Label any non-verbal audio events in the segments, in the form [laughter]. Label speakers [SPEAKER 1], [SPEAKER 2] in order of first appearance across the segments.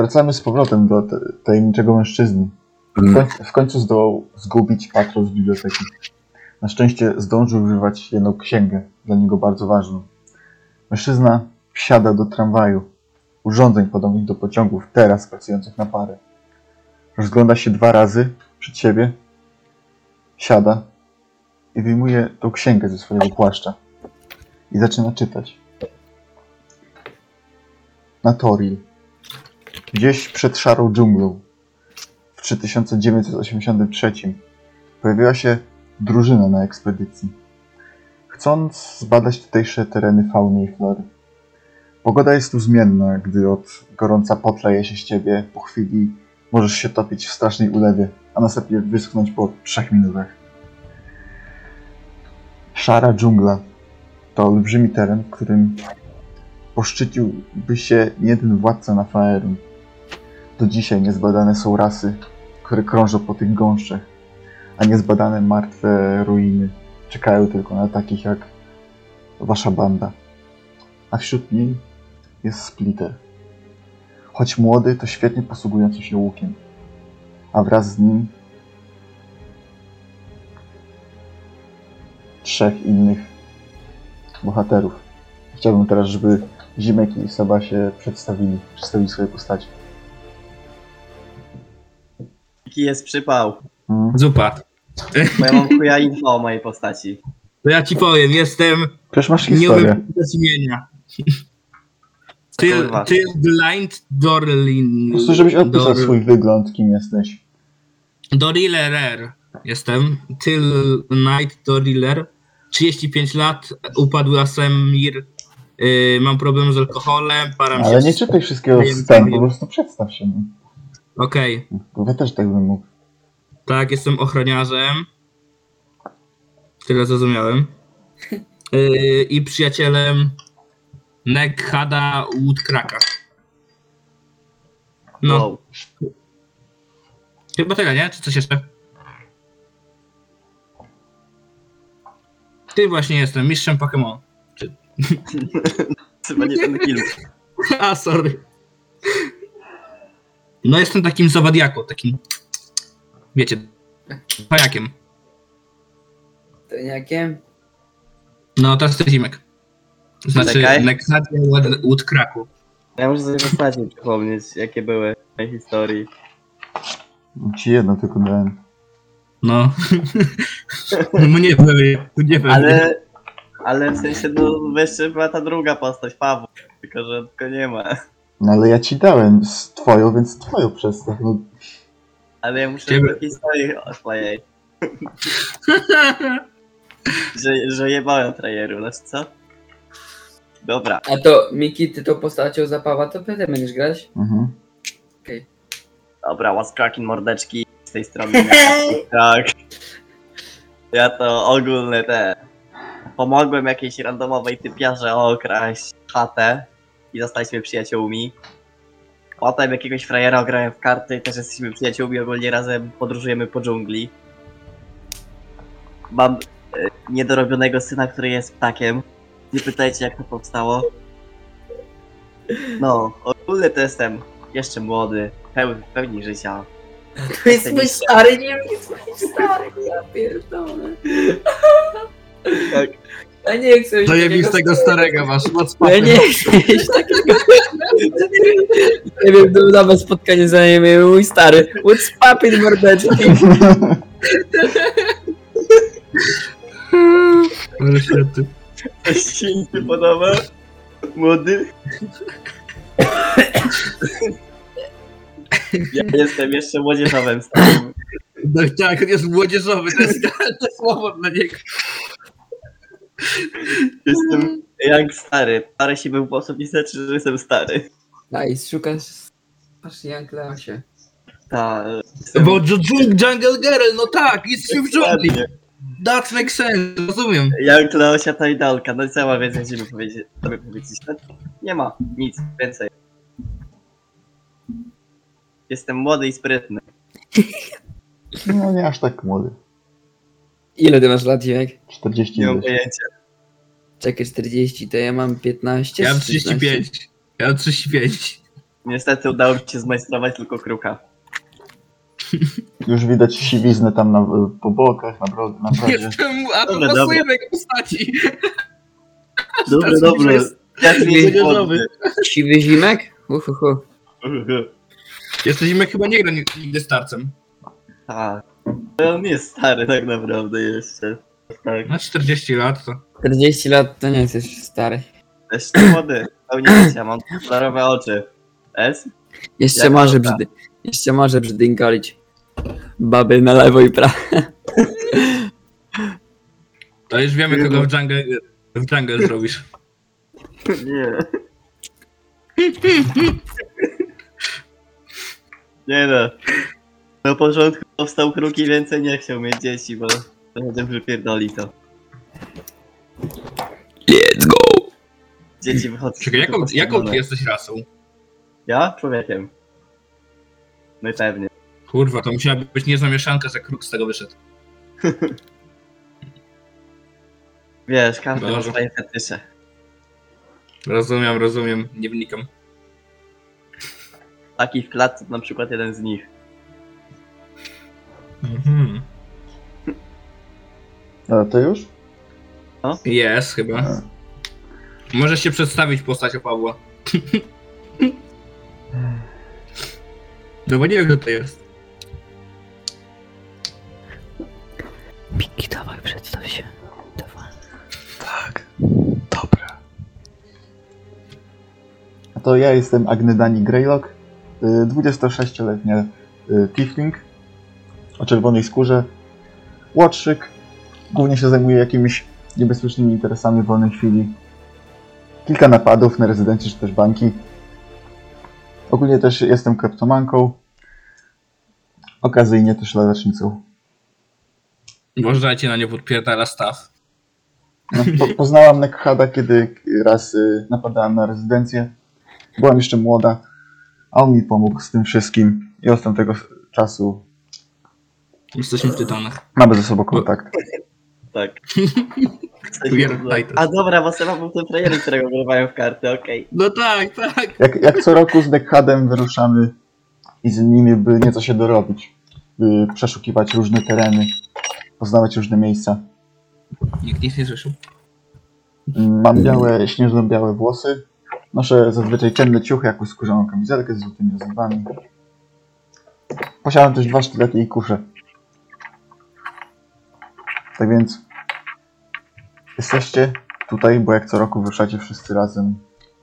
[SPEAKER 1] Wracamy z powrotem do te- tajemniczego mężczyzny. W,
[SPEAKER 2] Mm,
[SPEAKER 1] koń- w końcu zdołał zgubić patrol z biblioteki. Na szczęście zdążył używać jedną księgę, dla niego bardzo ważną. Mężczyzna wsiada do tramwaju, urządzeń podobnych do pociągów, teraz pracujących na parę. Rozgląda się dwa razy przed siebie, siada i wyjmuje tą księgę ze swojego płaszcza i zaczyna czytać. Na Toril, gdzieś przed szarą dżunglą, w 3983 pojawiła się drużyna na ekspedycji, chcąc zbadać tutejsze tereny fauny i flory. Pogoda jest tu zmienna, gdy od gorąca potleje się z ciebie, po chwili możesz się topić w strasznej ulewie, a następnie wyschnąć po trzech minutach. Szara dżungla to olbrzymi teren, którym poszczyciłby się nie jeden władca na Faerun. Do dzisiaj niezbadane są rasy, które krążą po tych gąszczach, a niezbadane martwe ruiny czekają tylko na takich jak wasza banda. A wśród niej jest Splitter. Choć młody, to świetnie posługujący się łukiem, a wraz z nim trzech innych bohaterów. Chciałbym teraz, żeby Zimek i Saba się przedstawili, przedstawili swoje postacie.
[SPEAKER 3] Jaki jest przypał?
[SPEAKER 2] Mhm.
[SPEAKER 1] Mm.
[SPEAKER 2] Zupa.
[SPEAKER 3] Bo ja mam chuja info o mojej postaci.
[SPEAKER 2] To ja ci powiem, jestem
[SPEAKER 1] Przecież masz historię.
[SPEAKER 2] nieobecny bez [laughs] imienia. Till,
[SPEAKER 3] Kurwa.
[SPEAKER 2] till blind Dorlin.
[SPEAKER 1] Po prostu, żebyś opisał swój wygląd, kim jesteś.
[SPEAKER 2] Dorilerer jestem. Till Night Doriler. 35 lat, upadł Asemir. Yy, mam problem z alkoholem, param się.
[SPEAKER 1] Ale nie czytaj wszystkiego
[SPEAKER 2] Wiem,
[SPEAKER 1] z ten,
[SPEAKER 2] wiem.
[SPEAKER 1] po prostu przedstaw się. no.
[SPEAKER 2] Okej,
[SPEAKER 1] Bo ja też tak bym mógł.
[SPEAKER 2] tak, jestem ochroniarzem. Tyle zrozumiałem. Yy, I przyjacielem Neghada Woodcracka. No,
[SPEAKER 3] Wow.
[SPEAKER 2] Chyba tyle, nie? Czy coś jeszcze? Ty właśnie jestem mistrzem Pokémon. [laughs]
[SPEAKER 3] Chyba nie ten film.
[SPEAKER 2] A, sorry. No jestem takim zawadiaką, takim... Wiecie, pajakiem.
[SPEAKER 4] Toniakiem?
[SPEAKER 2] No, teraz to jest Zimek. Znaczy,
[SPEAKER 3] Czekaj.
[SPEAKER 2] Nexadia Woodcracku.
[SPEAKER 3] Ja muszę sobie postaci przypomnieć, jakie były w tej historii.
[SPEAKER 1] Ci jedno tylko dałem.
[SPEAKER 2] No. [laughs] no nie pewnie, nie pewnie.
[SPEAKER 3] Ale, ale w sensie, no jeszcze była ta druga postać, Paweł. Tylko, że tylko nie ma.
[SPEAKER 1] No ale ja ci dałem z twoją, więc twoją przedstaw. No,
[SPEAKER 3] Ale ja muszę
[SPEAKER 2] Ciebie.
[SPEAKER 3] takiej historii o swojej, [laughs] że, że jebałem trajeru, znaczy co? Dobra,
[SPEAKER 4] A to Miki, ty tą postacią zapawa, to pewnie będziesz grać?
[SPEAKER 1] mhm.
[SPEAKER 3] dobra, what's cracking mordeczki z tej strony. [laughs] tak. Ja to ogólne te. Pomogłem jakiejś randomowej typiarze okraść chatę i zostaliśmy przyjaciółmi. Potem jakiegoś frajera grałem w karty i też jesteśmy przyjaciółmi, ogólnie razem podróżujemy po dżungli. Mam e, niedorobionego syna, który jest ptakiem. Nie pytajcie jak to powstało. No, ogólnie to jestem jeszcze młody, pełen, w pełni życia.
[SPEAKER 4] To jest mój stary, nie wiem, jest mój stary, ja pierdolę.
[SPEAKER 3] Tak.
[SPEAKER 4] No Ja nie chcę mieć takiego
[SPEAKER 2] Zajebistego starego masz, No, moc
[SPEAKER 4] stary- Ja
[SPEAKER 2] papy.
[SPEAKER 4] nie chcę mieć takiego... nie wiem, to nowe spotkanie zajmie mój stary. What's poppin' mordeczki?
[SPEAKER 2] Ale świetny.
[SPEAKER 3] Coś ci nie podoba? Młody? Ja jestem jeszcze młodzieżowym starym.
[SPEAKER 2] No tak, on jest młodzieżowy, to jest idealne słowo dla niego.
[SPEAKER 3] Jestem jak stary. Parę się był sposób nie znaczy, że jestem stary.
[SPEAKER 4] Nice, szukasz... Masz Jankla się.
[SPEAKER 3] Ta,
[SPEAKER 2] Bo dżu- dżu- Jungle Girl, no tak, jest się w dżungli.
[SPEAKER 3] Dokładnie.
[SPEAKER 2] That makes sense, rozumiem.
[SPEAKER 3] Jak Leosia ta idolka, no i co ma więcej żeby powiedzieć? Tobie powiedzieć? No, nie ma, nic więcej. Jestem młody i sprytny.
[SPEAKER 1] No nie aż tak młody.
[SPEAKER 4] Ile ty masz lat, Jimek?
[SPEAKER 1] 40
[SPEAKER 3] Nie mam
[SPEAKER 1] ileś.
[SPEAKER 3] pojęcia.
[SPEAKER 4] Czekaj, 40, to ja mam 15.
[SPEAKER 2] Ja mam
[SPEAKER 4] 16.
[SPEAKER 2] 35. Ja mam 35.
[SPEAKER 3] Niestety udało mi się zmajstrować tylko kruka.
[SPEAKER 1] Już widać siwiznę tam na, po bokach, na, bro, na brodzie.
[SPEAKER 5] Jestem, a to
[SPEAKER 3] Dobra,
[SPEAKER 5] pasuje do jego
[SPEAKER 3] [laughs]
[SPEAKER 5] postaci.
[SPEAKER 3] Dobry,
[SPEAKER 5] Teraz
[SPEAKER 3] dobry.
[SPEAKER 5] jest-
[SPEAKER 3] Ja się nie
[SPEAKER 5] jest
[SPEAKER 3] podnę.
[SPEAKER 4] Siwy zimek? Uhuhu.
[SPEAKER 2] Jesteśmy chyba nie grani nigdy starcem.
[SPEAKER 3] Tak. To On jest stary tak naprawdę jeszcze. Tak.
[SPEAKER 2] Na 40 lat to.
[SPEAKER 4] 40 lat to nie jest jeszcze stary.
[SPEAKER 3] Jeszcze młody. Pełnięcia, mam kolorowe oczy. S?
[SPEAKER 4] Jeszcze
[SPEAKER 3] Jak
[SPEAKER 4] może
[SPEAKER 3] dobra.
[SPEAKER 4] brzydy. Jeszcze może brzydyngolić. Baby na lewo i prawo.
[SPEAKER 2] To już wiemy, kogo w jungle, w jungle zrobisz.
[SPEAKER 3] Nie. Nie no. Na początku powstał kruk i więcej nie chciał mieć dzieci, bo to potem wypierdoli to.
[SPEAKER 4] Let's go!
[SPEAKER 3] Dzieci wychodzą.
[SPEAKER 2] Czekaj, jaką, jaką ty
[SPEAKER 3] postawione.
[SPEAKER 2] jesteś rasą?
[SPEAKER 3] Ja? Człowiekiem. No i pewnie.
[SPEAKER 2] Kurwa, to musiała być niezła mieszanka, że kruk z tego wyszedł.
[SPEAKER 3] Wiesz, każdy ma
[SPEAKER 2] Boże.
[SPEAKER 3] swoje fetysze.
[SPEAKER 2] Rozumiem, rozumiem, nie wnikam.
[SPEAKER 3] Taki w klatce to na przykład jeden z nich.
[SPEAKER 2] Mhm.
[SPEAKER 1] A No, to już?
[SPEAKER 2] Jest chyba. Możesz się przedstawić postacią Pawła. No bo nie wiem, kto to jest.
[SPEAKER 4] Piki, dawaj, przedstaw się.
[SPEAKER 1] A to ja jestem Agnedani Greylock, y, 26-letnia y, tiefling o czerwonej skórze, łotrzyk, głównie się zajmuje jakimiś niebezpiecznymi interesami w wolnej chwili. Kilka napadów na rezydenci czy też banki. Ogólnie też jestem kleptomanką, okazyjnie też ladacznicą.
[SPEAKER 2] Można cię na nie podpierdala staw.
[SPEAKER 1] No, po, poznałam Nekhada, kiedy raz y, napadałam na rezydencję. Byłam jeszcze młoda, a on mi pomógł z tym wszystkim i od tamtego s- czasu
[SPEAKER 2] Jesteśmy w tytanach.
[SPEAKER 1] mamy ze sobą kontakt.
[SPEAKER 3] Tak.
[SPEAKER 2] Ubieram Titus.
[SPEAKER 3] A dobra, bo Seba był ten trener, którego grywają w karty, okej.
[SPEAKER 2] No tak, tak.
[SPEAKER 1] Jak, jak co roku z Nekhadem wyruszamy i z nimi, by nieco się dorobić, by przeszukiwać różne tereny, poznawać różne miejsca.
[SPEAKER 2] Nikt nic nie słyszał.
[SPEAKER 1] Mam białe, śnieżno-białe włosy, noszę zazwyczaj ciemne ciuchy, jakąś skórzaną kamizelkę z złotymi rozrywami. Posiadam też dwa sztylety i kusze. Tak więc jesteście tutaj, bo jak co roku wyruszacie wszyscy razem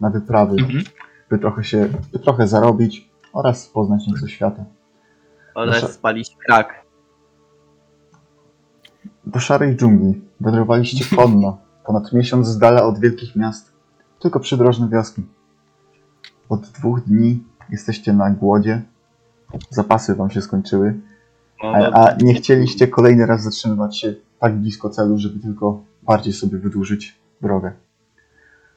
[SPEAKER 1] na wyprawy,
[SPEAKER 2] Mhm.
[SPEAKER 1] by trochę się, by trochę zarobić oraz poznać nieco świata.
[SPEAKER 3] Ale
[SPEAKER 1] Proszę.
[SPEAKER 3] spalić krak.
[SPEAKER 1] Do szarej dżungli wędrowaliście konno, ponad miesiąc z dala od wielkich miast, tylko przydrożne wioski. Od dwóch dni jesteście na głodzie, zapasy wam się skończyły,
[SPEAKER 3] No,
[SPEAKER 1] a,
[SPEAKER 3] dobra.
[SPEAKER 1] a nie chcieliście kolejny raz zatrzymywać się tak blisko celu, żeby tylko bardziej sobie wydłużyć drogę.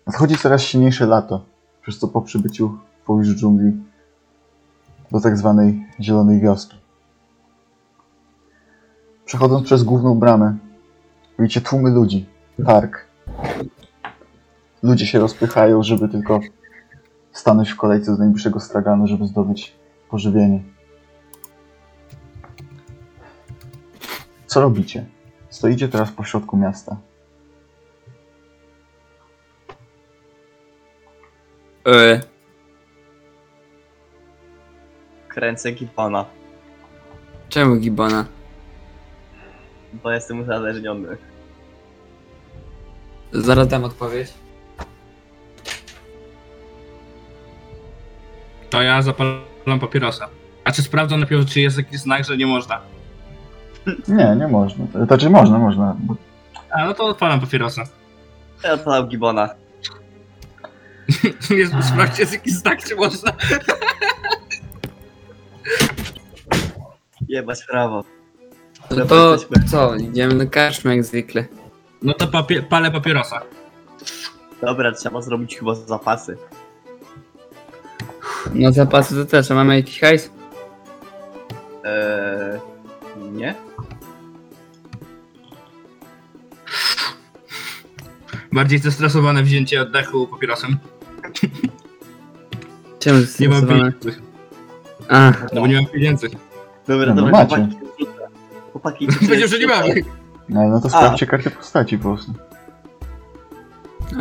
[SPEAKER 1] Nadchodzi coraz silniejsze lato, przez co po przybyciu w pobliżu dżungli do tak zwanej zielonej wioski. Przechodząc przez główną bramę, widzicie tłumy ludzi, targ. Ludzie się rozpychają, żeby tylko stanąć w kolejce do najbliższego straganu, żeby zdobyć pożywienie. Co robicie? Stoicie teraz pośrodku miasta.
[SPEAKER 4] E,
[SPEAKER 3] Kręcę gipona,
[SPEAKER 4] czemu gibona?
[SPEAKER 3] bo jestem uzależniony.
[SPEAKER 4] Zaraz dam odpowiedź.
[SPEAKER 2] To ja zapalam papierosa. A czy sprawdzam najpierw, czy jest jakiś znak, że nie można?
[SPEAKER 1] Nie, nie można. To Znaczy można, można. bo-
[SPEAKER 2] A no to odpalam papierosa.
[SPEAKER 3] Ja odpalam gibona.
[SPEAKER 2] Nie sprawdźcie, jest jakiś znak, czy można.
[SPEAKER 3] Jebać prawo.
[SPEAKER 4] No
[SPEAKER 3] Dobra,
[SPEAKER 4] to
[SPEAKER 3] jesteśmy.
[SPEAKER 4] co, idziemy do karczmy jak zwykle.
[SPEAKER 2] No to papie- palę papierosa.
[SPEAKER 3] Dobra, trzeba zrobić chyba zapasy.
[SPEAKER 4] No zapasy to też, a mamy jakiś hajs?
[SPEAKER 3] Eee, nie?
[SPEAKER 2] Bardziej zestresowane wzięcie oddechu papierosem.
[SPEAKER 4] Czemu jest
[SPEAKER 2] Nie mam
[SPEAKER 4] nazywane?
[SPEAKER 2] pieniędzy.
[SPEAKER 4] A,
[SPEAKER 2] No bo nie mam pieniędzy.
[SPEAKER 3] Dobra,
[SPEAKER 1] No, no
[SPEAKER 3] dobra,
[SPEAKER 1] macie.
[SPEAKER 3] chłopaki. Chłopaki.
[SPEAKER 2] Powiedział, że nie mam.
[SPEAKER 1] No, no to sprawdźcie kartę postaci po prostu.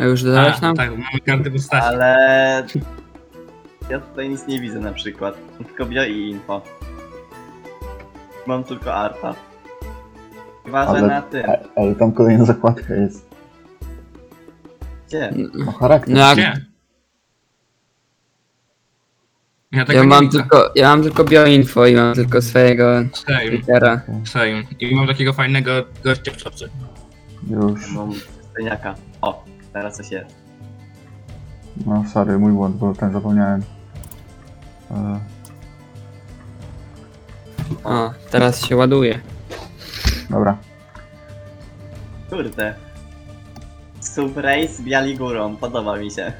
[SPEAKER 4] a już dodałeś
[SPEAKER 2] A,
[SPEAKER 4] nam?
[SPEAKER 2] Tak, mamy kartę postaci.
[SPEAKER 3] [laughs] Ale... Ja tutaj nic nie widzę na przykład. Mam Tylko bio i info. Mam tylko arta. Chyba, że
[SPEAKER 1] Ale-
[SPEAKER 3] na tym.
[SPEAKER 1] E, Ale tam kolejna zakładka jest.
[SPEAKER 3] Gdzie?
[SPEAKER 1] No charakter.
[SPEAKER 4] No jak,
[SPEAKER 2] Gdzie? Ja tego
[SPEAKER 4] ja
[SPEAKER 2] nie
[SPEAKER 4] mam
[SPEAKER 2] widzę.
[SPEAKER 4] tylko, ja mam tylko bioinfo i mam tylko swojego
[SPEAKER 2] Same,
[SPEAKER 4] Twittera.
[SPEAKER 2] same. I mam takiego fajnego gościa w czapce.
[SPEAKER 1] Już.
[SPEAKER 3] Mam sceniaka. O, teraz coś jest.
[SPEAKER 1] No sorry, mój błąd, bo ten zapomniałem. E,
[SPEAKER 4] O, teraz się ładuje.
[SPEAKER 1] dobra.
[SPEAKER 3] Kurde. Subrace biali górą, podoba mi się.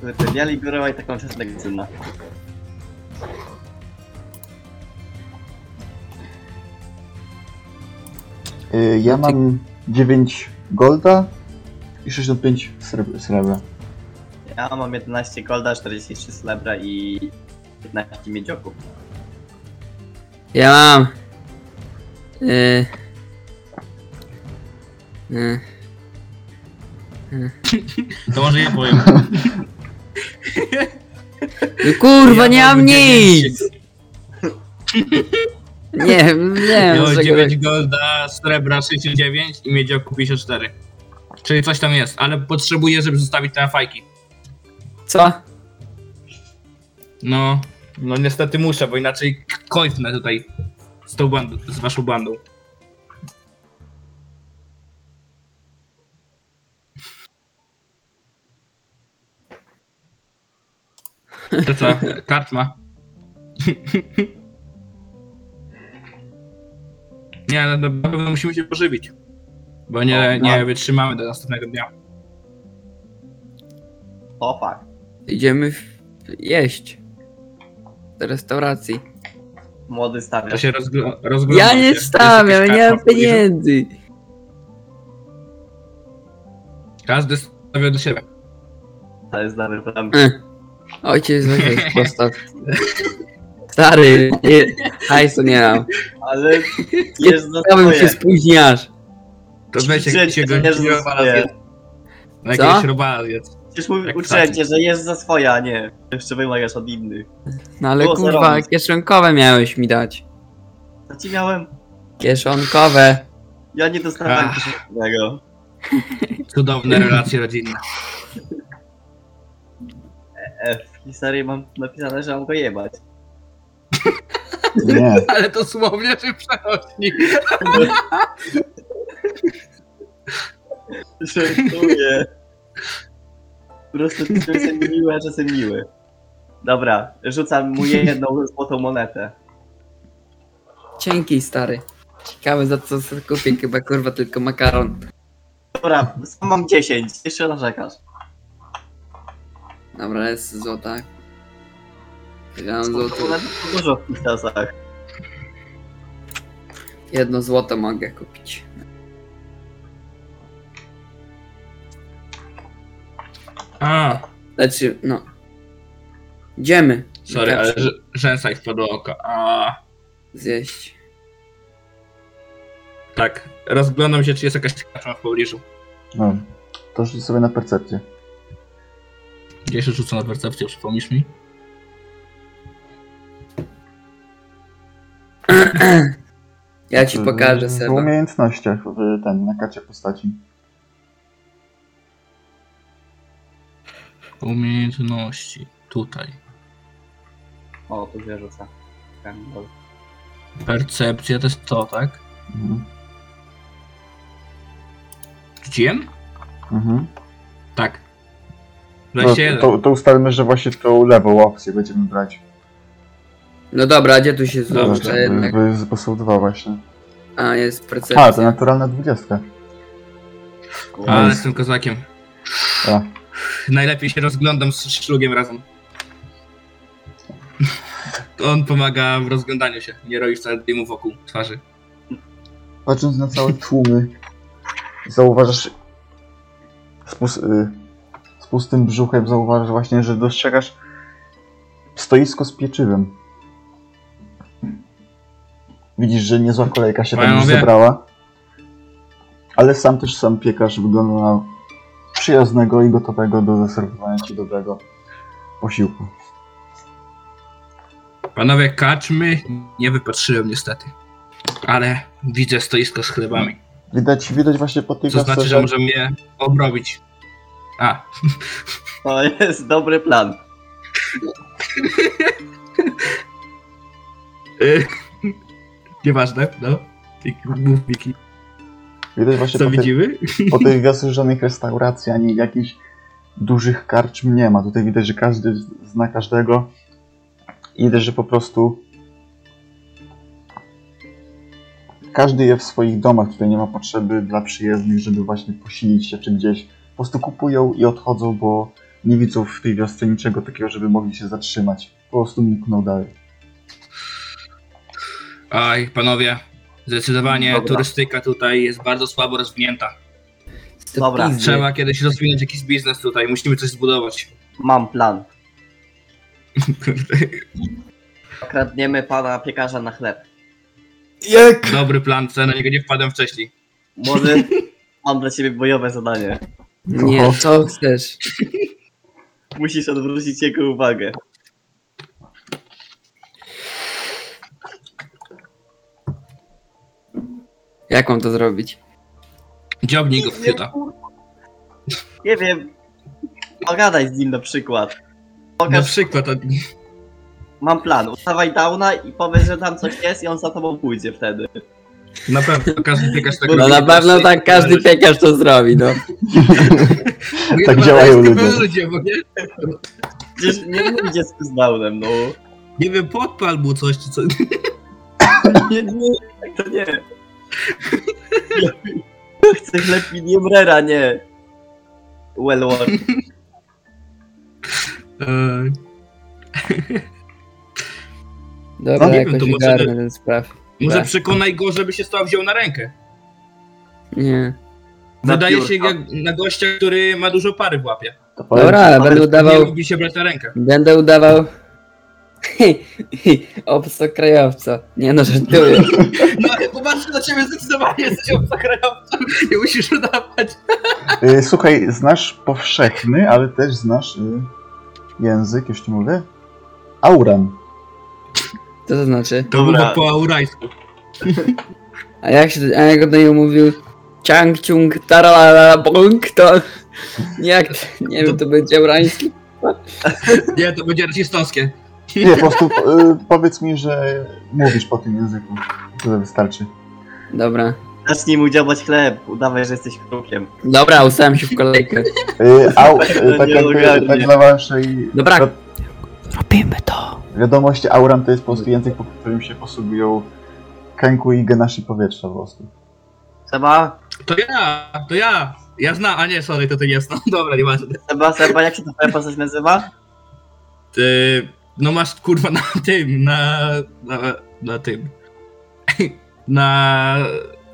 [SPEAKER 3] Kurde, biali górą i taką czesnek cudna.
[SPEAKER 1] E, ja mam 9 golda i 65 srebr- srebra.
[SPEAKER 3] Ja mam 11 golda, 43 srebra i 15 miedzioków.
[SPEAKER 4] Ja mam. Yy, yy,
[SPEAKER 2] To może ja powiem.
[SPEAKER 4] no [laughs] kurwa,
[SPEAKER 2] Ja
[SPEAKER 4] nie mam
[SPEAKER 2] dziewięć-
[SPEAKER 4] nic! Nie, nie
[SPEAKER 2] Ja
[SPEAKER 4] wiem,
[SPEAKER 2] mam
[SPEAKER 4] dlaczego tak
[SPEAKER 2] 9 golda, srebra 69 i miedzioku 54. Czyli coś tam jest, ale potrzebuję, żeby zostawić te fajki.
[SPEAKER 4] Co?
[SPEAKER 2] No, no niestety muszę, bo inaczej kończę tutaj z tą bandą, z waszą bandą. To co? Kart ma. Nie, no, no, na pewno musimy się pożywić. Bo
[SPEAKER 4] no.
[SPEAKER 2] nie, nie wytrzymamy do następnego dnia.
[SPEAKER 3] O fuck.
[SPEAKER 4] Idziemy w... jeść. Do restauracji.
[SPEAKER 3] Młody
[SPEAKER 2] To
[SPEAKER 3] stawia.
[SPEAKER 2] się rozgl- rozgląda.
[SPEAKER 4] Ja nie stawiam, ja nie mam pieniędzy.
[SPEAKER 2] Każdy stawia do siebie.
[SPEAKER 3] To jest dobry plan.
[SPEAKER 2] Eh.
[SPEAKER 4] E. Ojciec znowu
[SPEAKER 2] [laughs]
[SPEAKER 4] postaw. Stary, nie, hajsu nie mam.
[SPEAKER 3] Ale
[SPEAKER 4] Nie
[SPEAKER 3] wiesz,
[SPEAKER 4] Chciałbym
[SPEAKER 3] zaskakuje.
[SPEAKER 4] się spóźniasz.
[SPEAKER 2] To weź
[SPEAKER 3] Życzę
[SPEAKER 2] jakiegoś
[SPEAKER 3] ci,
[SPEAKER 2] go
[SPEAKER 3] że nie
[SPEAKER 2] robala
[SPEAKER 3] zostaje.
[SPEAKER 2] zjedz. No jakiegoś robala zjedz.
[SPEAKER 3] Przecież mówi-
[SPEAKER 2] Jak
[SPEAKER 3] uczyłem
[SPEAKER 2] ptaki.
[SPEAKER 3] cię, że jesz za swoje, a nie. Jeszcze wymagasz od innych.
[SPEAKER 4] No ale
[SPEAKER 3] Było
[SPEAKER 4] kurwa,
[SPEAKER 3] zarąbiste.
[SPEAKER 4] kieszonkowe miałeś mi dać.
[SPEAKER 3] Co ci miałem?
[SPEAKER 4] Kieszonkowe.
[SPEAKER 3] Ja nie dostawałem
[SPEAKER 2] Ach.
[SPEAKER 3] kieszonkowego.
[SPEAKER 2] Cudowne relacje rodzinne.
[SPEAKER 3] E, w historii mam napisane, że mam go jebać.
[SPEAKER 1] Nie,
[SPEAKER 2] [laughs] Ale to słownie czy przechodni?
[SPEAKER 3] Żartuję. Po prostu ty czasem miły, a czasem miły. Dobra, rzucam mu jedną złotą monetę.
[SPEAKER 4] Cienki stary. Ciekawe za co sobie kupię, chyba kurwa tylko makaron.
[SPEAKER 3] Dobra, sam mam 10, jeszcze narzekasz.
[SPEAKER 4] Dobra, jest złota. Ja mam
[SPEAKER 3] Złotą
[SPEAKER 4] złoto.
[SPEAKER 3] monetę to dużo w tych czasach.
[SPEAKER 4] Jedno złoto mogę kupić.
[SPEAKER 2] A,
[SPEAKER 4] Znaczy, no. Idziemy.
[SPEAKER 2] sorry, ale
[SPEAKER 4] Znaczy,
[SPEAKER 2] ż- rzęsa ich wpadło oko. A,
[SPEAKER 4] Zjeść.
[SPEAKER 2] tak, rozglądam się, czy jest jakaś karta w pobliżu.
[SPEAKER 1] no. To rzuć sobie na percepcję.
[SPEAKER 2] Gdzie się rzucę na percepcję, przypomnisz mi?
[SPEAKER 4] Ja ci pokażę,
[SPEAKER 1] W
[SPEAKER 4] Seba.
[SPEAKER 1] umiejętnościach, w ten, na karcie postaci.
[SPEAKER 2] Umiejętności, tutaj.
[SPEAKER 3] O, tu się rzuca. Tam, dobra.
[SPEAKER 2] Percepcja to jest to, tak?
[SPEAKER 1] Mhm.
[SPEAKER 2] Rzuciłem?
[SPEAKER 1] Mhm.
[SPEAKER 2] Tak.
[SPEAKER 1] No,
[SPEAKER 2] 21.
[SPEAKER 1] to, to ustalmy, że właśnie tą lewą opcję będziemy brać.
[SPEAKER 4] No dobra, gdzie tu się
[SPEAKER 2] Dobrze,
[SPEAKER 4] zrzuca jednak?
[SPEAKER 1] bo jest- bo są dwa właśnie.
[SPEAKER 4] A, jest
[SPEAKER 1] A, to
[SPEAKER 4] percepcja.
[SPEAKER 1] naturalna dwudziestka.
[SPEAKER 2] Ale jestem kozakiem.
[SPEAKER 1] A.
[SPEAKER 2] Najlepiej się rozglądam z szlugiem razem. On pomaga w rozglądaniu się, nie robi wcale dymu wokół twarzy.
[SPEAKER 1] Patrząc na całe tłumy, zauważasz z, pus- y, z pustym brzuchem zauważasz właśnie, że dostrzegasz stoisko z pieczywem. Widzisz, że niezła kolejka się tam już
[SPEAKER 2] Panowie.
[SPEAKER 1] zebrała. Ale sam też sam piekarz wygląda na przyjaznego i gotowego do zaserwowania ci dobrego posiłku.
[SPEAKER 2] Panowie, kaczmy nie wypatrzyłem niestety. Ale widzę stoisko z chlebami.
[SPEAKER 1] Widać, widać właśnie po tej
[SPEAKER 2] Co
[SPEAKER 1] kartce,
[SPEAKER 2] znaczy, że możemy je obrobić. A,
[SPEAKER 3] To jest dobry plan.
[SPEAKER 2] y, nieważne, no. Mów, Miki.
[SPEAKER 1] widać właśnie
[SPEAKER 2] Co
[SPEAKER 1] po, tej,
[SPEAKER 2] widzimy?
[SPEAKER 1] po tych wiosce żadnych restauracji ani jakichś dużych karczm nie ma. Tutaj widać, że każdy z- zna każdego i widać, że po prostu każdy je w swoich domach. Tutaj nie ma potrzeby dla przyjezdnych, żeby właśnie posilić się czy gdzieś. Po prostu kupują i odchodzą, bo nie widzą w tej wiosce niczego takiego, żeby mogli się zatrzymać. Po prostu mkną dalej.
[SPEAKER 2] Aj, panowie, zdecydowanie
[SPEAKER 3] Dobra.
[SPEAKER 2] turystyka tutaj jest bardzo słabo rozwinięta.
[SPEAKER 4] To
[SPEAKER 3] Dobra,
[SPEAKER 4] pizdy.
[SPEAKER 2] Trzeba kiedyś rozwinąć jakiś biznes tutaj, musimy coś zbudować. [laughs]
[SPEAKER 3] Mam plan. Okradniemy pana piekarza na chleb.
[SPEAKER 4] Jak?
[SPEAKER 2] Dobry plan, co na niego nie wpadłem wcześniej.
[SPEAKER 4] [laughs]
[SPEAKER 3] Młody, mam dla ciebie bojowe zadanie.
[SPEAKER 4] Nie, co chcesz?
[SPEAKER 3] Musisz odwrócić jego uwagę.
[SPEAKER 4] Jak mam to zrobić?
[SPEAKER 2] Dziobnij go w chwyta.
[SPEAKER 3] Nie wiem. Pogadaj z nim na przykład.
[SPEAKER 2] Na
[SPEAKER 3] Pokaż,
[SPEAKER 2] przykład, a-
[SPEAKER 3] mam plan. Ustawaj downa i powiedz, że tam coś jest i on za tobą pójdzie wtedy.
[SPEAKER 2] na pewno każdy piekarz tak
[SPEAKER 4] No
[SPEAKER 2] robi.
[SPEAKER 4] na pewno tak każdy piekarz to zrobi, no.
[SPEAKER 2] Nie,
[SPEAKER 1] Tak
[SPEAKER 2] no,
[SPEAKER 1] działają
[SPEAKER 2] to jest typowe
[SPEAKER 1] ludzie.
[SPEAKER 2] bo nie?
[SPEAKER 3] Przecież nie pójdzie z downem, no.
[SPEAKER 2] Nie wiem, podpal mu coś czy co.
[SPEAKER 3] Nie, nie, tak to nie. Ja chcę chleb Miniemrera, nie. Well, war.
[SPEAKER 2] Eee,
[SPEAKER 4] Dobra,
[SPEAKER 2] No nie wiem,
[SPEAKER 4] jakoś
[SPEAKER 2] to może-
[SPEAKER 4] ogarnę ten spraw.
[SPEAKER 2] Może
[SPEAKER 4] Tak.
[SPEAKER 2] przekonaj go, żeby się stał wziął na rękę.
[SPEAKER 4] Nie.
[SPEAKER 3] Na
[SPEAKER 2] Wydaje się
[SPEAKER 3] piórka.
[SPEAKER 2] jak na gościa, który ma dużo pary w łapie.
[SPEAKER 1] To powiem
[SPEAKER 4] Dobra,
[SPEAKER 1] ci,
[SPEAKER 4] ale będę
[SPEAKER 2] Nie
[SPEAKER 4] udawał...
[SPEAKER 2] lubi się brać na rękę.
[SPEAKER 4] Będę udawał... [laughs] Obcokrajowca. Nie no, żartuję.
[SPEAKER 2] No ale popatrzę na ciebie zdecydowanie, jesteś obcokrajowcą. Nie musisz udawać.
[SPEAKER 1] Y, Słuchaj, znasz powszechny, ale też znasz y, język, już ci mówię. Auran.
[SPEAKER 4] Co to znaczy?
[SPEAKER 2] To
[SPEAKER 3] Dobra.
[SPEAKER 2] było po aurajsku.
[SPEAKER 4] A jak się... A jak do niej mówił... Ciang, ciung, taralala, bąk, to... [laughs] Jak... Nie wiem, to będzie urański?
[SPEAKER 2] Nie, to będzie rasistowskie.
[SPEAKER 1] Nie, po prostu y, powiedz mi, że mówisz po tym języku. Tyle wystarczy.
[SPEAKER 4] Dobra.
[SPEAKER 3] Zacznij mu działać chleb, udawaj, że jesteś krukiem.
[SPEAKER 4] Dobra, ustałem się w kolejkę.
[SPEAKER 1] Y, au, y, tak,
[SPEAKER 3] Nie
[SPEAKER 1] jakby,
[SPEAKER 3] ogarnie.
[SPEAKER 1] tak dla waszej
[SPEAKER 4] Dobra.
[SPEAKER 1] wi-
[SPEAKER 4] Robimy to.
[SPEAKER 1] wiadomości, auran to jest po prostu język, po którym się posługują kęku i genashi powietrza po prostu.
[SPEAKER 3] Seba,
[SPEAKER 2] To ja, to ja. Ja znam, a nie, sorry, to ty nie znam. [laughs] Dobra, nie ważne.
[SPEAKER 3] Seba, Seba, jak się to twoja postać nazywa?
[SPEAKER 2] Ty, no masz kurwa na tym, na. na, na tym. [laughs] Na.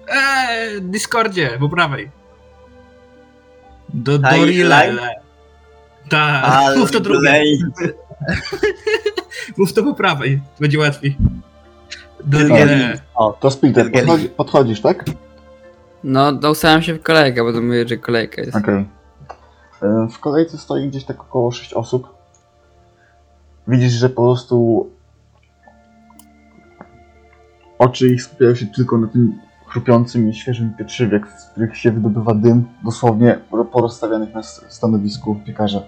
[SPEAKER 2] E, Discordzie, po prawej. Do
[SPEAKER 3] Ta i
[SPEAKER 2] Dorile. Ta, [laughs] mów to drugie.
[SPEAKER 3] Lej.
[SPEAKER 2] Mów to po prawej, będzie łatwiej.
[SPEAKER 1] Dorile.
[SPEAKER 2] Dorile.
[SPEAKER 1] To Splitter,
[SPEAKER 3] Zgadza.
[SPEAKER 1] podchodzi, podchodzisz, tak?
[SPEAKER 4] No, to ustałem się w kolejkę, bo to mówię, że kolejka jest.
[SPEAKER 1] Okej. E, W kolejce stoi gdzieś tak około 6 osób. Widzisz, że po prostu oczy ich skupiają się tylko na tym chrupiącym i świeżym pietrzywie, z których się wydobywa dym, dosłownie ro- porozstawianych na s- stanowisku piekarza.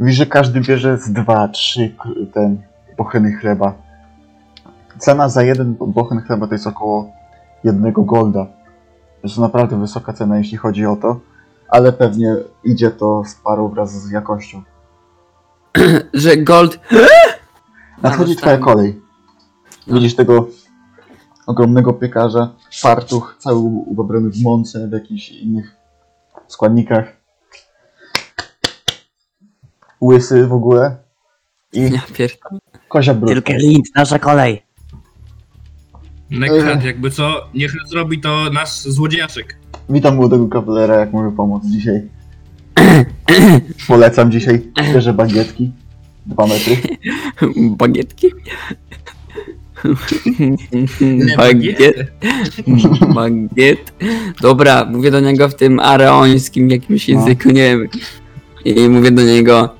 [SPEAKER 1] Widzisz, że każdy bierze z 2-3 ten bocheny chleba. Cena za jeden bochen chleba to jest około jednego golda. Jest to naprawdę wysoka cena, jeśli chodzi o to ale pewnie idzie to z paru wraz z jakością.
[SPEAKER 4] Że Gold... [laughs]
[SPEAKER 1] Nadchodzi twoja
[SPEAKER 4] Zostałem.
[SPEAKER 1] kolej.
[SPEAKER 4] No.
[SPEAKER 1] Widzisz tego ogromnego piekarza, fartuch, cały ubabrany w mące, w jakichś innych składnikach. Łysy w ogóle i
[SPEAKER 4] Ja pier...
[SPEAKER 1] kozia brudka.
[SPEAKER 3] lint, nasza kolej.
[SPEAKER 2] Nekrad, jakby co, niech zrobi to nasz złodziejaszek.
[SPEAKER 1] Witam młodego kawalera, jak mogę pomóc dzisiaj. Polecam dzisiaj świeże bagietki. Dwa metry.
[SPEAKER 4] [laughs] Bagietki?
[SPEAKER 2] Nie,
[SPEAKER 4] Bagiet. [laughs] Bagiet. Dobra, mówię do niego w tym areońskim jakimś
[SPEAKER 1] No.
[SPEAKER 4] języku, nie wiem. I mówię do niego.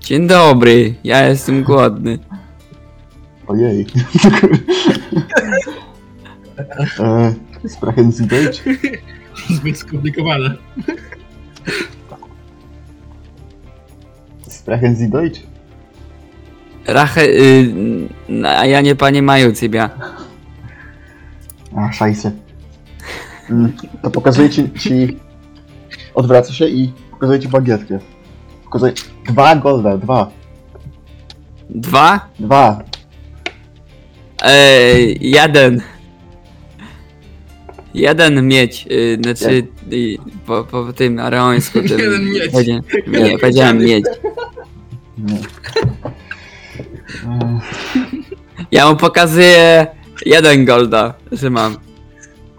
[SPEAKER 4] Dzień dobry, ja jestem głodny.
[SPEAKER 1] Ojej. [laughs] E, Sprachen Sie Deutsch?
[SPEAKER 2] [laughs] Zbyt skomplikowane.
[SPEAKER 1] Sprachen Sie Deutsch?
[SPEAKER 4] Rache, y, n- a ja nie panie mają ciebie.
[SPEAKER 1] A, szajse. Mm, To pokazuję ci, ci... Odwraca się i pokazuję ci bagietkę. Pokazuję... Dwa golda, dwa.
[SPEAKER 4] Dwa?
[SPEAKER 1] Dwa.
[SPEAKER 4] Ej, jeden. Jeden mieć, y, znaczy y, po, po tym [laughs] areońsku. Tym,
[SPEAKER 2] Jeden mieć.
[SPEAKER 4] powiedziałem-
[SPEAKER 2] Jeden
[SPEAKER 4] [laughs] Nie, powiedziałem mieć.
[SPEAKER 1] Nie. E,
[SPEAKER 4] Ja mu pokazuję jeden golda, że mam.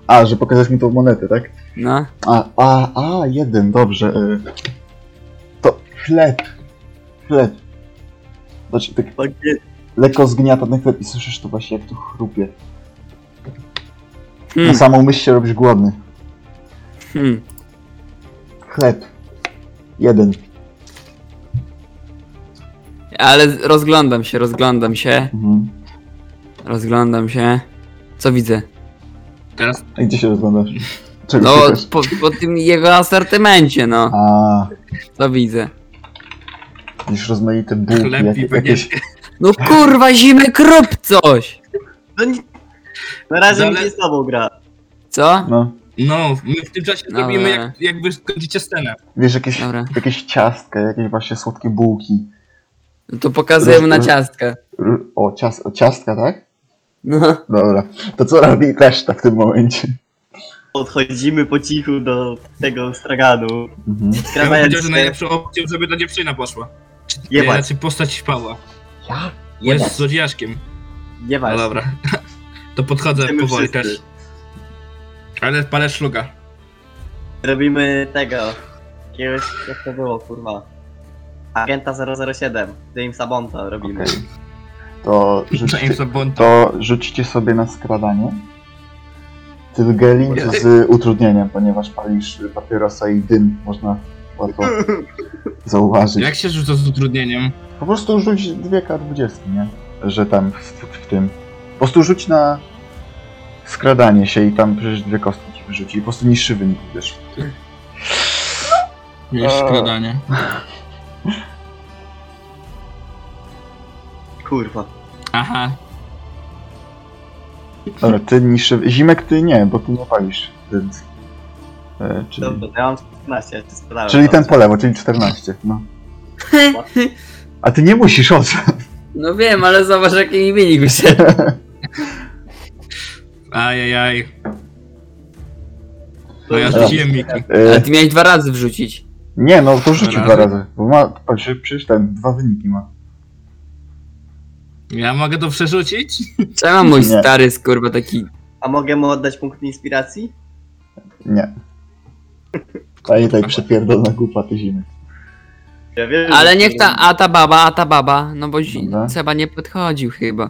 [SPEAKER 1] A, że pokazałeś mi tą monetę, tak?
[SPEAKER 4] No.
[SPEAKER 1] A, a, a, jeden, dobrze. e. To chleb. Chleb. Znaczy, tak
[SPEAKER 3] Bagiet.
[SPEAKER 1] lekko zgniatany chleb i słyszysz to właśnie, jak to chrupie. Na
[SPEAKER 4] Hmm,
[SPEAKER 1] samą myśl się robisz głodny.
[SPEAKER 4] hmm.
[SPEAKER 1] Chleb. Jeden.
[SPEAKER 4] Ale rozglądam się, rozglądam się,
[SPEAKER 1] Mhm.
[SPEAKER 4] rozglądam się. Co widzę?
[SPEAKER 2] Teraz
[SPEAKER 1] A gdzie się rozglądasz? Czego
[SPEAKER 4] No,
[SPEAKER 1] szukasz?
[SPEAKER 4] po, po tym jego asortymencie, no.
[SPEAKER 1] A,
[SPEAKER 4] Co widzę?
[SPEAKER 1] widzisz rozmaite bułki,
[SPEAKER 2] Chleb i
[SPEAKER 1] jak, jakieś...
[SPEAKER 2] bagietki.
[SPEAKER 4] No kurwa, zimy krób coś!
[SPEAKER 3] No nie... Na razie
[SPEAKER 2] Dale-
[SPEAKER 3] mi się z tobą gra.
[SPEAKER 4] Co?
[SPEAKER 1] No,
[SPEAKER 2] No, my w tym czasie
[SPEAKER 4] Dobra.
[SPEAKER 2] zrobimy, jak, jak wy skończycie scenę.
[SPEAKER 1] wiesz, jakieś,
[SPEAKER 4] Dobra.
[SPEAKER 1] jakieś ciastka, jakieś właśnie słodkie bułki.
[SPEAKER 4] No to pokazuję mu na ciastkę.
[SPEAKER 1] R- O, cias o ciastka, tak?
[SPEAKER 4] No.
[SPEAKER 1] Dobra. To co robi reszta w tym momencie?
[SPEAKER 3] Podchodzimy po cichu do tego straganu.
[SPEAKER 1] Mhm.
[SPEAKER 2] Ja bym powiedział,
[SPEAKER 3] Skradając
[SPEAKER 2] że
[SPEAKER 3] się,
[SPEAKER 2] najlepszą opcją, żeby ta dziewczyna poszła. Czy,
[SPEAKER 3] Jebać.
[SPEAKER 2] e, Znaczy postać Pawła. Jest złodziejaszkiem.
[SPEAKER 3] nie
[SPEAKER 2] No
[SPEAKER 3] ważne.
[SPEAKER 2] dobra. [laughs] To podchodzę
[SPEAKER 3] Idziemy
[SPEAKER 2] powoli
[SPEAKER 3] wszyscy.
[SPEAKER 2] też. Ale palę szluga.
[SPEAKER 3] Robimy tego. Jakiegoś, jak to było, kurwa. Agenta 007, Jamesa Bonda robimy.
[SPEAKER 1] Okej. To
[SPEAKER 2] James
[SPEAKER 1] rzućcie,
[SPEAKER 2] Bond.
[SPEAKER 1] to rzućcie sobie na skradanie. Tylgelin z utrudnieniem, ponieważ palisz papierosa i dym można łatwo zauważyć.
[SPEAKER 2] Jak się rzuca z utrudnieniem?
[SPEAKER 1] Po prostu rzuć dwie K20, nie? Że tam w, w tym. Po prostu rzuć na skradanie się i tam przecież dwie kostki ci wyrzuci. Po prostu niższy wynik wiesz.
[SPEAKER 2] Wiesz,
[SPEAKER 1] Eee.
[SPEAKER 2] skradanie.
[SPEAKER 3] [laughs] Kurwa.
[SPEAKER 2] Aha.
[SPEAKER 1] Dobra, ty niższy. Zimek ty nie, bo ty nie palisz. Więc, e, czyli,
[SPEAKER 3] Dobra, ja mam 14, ja się sprzedałem.
[SPEAKER 1] czyli ten
[SPEAKER 3] Dobrze.
[SPEAKER 1] po lewo, czyli 14. No. A ty nie musisz o co?
[SPEAKER 4] No wiem, ale zobacz jaki mi [laughs] wynik wyszedł.
[SPEAKER 2] Ajajaj. No ja
[SPEAKER 3] Dobra.
[SPEAKER 2] rzuciłem Miki.
[SPEAKER 4] Ale
[SPEAKER 1] E,
[SPEAKER 4] ty miałeś dwa razy wrzucić.
[SPEAKER 1] nie, no to rzucił
[SPEAKER 2] Dwa
[SPEAKER 1] dwa
[SPEAKER 2] razy.
[SPEAKER 1] razy. Bo ma. Patrz, przecież ten dwa wyniki ma.
[SPEAKER 2] Ja mogę to przerzucić?
[SPEAKER 4] Czemu mój
[SPEAKER 1] Nie.
[SPEAKER 4] stary skurwa taki...
[SPEAKER 3] A mogę mu oddać punkt inspiracji?
[SPEAKER 1] Nie. Pamiętaj, przepierdolna głupa ty zimek.
[SPEAKER 3] Ja wiem, że-
[SPEAKER 4] Ale niech ta... A ta baba, a ta baba. No bo zi-
[SPEAKER 1] Dobra.
[SPEAKER 4] Seba nie podchodził
[SPEAKER 1] [laughs]
[SPEAKER 4] chyba.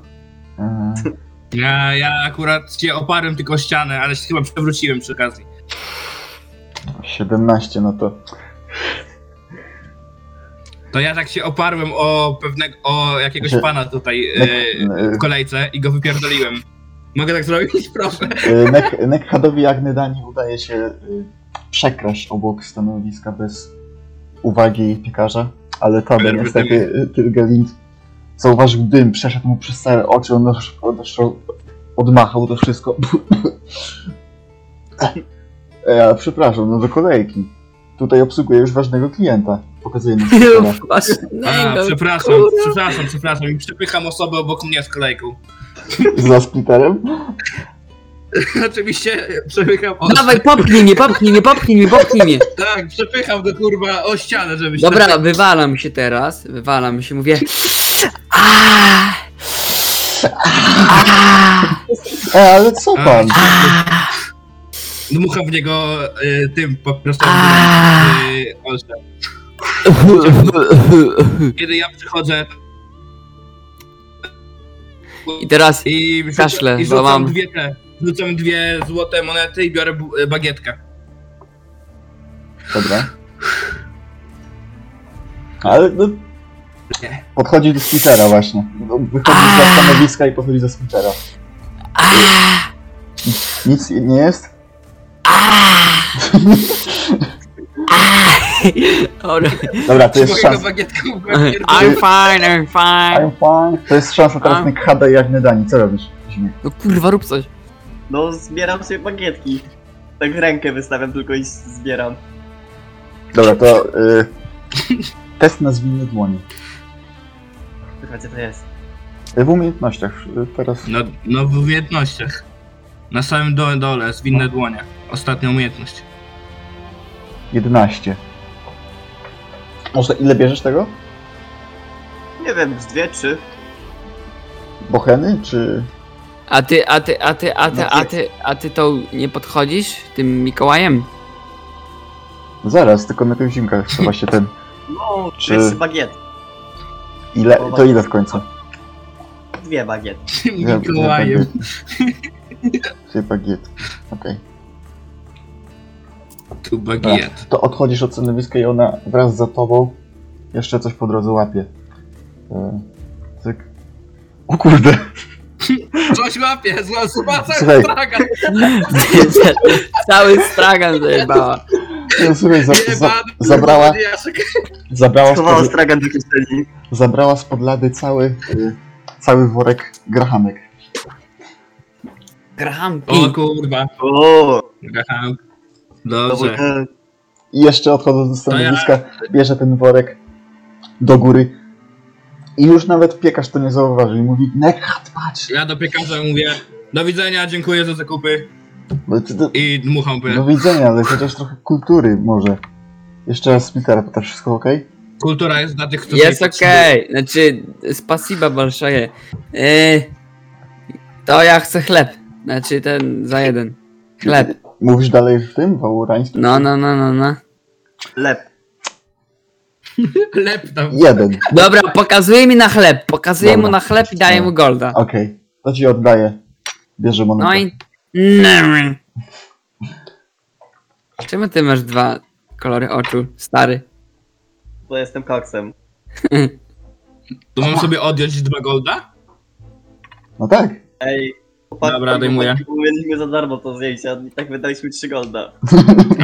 [SPEAKER 1] E,
[SPEAKER 2] Ja, ja akurat się oparłem tylko o ścianę, ale się chyba przewróciłem przy okazji.
[SPEAKER 1] 17, no to.
[SPEAKER 2] To ja tak się oparłem o pewnego, o jakiegoś
[SPEAKER 1] Znaczy,
[SPEAKER 2] pana tutaj
[SPEAKER 3] No,
[SPEAKER 2] e,
[SPEAKER 1] e,
[SPEAKER 2] w kolejce i go wypierdoliłem. Mogę tak zrobić? [laughs] Proszę.
[SPEAKER 1] Y, Nek, Nekhadowi Agnydani udaje się y, przekraść obok stanowiska bez uwagi piekarza, ale Tabe
[SPEAKER 2] Cholerny
[SPEAKER 1] niestety y, Tylgelind zauważył dym, przeszedł mu przez całe oczy, on już- on już odmachał to wszystko. [laughs] E, a, przepraszam, no do kolejki. Tutaj obsługuję już ważnego klienta. Pokazuję
[SPEAKER 4] [laughs]
[SPEAKER 1] na skrzydła.
[SPEAKER 2] A,
[SPEAKER 4] Ważnego,
[SPEAKER 2] przepraszam,
[SPEAKER 4] no, kurwa.
[SPEAKER 2] przepraszam, przepraszam i przepycham osobę obok mnie z kolejką. [laughs]
[SPEAKER 1] za splitterem.
[SPEAKER 2] Oczywiście e, przepycham o...
[SPEAKER 4] Dawaj, popchnij mnie, popchnij mnie, popchnij mnie, popchnij mnie.
[SPEAKER 2] [laughs] Tak, przepycham go kurwa o ścianę, tak żeby się...
[SPEAKER 4] Dobra, wywalam się teraz, wywalam się, mówię. "Aaa, aaa,
[SPEAKER 1] E, ale co pan?
[SPEAKER 4] aaa".
[SPEAKER 2] Dmucha w niego y, tym papierosem.
[SPEAKER 4] Aaa.
[SPEAKER 2] Y, olszem. Kiedy ja przychodzę
[SPEAKER 4] I teraz
[SPEAKER 2] i rzucam,
[SPEAKER 4] Kaszle,
[SPEAKER 2] i rzucam
[SPEAKER 4] złamałem.
[SPEAKER 2] dwie te, rzucam dwie złote monety i biorę bu- y, bagietkę.
[SPEAKER 1] Dobra. Ale no... Podchodzi do skutera właśnie. No, Wychodzi ze stanowiska i podchodzi do skutera. Nic nie jest? [laughs]
[SPEAKER 4] Dobra.
[SPEAKER 1] Dobra, to jest
[SPEAKER 2] Mojego
[SPEAKER 1] szansa.
[SPEAKER 2] bagietką w głowie
[SPEAKER 4] I'm fine, I'm
[SPEAKER 1] I'm
[SPEAKER 4] fine.
[SPEAKER 1] fine. To jest szansa teraz
[SPEAKER 4] I'm-
[SPEAKER 1] na Khada i Agnedani. Co robisz? Zimie?
[SPEAKER 4] No kurwa, rób coś.
[SPEAKER 3] No, zbieram sobie bagietki. Tak w rękę wystawiam tylko i zbieram.
[SPEAKER 1] Dobra, to... Y... Test na zwinne dłonie.
[SPEAKER 3] Kurwa, gdzie to jest?
[SPEAKER 1] W umiejętnościach y, teraz...
[SPEAKER 2] No, no w umiejętnościach. Na samym dole, dole zwinne dłonie. Ostatnia umiejętność. [laughs]
[SPEAKER 1] 11. Może ile bierzesz tego?
[SPEAKER 3] Nie wiem, z dwie, trzy.
[SPEAKER 1] Bocheny, czy...
[SPEAKER 4] A ty, a ty, a ty, a ty,
[SPEAKER 1] No
[SPEAKER 4] a
[SPEAKER 1] jest.
[SPEAKER 4] ty, a ty to nie podchodzisz tym Mikołajem? [laughs]
[SPEAKER 1] Zaraz, tylko na tych zimkach trzeba się ten...
[SPEAKER 3] No,
[SPEAKER 1] Trzy.
[SPEAKER 3] trzy bagietki.
[SPEAKER 1] Ile... To ile w końcu?
[SPEAKER 3] Dwie bagietki.
[SPEAKER 1] Dwie- dwie
[SPEAKER 2] Mikołajem.
[SPEAKER 1] bagietki. [laughs] Dwie bagietki. Okej.
[SPEAKER 2] Tu bagiet.
[SPEAKER 1] To odchodzisz od stanowiska i ona wraz za tobą jeszcze coś po drodze łapie. E, Cyk. O kurde! [laughs]
[SPEAKER 2] Coś łapie, zła zobaczę,
[SPEAKER 1] Słuchaj.
[SPEAKER 2] straga.
[SPEAKER 4] Cały stragan zajebała.
[SPEAKER 1] Ja, Słuchaj, za, za,
[SPEAKER 2] Jebany,
[SPEAKER 1] zabrała,
[SPEAKER 2] kurwa, jaszek.
[SPEAKER 1] zabrała,
[SPEAKER 3] Schowała
[SPEAKER 1] spod,
[SPEAKER 3] stragan do kieszeni.
[SPEAKER 1] zabrała spod lady cały, y, cały worek grahamek.
[SPEAKER 2] O
[SPEAKER 4] Grahamki.
[SPEAKER 2] kurwa.
[SPEAKER 3] O,
[SPEAKER 2] Aha.
[SPEAKER 3] to był
[SPEAKER 2] Dobrze.
[SPEAKER 3] ten.
[SPEAKER 1] I jeszcze odchodząc do stanowiska, bierze ten worek do góry. I już nawet piekarz to nie zauważył i mówi Nekhat, patrz!
[SPEAKER 2] Ja do piekarza mówię, do widzenia, dziękuję za zakupy
[SPEAKER 1] Bo ty- ty-
[SPEAKER 2] i dmucham
[SPEAKER 1] Do
[SPEAKER 2] by.
[SPEAKER 1] widzenia, ale chociaż trochę kultury może. Jeszcze raz Splitera, to wszystko ok?
[SPEAKER 2] Kultura jest dla tych, którzy... tak
[SPEAKER 4] Jest okej. Znaczy, spasiba balszaje. Yy, to ja chcę chleb. Znaczy ten za jeden. Chleb.
[SPEAKER 1] Mówisz dalej w tym, w aurańskim?
[SPEAKER 4] No, no, no, no, no.
[SPEAKER 3] Lep.
[SPEAKER 2] Lep tam.
[SPEAKER 1] Jeden,
[SPEAKER 4] Dobra, pokazuj mi na chleb. Pokazuję
[SPEAKER 1] Dobra.
[SPEAKER 4] mu na chleb i daję mu golda.
[SPEAKER 1] okej. To ci oddaję. Bierze monetę.
[SPEAKER 4] No i... Mm. Czemu ty masz dwa kolory oczu, stary?
[SPEAKER 3] Bo jestem koksem.
[SPEAKER 2] To mam sobie odjąć dwa golda?
[SPEAKER 1] No tak.
[SPEAKER 3] Ej.
[SPEAKER 2] Dobra, odejmuję.
[SPEAKER 3] Mieliśmy za darmo to zdjęcie, a i tak wydaliśmy trzy golda.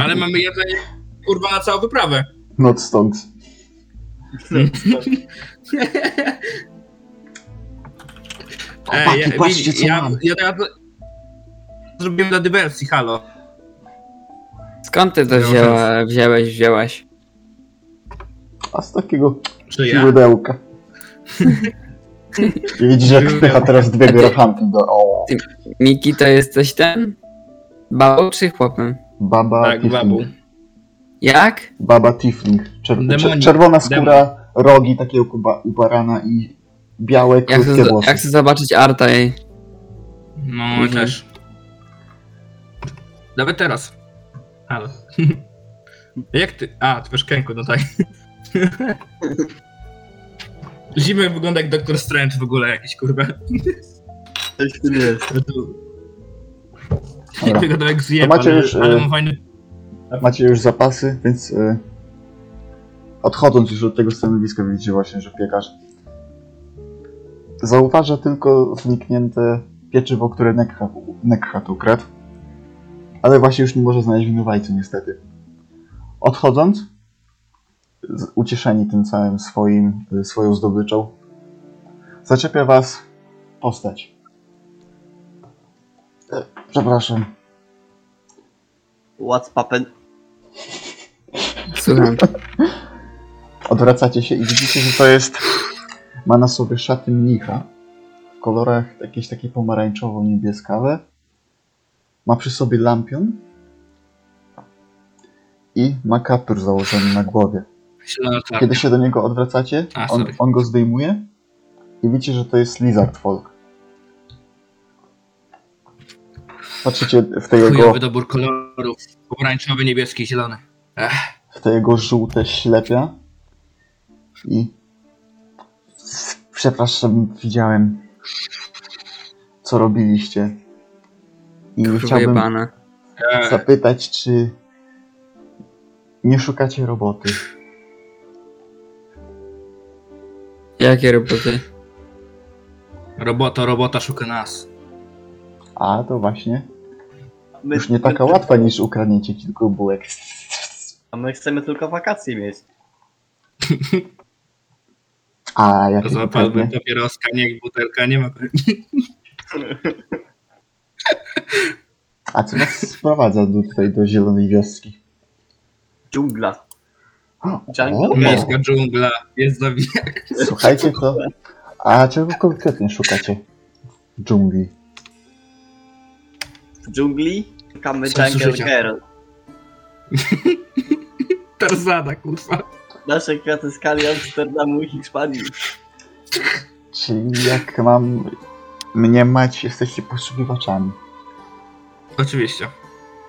[SPEAKER 2] Ale mamy jedzenie, kurwa, na całą wyprawę.
[SPEAKER 1] No stąd. Chłopaki,
[SPEAKER 2] ja-
[SPEAKER 1] patrzcie,
[SPEAKER 2] widzi-
[SPEAKER 1] co
[SPEAKER 2] ja,
[SPEAKER 1] mam.
[SPEAKER 2] ja teraz... Zrobiłem dla dywersji, halo.
[SPEAKER 4] Skąd ty to
[SPEAKER 2] Miał
[SPEAKER 4] wzięła, wziąłeś, wzięłaś?
[SPEAKER 1] A z takiego
[SPEAKER 2] Czy ja?
[SPEAKER 1] źródełka. I widzisz, jak wpycha teraz dwie grochanki do... O,
[SPEAKER 4] Miki, to jesteś ten? Babą czy chłopem?
[SPEAKER 1] baba
[SPEAKER 2] Tak,
[SPEAKER 1] Tifling.
[SPEAKER 2] babu.
[SPEAKER 4] Jak?
[SPEAKER 1] Baba Tifling. Czer czer
[SPEAKER 2] Demonik.
[SPEAKER 1] czerwona skóra, rogi takiego kuba- u barana i białe,
[SPEAKER 4] Ja
[SPEAKER 1] krótkie
[SPEAKER 4] chcę, zo-
[SPEAKER 1] włosy.
[SPEAKER 4] ja chcę zobaczyć Arta jej.
[SPEAKER 2] No,
[SPEAKER 4] Mhm.
[SPEAKER 2] też. Nawet teraz. Halo. [laughs] Jak ty... A, ty masz kęku, no tak. [laughs] Zimy wygląda jak Doktor Strange w ogóle jakiś, kurwa.
[SPEAKER 3] Coś w tym jest.
[SPEAKER 1] Dobra.
[SPEAKER 2] [laughs] Wygląda jak zjem,
[SPEAKER 1] To macie
[SPEAKER 2] ale,
[SPEAKER 1] już, e,
[SPEAKER 2] ale mam fajny
[SPEAKER 1] Tak. Macie już zapasy, więc y, odchodząc już od tego stanowiska widzicie właśnie, że piekarz zauważa tylko zniknięte pieczywo, które Nekhat, Nekhat ukradł, ale właśnie już nie może znaleźć winowajcy niestety. Odchodząc, z- ucieszeni tym całym swoim, y, swoją zdobyczą, zaczepia was postać. E, Przepraszam,
[SPEAKER 3] What's poppin'?
[SPEAKER 1] [laughs]
[SPEAKER 4] Słucham.
[SPEAKER 1] Odwracacie się i widzicie, że to jest. Ma na sobie szaty mnicha w kolorach jakieś takie pomarańczowo-niebieskawe. Ma przy sobie lampion i ma kaptur założony na głowie.
[SPEAKER 2] ślad.
[SPEAKER 1] Kiedy się do niego odwracacie,
[SPEAKER 2] Tak. A,
[SPEAKER 1] on,
[SPEAKER 2] sorry.
[SPEAKER 1] on go zdejmuje i widzicie, że to jest Lizard Folk. Patrzycie w te jego,
[SPEAKER 2] Chujowy dobór kolorów. Pomarańczowy, niebieski, zielony.
[SPEAKER 1] w te jego żółte ślepia i przepraszam, widziałem co robiliście i
[SPEAKER 4] Kurwa
[SPEAKER 1] chciałbym
[SPEAKER 4] pana.
[SPEAKER 1] E,
[SPEAKER 2] Eee,
[SPEAKER 1] zapytać, czy nie szukacie roboty.
[SPEAKER 4] Jakie roboty?
[SPEAKER 2] robota, robota szuka nas.
[SPEAKER 1] A to właśnie
[SPEAKER 3] My,
[SPEAKER 1] już nie taka
[SPEAKER 3] my,
[SPEAKER 1] łatwa niż ukradnięcie kilku bułek.
[SPEAKER 3] A my chcemy tylko wakacje mieć.
[SPEAKER 1] A jak
[SPEAKER 2] Złapałbym papieroska, niech butelka nie ma.
[SPEAKER 1] A co nas sprowadza do, tutaj do zielonej wioski?
[SPEAKER 3] Dżungla.
[SPEAKER 1] O,
[SPEAKER 3] Jungle?
[SPEAKER 2] Miejska dżungla, jest zabija.
[SPEAKER 1] słuchajcie to. A czego konkretnie szukacie? W dżungli.
[SPEAKER 3] W [laughs] dżungli szukamy
[SPEAKER 2] Sensu
[SPEAKER 3] Jungle
[SPEAKER 2] życia.
[SPEAKER 3] Girl.
[SPEAKER 2] [laughs] Tarzana, kurwa.
[SPEAKER 3] Nasze kwiaty skali Amsterdamu i Hiszpanii.
[SPEAKER 1] Czyli jak mam mniemać, jesteście poszukiwaczami.
[SPEAKER 2] Oczywiście.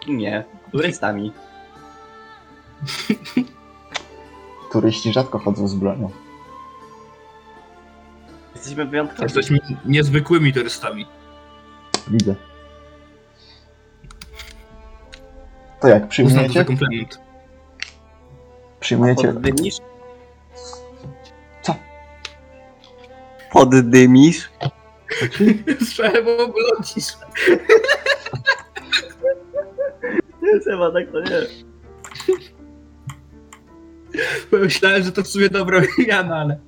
[SPEAKER 3] Nie, turystami.
[SPEAKER 1] Turyści rzadko chodzą z bronią.
[SPEAKER 3] Jesteśmy wyjątkowi.
[SPEAKER 2] Jesteśmy niezwykłymi turystami.
[SPEAKER 1] Widzę. To jak,
[SPEAKER 2] Uznam to za
[SPEAKER 1] przyjmujecie?
[SPEAKER 2] komplement.
[SPEAKER 1] Przyjmujecie?
[SPEAKER 3] Poddymisz?
[SPEAKER 1] Co?
[SPEAKER 3] Poddymisz?
[SPEAKER 2] [laughs] Strzelę, bo oblodzisz.
[SPEAKER 3] Nie, Seba, tak to nie.
[SPEAKER 2] Myślałem, że to w sumie dobra wymiana, ale...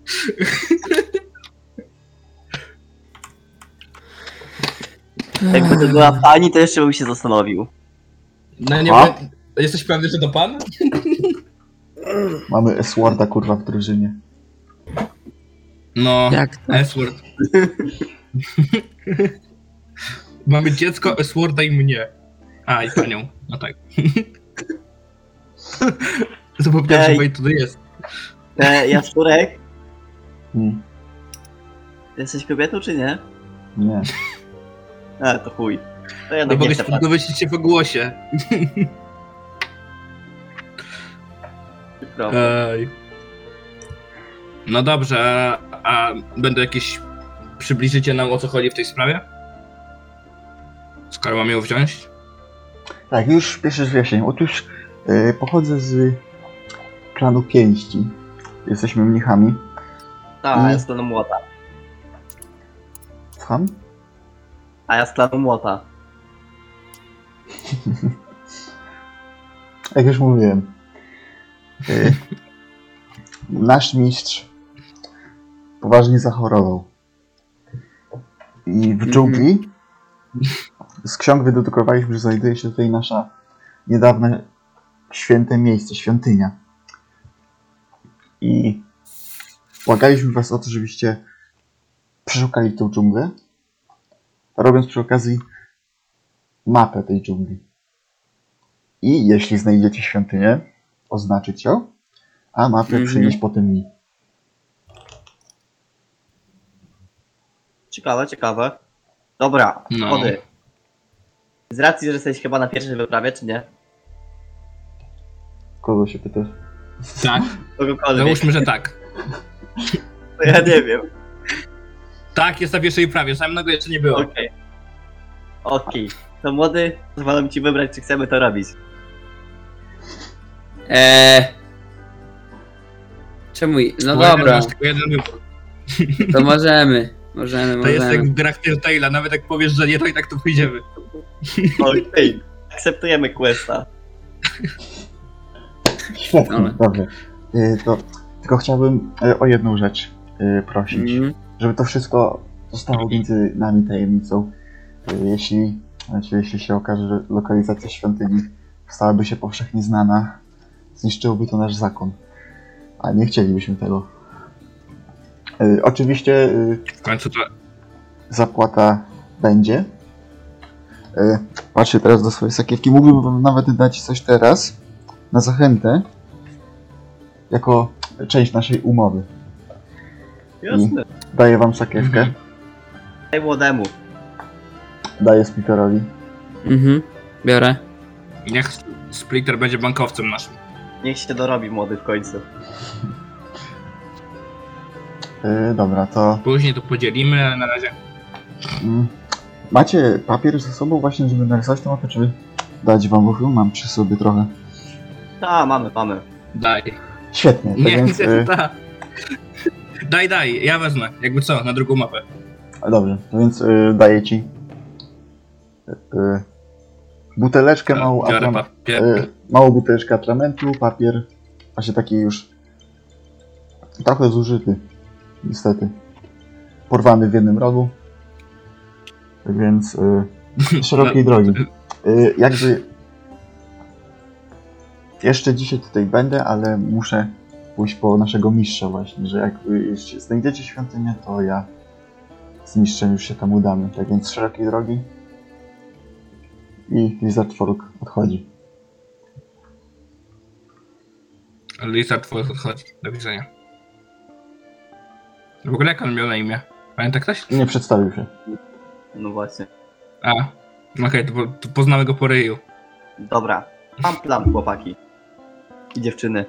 [SPEAKER 3] Jakby to była pani, to jeszcze bym się zastanowił.
[SPEAKER 2] No nie
[SPEAKER 1] A?
[SPEAKER 2] wiem, Jesteś pewny, że to pan?
[SPEAKER 1] Mamy Eswarda kurwa w drużynie.
[SPEAKER 2] No,
[SPEAKER 4] Jak to?
[SPEAKER 2] S-word. [laughs] Mamy dziecko S-worda i mnie. A, i panią. No tak. [laughs] Zapomniałem, że
[SPEAKER 3] Ej.
[SPEAKER 2] Wojt tutaj jest.
[SPEAKER 3] E, Jaszczurek,
[SPEAKER 1] Hmm,
[SPEAKER 3] ty jesteś kobietą czy nie?
[SPEAKER 1] nie.
[SPEAKER 3] A, to chuj. To ja
[SPEAKER 2] No
[SPEAKER 3] tak
[SPEAKER 2] bo
[SPEAKER 3] nie chcę patrzeć.
[SPEAKER 2] domyślić się po głosie.
[SPEAKER 3] Dobra.
[SPEAKER 2] Ej. No dobrze, a, a będę jakieś... Przybliżycie nam o co chodzi w tej sprawie? Skoro mam ją wziąć?
[SPEAKER 1] Tak, już pierwsze wyjaśnienie. Otóż e, pochodzę z klanu pięści. Jesteśmy mnichami.
[SPEAKER 3] A,
[SPEAKER 2] Mhm.
[SPEAKER 3] ja z klanu młota.
[SPEAKER 1] Słucham?
[SPEAKER 3] A ja z klanu młota.
[SPEAKER 1] Jak już mówiłem. E, nasz mistrz poważnie zachorował. I w dżungli z ksiąg wydedukowaliśmy, że znajduje się tutaj nasza niedawne święte miejsce, świątynia. I błagaliśmy was o to, żebyście przeszukali tą dżunglę, robiąc przy okazji mapę tej dżungli. I jeśli znajdziecie świątynię, oznaczyć ją, a mapę
[SPEAKER 4] Mhm.
[SPEAKER 1] przynieść potem mi.
[SPEAKER 3] Ciekawe, ciekawe. Dobra,
[SPEAKER 2] No.
[SPEAKER 3] wody. Z racji, że jesteś chyba na pierwszej wyprawie, czy nie?
[SPEAKER 1] Kogo się pytasz?
[SPEAKER 2] Tak.
[SPEAKER 3] Kogokolwiek.
[SPEAKER 2] [laughs] Załóżmy, że tak.
[SPEAKER 3] To ja nie wiem.
[SPEAKER 2] Tak, jest na pierwszej prawie, samego jeszcze nie było.
[SPEAKER 3] Okej. Okej. To młody, pozwalam ci wybrać, czy chcemy to robić.
[SPEAKER 4] Eee. Czemu? i- No
[SPEAKER 2] Bo jeden
[SPEAKER 4] dobra,
[SPEAKER 2] Masz tylko jeden wybór.
[SPEAKER 4] to możemy. Możemy,
[SPEAKER 2] To jest jak
[SPEAKER 4] możemy.
[SPEAKER 2] w grach Telltale'a, nawet jak powiesz, że nie, to i tak tu pójdziemy.
[SPEAKER 3] Okej. Akceptujemy questa.
[SPEAKER 1] Świetnie,
[SPEAKER 4] Ale-
[SPEAKER 1] dobrze. Y, To, tylko chciałbym y, o jedną rzecz y, prosić.
[SPEAKER 4] Mhm.
[SPEAKER 1] żeby to wszystko zostało między nami tajemnicą. Y, Jeśli, znaczy, jeśli się okaże, że lokalizacja świątyni stałaby się powszechnie znana, zniszczyłoby to nasz zakon. A nie chcielibyśmy tego. Y, Oczywiście y,
[SPEAKER 2] W końcu to...
[SPEAKER 1] zapłata będzie. Y, Patrzę teraz do swojej sakiewki. Mógłbym wam nawet dać coś teraz na zachętę, jako część naszej umowy.
[SPEAKER 3] Jasne.
[SPEAKER 1] Daję wam sakiewkę,
[SPEAKER 3] Daj młodemu.
[SPEAKER 1] daję Spiterowi.
[SPEAKER 4] Mhm, biorę.
[SPEAKER 2] Niech Splitter będzie bankowcem naszym.
[SPEAKER 3] Niech się dorobi młody w końcu.
[SPEAKER 1] Yy, dobra, to
[SPEAKER 2] Później to podzielimy, ale na razie.
[SPEAKER 1] Mm. Macie papier ze sobą właśnie, żeby narysować tę mapę, czy dać wam bo mam przy sobie trochę.
[SPEAKER 3] A, mamy, mamy.
[SPEAKER 2] Daj.
[SPEAKER 1] Świetnie, tak
[SPEAKER 2] Nie,
[SPEAKER 1] więc... Y,
[SPEAKER 2] da. [laughs] Daj, daj, ja wezmę. Jakby co, na drugą mapę.
[SPEAKER 1] a dobrze, to więc y, daję ci y, y, buteleczkę małą,
[SPEAKER 2] Biorę
[SPEAKER 1] atram-
[SPEAKER 2] papier.
[SPEAKER 1] y, małą buteleczkę atramentu, papier, właśnie taki już trochę zużyty, niestety. Porwany w jednym rogu, Tak więc
[SPEAKER 2] [laughs]
[SPEAKER 1] y,
[SPEAKER 2] No,
[SPEAKER 1] szerokiej drogi. Y, jakby. Jeszcze dzisiaj tutaj będę, ale muszę pójść po naszego mistrza właśnie, że jak wy jeśli znajdziecie świątynię, to ja z mistrzem już się tam udamy. Tak więc szerokiej drogi. I Lizard Fork odchodzi.
[SPEAKER 2] e, Lisa twoja odchodzi. Do widzenia. W ogóle jak on miał na imię? Pamięta ktoś?
[SPEAKER 1] Nie przedstawił się.
[SPEAKER 3] No właśnie.
[SPEAKER 2] A, no okej, to, po, to poznamy go po ryju.
[SPEAKER 3] Dobra, mam plan, chłopaki. I dziewczyny.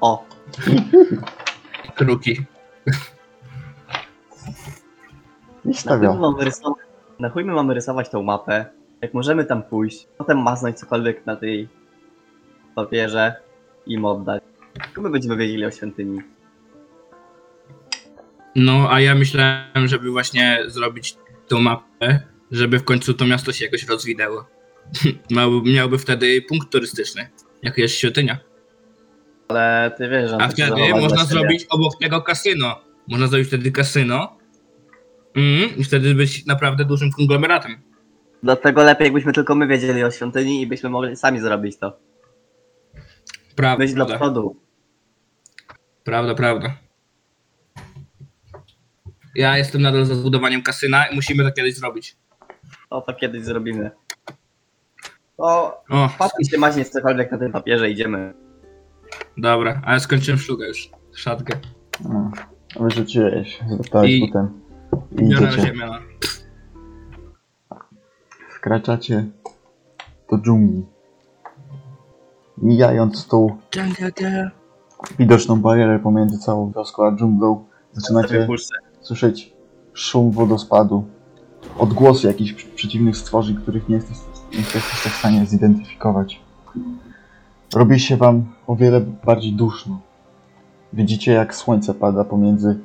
[SPEAKER 3] O,
[SPEAKER 2] Kruki.
[SPEAKER 1] I
[SPEAKER 3] na chuj, my
[SPEAKER 2] No.
[SPEAKER 1] stawiał.
[SPEAKER 3] mamy rysować, na chuj my mamy rysować tą mapę. Jak możemy tam pójść, potem maznąć cokolwiek na tej papierze i im oddać. Tylko my będziemy wiedzieli o świątyni.
[SPEAKER 2] No, a ja myślałem, żeby właśnie zrobić tą mapę, żeby w końcu to miasto się jakoś rozwinęło. [laughs] Miałby, miałby wtedy punkt turystyczny, jak jest świątynia.
[SPEAKER 3] Ale ty wiesz, że on
[SPEAKER 2] A
[SPEAKER 3] tak
[SPEAKER 2] wtedy
[SPEAKER 3] zachował
[SPEAKER 2] można
[SPEAKER 3] dla siebie.
[SPEAKER 2] zrobić obok tego kasyno. Można zrobić wtedy kasyno. Mm, I wtedy być naprawdę dużym konglomeratem.
[SPEAKER 3] Dlatego lepiej, jakbyśmy tylko my wiedzieli o świątyni i byśmy mogli sami zrobić to.
[SPEAKER 2] Prawda,
[SPEAKER 3] Myśl dla przodu.
[SPEAKER 2] prawda, prawda. Ja jestem nadal za zbudowaniem kasyna i musimy to kiedyś zrobić.
[SPEAKER 3] O, to kiedyś zrobimy. O,
[SPEAKER 2] O,
[SPEAKER 3] patrz się maźnie w cokolwiek na tym papierze, idziemy.
[SPEAKER 2] dobra, ale skończyłem szlugę już. Szatkę.
[SPEAKER 1] No. Wyrzuciłeś, zostałeś
[SPEAKER 2] I-
[SPEAKER 1] potem. I
[SPEAKER 2] Biorę na
[SPEAKER 1] idziecie.
[SPEAKER 2] ziemię. no.
[SPEAKER 1] Wkraczacie do dżungli. Mijając tą widoczną barierę pomiędzy całą wioską a dżunglą,
[SPEAKER 3] Sobie
[SPEAKER 1] zaczynacie
[SPEAKER 3] puszczę.
[SPEAKER 1] słyszeć szum wodospadu, odgłosy jakichś przy- przeciwnych stworzeń, których nie jesteś, nie jesteście w stanie zidentyfikować. Robi się wam o wiele bardziej duszno. Widzicie, jak słońce pada pomiędzy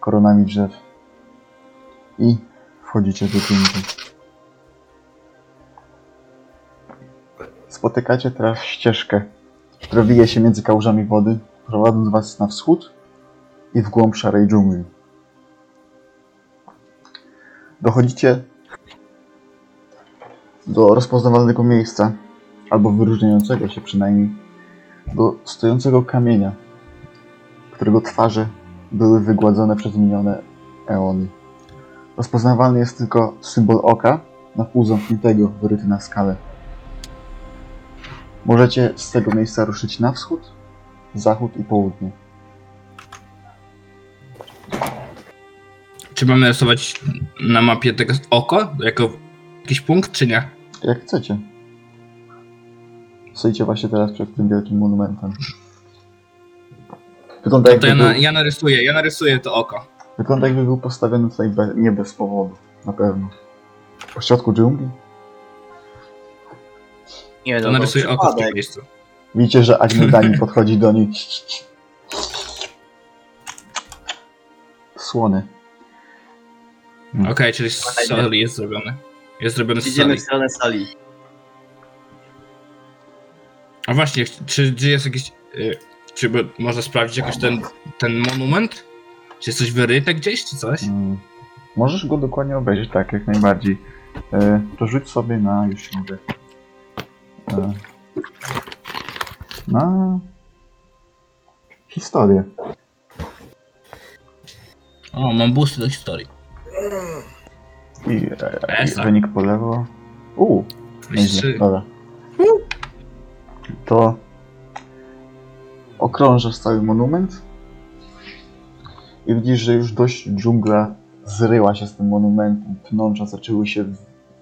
[SPEAKER 1] koronami drzew. I wchodzicie do dżungli. Spotykacie teraz ścieżkę, która wije się między kałużami wody, prowadząc was na wschód i w głąb szarej dżungli. Dochodzicie do rozpoznawalnego miejsca, albo wyróżniającego się przynajmniej, do stojącego kamienia, którego twarze były wygładzone przez minione eony. Rozpoznawalny jest tylko symbol oka, na pół zamkniętego, wyryty na skalę. Możecie z tego miejsca ruszyć na wschód, zachód i południe.
[SPEAKER 2] Czy mamy rysować na mapie tego oko? Jako jakiś punkt, czy nie?
[SPEAKER 1] Jak chcecie. Stoicie właśnie teraz przed tym wielkim monumentem. Wygląda
[SPEAKER 2] No To
[SPEAKER 1] jakby,
[SPEAKER 2] ja, na,
[SPEAKER 1] był,
[SPEAKER 2] ja narysuję, ja narysuję to oko.
[SPEAKER 1] wygląda jakby był postawiony tutaj be, nie bez powodu. Na pewno. W środku dżungli.
[SPEAKER 3] Nie no,
[SPEAKER 2] To narysuję oko w tym miejscu.
[SPEAKER 1] Widzicie, że
[SPEAKER 2] [laughs]
[SPEAKER 1] Agnodani podchodzi do niej. Słony.
[SPEAKER 2] Okej, czyli z soli jest zrobione. Jest zrobione z
[SPEAKER 3] Idziemy
[SPEAKER 2] soli.
[SPEAKER 3] w stronę sali.
[SPEAKER 2] A właśnie, czy, czy jest jakiś... y, Czy by- można sprawdzić jakoś ten, ten monument? Czy jest coś wyryte gdzieś, czy coś?
[SPEAKER 1] Mm. Możesz go dokładnie obejrzeć, tak, jak najbardziej. E, to rzuć sobie na, już ci mówię. E, na historię.
[SPEAKER 2] O, mam busty do historii. tak.
[SPEAKER 1] I, e, i
[SPEAKER 2] Esa.
[SPEAKER 1] wynik po lewo. Uuu, nieźle,
[SPEAKER 2] Trzy.
[SPEAKER 1] dobra. To okrążasz cały monument i widzisz, że już dość dżungla zryła się z tym monumentem. Pnącza zaczęły się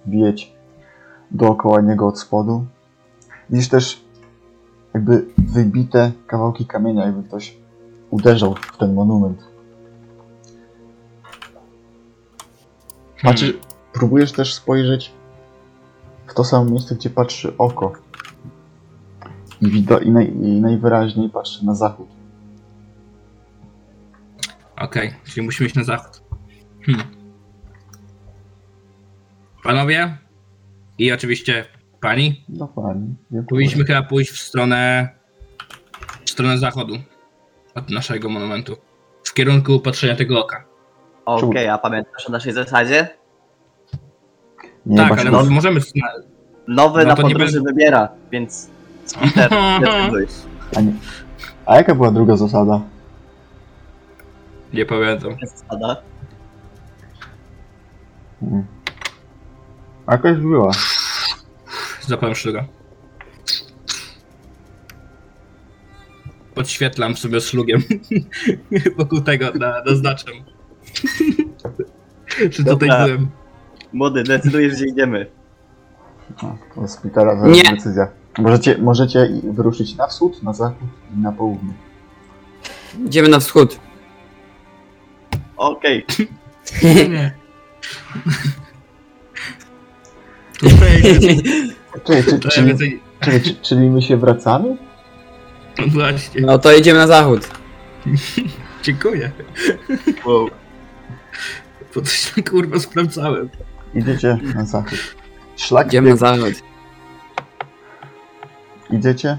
[SPEAKER 1] wieć. dookoła niego od spodu. Widzisz też jakby wybite kawałki kamienia, jakby ktoś uderzał w ten monument.
[SPEAKER 2] Hmm.
[SPEAKER 1] Macie, próbujesz też spojrzeć w to samo miejsce, gdzie patrzy oko. I, wido- i, naj- i najwyraźniej patrzy na zachód.
[SPEAKER 2] Okej, czyli musimy iść na zachód. Hmm. Panowie i oczywiście pani,
[SPEAKER 1] No pani. dziękuję.
[SPEAKER 2] powinniśmy chyba pójść w stronę, w stronę zachodu od naszego monumentu. W kierunku patrzenia tego oka.
[SPEAKER 3] Okej, a pamiętasz o naszej zasadzie?
[SPEAKER 1] Nie
[SPEAKER 2] tak,
[SPEAKER 1] bać
[SPEAKER 2] ale
[SPEAKER 1] się.
[SPEAKER 3] no-
[SPEAKER 2] możemy... zna-
[SPEAKER 3] Nowy
[SPEAKER 2] No
[SPEAKER 3] na
[SPEAKER 2] to nie
[SPEAKER 3] podróży wybiera, więc
[SPEAKER 2] [laughs]
[SPEAKER 3] Peter, decyduj.
[SPEAKER 1] A, nie... A jaka była druga zasada?
[SPEAKER 2] Nie pamiętam.
[SPEAKER 3] Jest zasada.
[SPEAKER 1] Hmm. Jakaś była.
[SPEAKER 2] Zapałem szluga. Podświetlam sobie szlugiem [laughs] wokół tego, na, naznaczam. [laughs] Czy tutaj
[SPEAKER 3] Dobra.
[SPEAKER 2] byłem?
[SPEAKER 3] Młody, decydujesz gdzie idziemy.
[SPEAKER 1] O, Spitala zaraz
[SPEAKER 4] Nie.
[SPEAKER 1] decyzja. Możecie, możecie i- wyruszyć na wschód, na zachód i na południe.
[SPEAKER 4] Idziemy na
[SPEAKER 2] [laughs]
[SPEAKER 4] wschód.
[SPEAKER 3] Okej,
[SPEAKER 2] [laughs] Nie. Tutaj jest-
[SPEAKER 1] Czyli,
[SPEAKER 2] [laughs]
[SPEAKER 1] czy,
[SPEAKER 2] tutaj
[SPEAKER 1] czyli,
[SPEAKER 2] więcej-
[SPEAKER 1] czyli, czy- czyli my się wracamy?
[SPEAKER 2] Właśnie,
[SPEAKER 4] No to idziemy na zachód.
[SPEAKER 2] dziękuję.
[SPEAKER 3] wow.
[SPEAKER 2] [laughs] Bo coś tam kurwa sprawdzałem.
[SPEAKER 1] Idziecie na zachód. Szlak
[SPEAKER 4] Idziemy na zachód.
[SPEAKER 1] Idziecie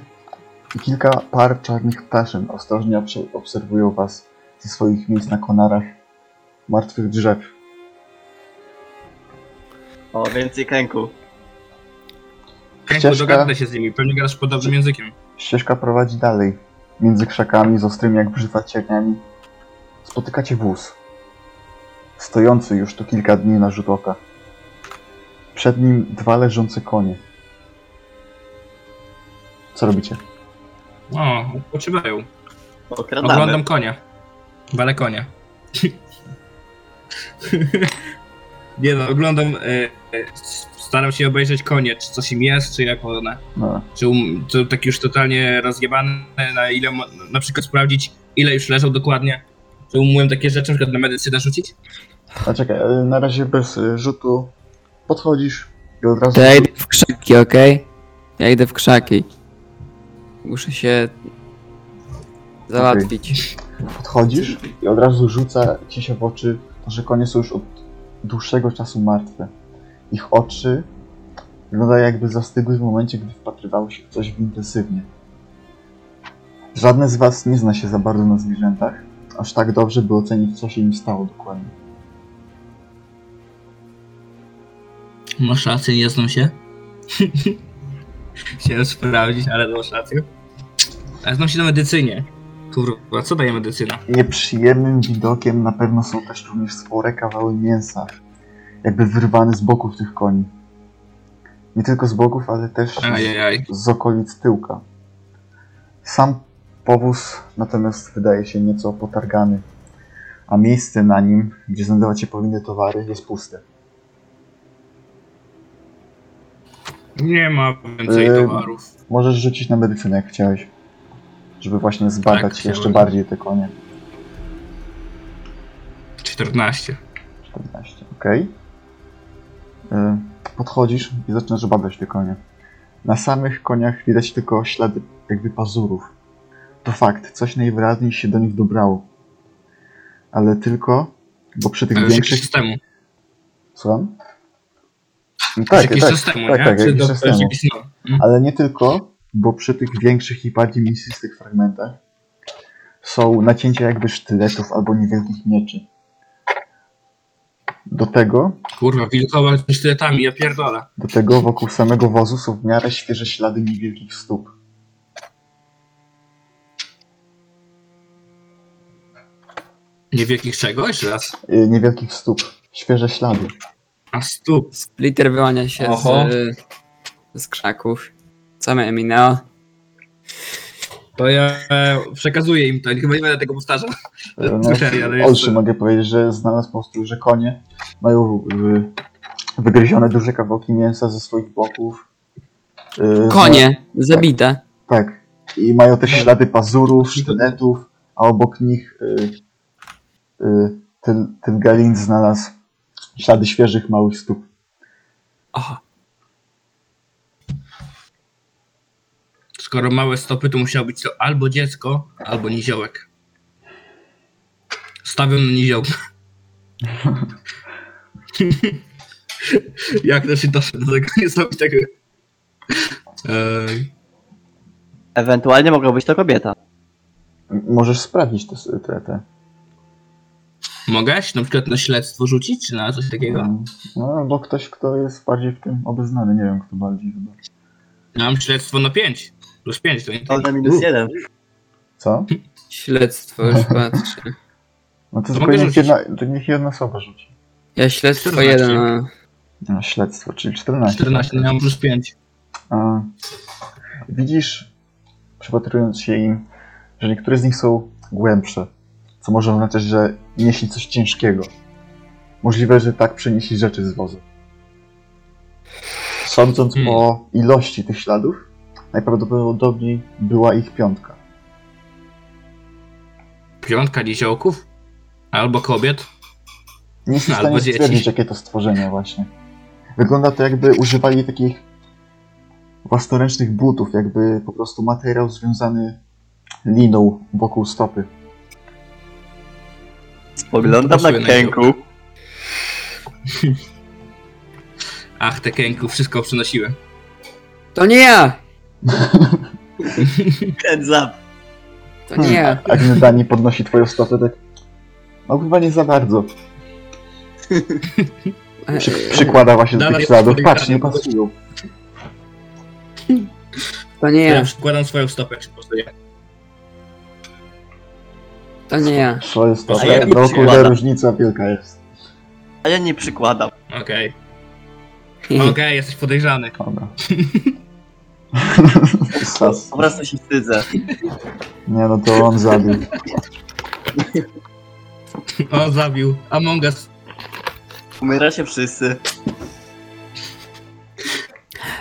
[SPEAKER 1] i kilka par czarnych ptaszyn ostrożnie obs- obserwują was ze swoich miejsc na konarach martwych drzew.
[SPEAKER 3] O, więcej kręku.
[SPEAKER 2] Kręgu,
[SPEAKER 1] Ścieżka.
[SPEAKER 2] dogadnę się z nimi, pewnie gadasz podobnym językiem.
[SPEAKER 1] Ścieżka prowadzi dalej. Między krzakami z ostrymi jak brzywa cierniami spotykacie wóz. Stojący już tu kilka dni na rzut oka. Przed nim dwa leżące konie. Co robicie?
[SPEAKER 2] O, odpoczywają.
[SPEAKER 3] Okradamy.
[SPEAKER 2] Oglądam konia. Walę konia. [laughs] Nie no, oglądam, e, e, s- staram się obejrzeć konie, czy coś im jest, czy jak one.
[SPEAKER 1] No,
[SPEAKER 2] Czy um, to tak już totalnie rozjebane, na ile, mo- na przykład sprawdzić, ile już leżą dokładnie. Czy umyłem takie rzeczy, na przykład na medycynę rzucić?
[SPEAKER 1] a czekaj, e, na razie bez e, rzutu podchodzisz i od razu
[SPEAKER 4] To ja idę w krzaki, okej? Ja idę w krzaki. Muszę się załatwić.
[SPEAKER 1] podchodzisz i od razu rzuca ci się w oczy, to, że konie są już od dłuższego czasu martwe. Ich oczy wyglądają jakby zastygły w momencie, gdy wpatrywały się w coś w intensywnie. Żadne z was nie zna się za bardzo na zwierzętach, aż tak dobrze, by ocenić, co się im stało dokładnie.
[SPEAKER 2] Masz rację, nie znam się. [laughs] Chciałem sprawdzić, ale masz rację. Ale znam się na medycynie. Kurwa, co daje medycyna?
[SPEAKER 1] Nieprzyjemnym widokiem na pewno są też również spore kawały mięsa, jakby wyrwane z boków tych koni. Nie tylko z boków, ale też z-
[SPEAKER 2] Ajajaj.
[SPEAKER 1] z okolic tyłka. Sam powóz natomiast wydaje się nieco potargany, a miejsce na nim, gdzie znajdować się powinny towary, jest puste.
[SPEAKER 2] Nie ma więcej
[SPEAKER 1] Yy,
[SPEAKER 2] towarów.
[SPEAKER 1] Możesz rzucić na medycynę, jak chciałeś, żeby właśnie zbadać
[SPEAKER 2] chciałem.
[SPEAKER 1] jeszcze bardziej te konie.
[SPEAKER 2] 14.
[SPEAKER 1] 14, okej. Y, Podchodzisz i zaczynasz badać te konie. Na samych koniach widać tylko ślady jakby pazurów. To fakt, coś najwyraźniej się do nich dobrało. Ale tylko, bo przy tych
[SPEAKER 2] To już
[SPEAKER 1] większych
[SPEAKER 2] jakiś czas temu.
[SPEAKER 1] Słucham? No
[SPEAKER 2] To już
[SPEAKER 1] tak,
[SPEAKER 2] jakiś
[SPEAKER 1] tak,
[SPEAKER 2] czas temu,
[SPEAKER 1] tak,
[SPEAKER 2] nie?
[SPEAKER 1] tak,
[SPEAKER 2] Czy
[SPEAKER 1] jakiś
[SPEAKER 2] to-
[SPEAKER 1] czas
[SPEAKER 2] to już
[SPEAKER 1] temu.
[SPEAKER 2] jakiś no. Mm.
[SPEAKER 1] ale nie tylko, bo przy tych większych i bardziej mięsistych fragmentach są nacięcia jakby sztyletów albo niewielkich mieczy. Do tego,
[SPEAKER 2] Kurwa, wilkowa z sztyletami, ja pierdolę.
[SPEAKER 1] do tego wokół samego wozu są w miarę świeże ślady niewielkich stóp.
[SPEAKER 2] Niewielkich czego? Jeszcze raz.
[SPEAKER 1] Y, Niewielkich stóp. Świeże ślady.
[SPEAKER 2] A stóp.
[SPEAKER 4] Splitter wyłania się
[SPEAKER 2] Oho.
[SPEAKER 4] z, z krzaków. Same Emineo.
[SPEAKER 2] To ja e, przekazuję im to, chyba nie będę tego powtarzał.
[SPEAKER 1] Y,
[SPEAKER 2] Słyszeli, ale
[SPEAKER 1] No, Olszy
[SPEAKER 2] jest...
[SPEAKER 1] mogę powiedzieć, że znalazł po prostu, że konie mają y, Wygryzione duże kawałki mięsa ze swoich boków. Yy,
[SPEAKER 4] Konie, zabite.
[SPEAKER 1] Tak. I mają też ślady pazurów, sztyletów, a obok nich y, y, Tyl- Tylgalin znalazł ślady świeżych małych stóp.
[SPEAKER 4] Aha.
[SPEAKER 2] Skoro małe stopy, to musiało być to albo dziecko, albo niziołek. Stawiam na niziołka. [laughs] Jak to się doszedł do tego tak- niesamowitego? Eee,
[SPEAKER 3] Ewentualnie mogła być to kobieta.
[SPEAKER 1] M- Możesz sprawdzić te, s- te, te.
[SPEAKER 2] mogę się na przykład na śledztwo rzucić, czy na coś takiego?
[SPEAKER 1] mm, No albo ktoś, kto jest bardziej w tym obeznany, nie wiem kto bardziej chyba.
[SPEAKER 2] Ja mam śledztwo na 5. Plus 5 to nie
[SPEAKER 3] To na minus
[SPEAKER 1] U.
[SPEAKER 3] jeden.
[SPEAKER 1] Co?
[SPEAKER 4] Śledztwo [laughs] już patrzę.
[SPEAKER 1] No to,
[SPEAKER 2] To
[SPEAKER 1] tylko
[SPEAKER 2] mogę
[SPEAKER 1] niech
[SPEAKER 2] rzucić.
[SPEAKER 1] jedna, to niech jedna osoba rzuci.
[SPEAKER 4] Ja śledztwo
[SPEAKER 2] 14.
[SPEAKER 4] jeden. a-
[SPEAKER 1] No, śledztwo, czyli
[SPEAKER 4] Tak.
[SPEAKER 1] 14.
[SPEAKER 2] 14, no ja mam plus 5.
[SPEAKER 1] A, widzisz, przypatrując się im, że niektóre z nich są głębsze, co może oznaczać, że nieśli coś ciężkiego. Możliwe, że tak przenieśli rzeczy z wozu. Sądząc
[SPEAKER 2] Hmm.
[SPEAKER 1] po ilości tych śladów, najprawdopodobniej była ich piątka.
[SPEAKER 2] Piątka niziołków? Albo kobiet?
[SPEAKER 1] Nie jestem w
[SPEAKER 2] Albo
[SPEAKER 1] stanie
[SPEAKER 2] dzieci.
[SPEAKER 1] stwierdzić, jakie to stworzenie właśnie. Wygląda to jakby używali takich własnoręcznych butów, jakby po prostu materiał związany liną wokół stopy.
[SPEAKER 3] Spoglądam na
[SPEAKER 2] Pasuje na
[SPEAKER 3] kęku.
[SPEAKER 2] Ach, te kęku, wszystko przenosiłem.
[SPEAKER 4] To nie ja!
[SPEAKER 3] Ten zap.
[SPEAKER 4] To nie ja.
[SPEAKER 1] A gdy Dani podnosi twoją stopę, tak... No chyba nie za bardzo.
[SPEAKER 2] Hmm.
[SPEAKER 4] E,
[SPEAKER 1] Przy,
[SPEAKER 2] Eee,
[SPEAKER 1] przykłada właśnie do
[SPEAKER 2] Dalej
[SPEAKER 1] tych śladów.
[SPEAKER 2] jest
[SPEAKER 1] Patrz, nie
[SPEAKER 2] podejrzany.
[SPEAKER 1] pasują.
[SPEAKER 4] To nie
[SPEAKER 2] Ja
[SPEAKER 4] ja.
[SPEAKER 2] przykładam swoją stopę, czy po prostu ja.
[SPEAKER 4] To nie ja.
[SPEAKER 1] Twoje
[SPEAKER 2] A ja
[SPEAKER 1] stopy.
[SPEAKER 2] nie
[SPEAKER 1] No kurde,
[SPEAKER 3] przykładam.
[SPEAKER 1] różnica wielka jest.
[SPEAKER 3] A ja nie przykładam.
[SPEAKER 2] Okej. Okej, jesteś podejrzany. [laughs]
[SPEAKER 1] Dobra. Sas.
[SPEAKER 3] Po prostu się wstydzę.
[SPEAKER 1] Nie no, to on zabił.
[SPEAKER 2] O, zabił. Among Us.
[SPEAKER 3] Umiera się wszyscy.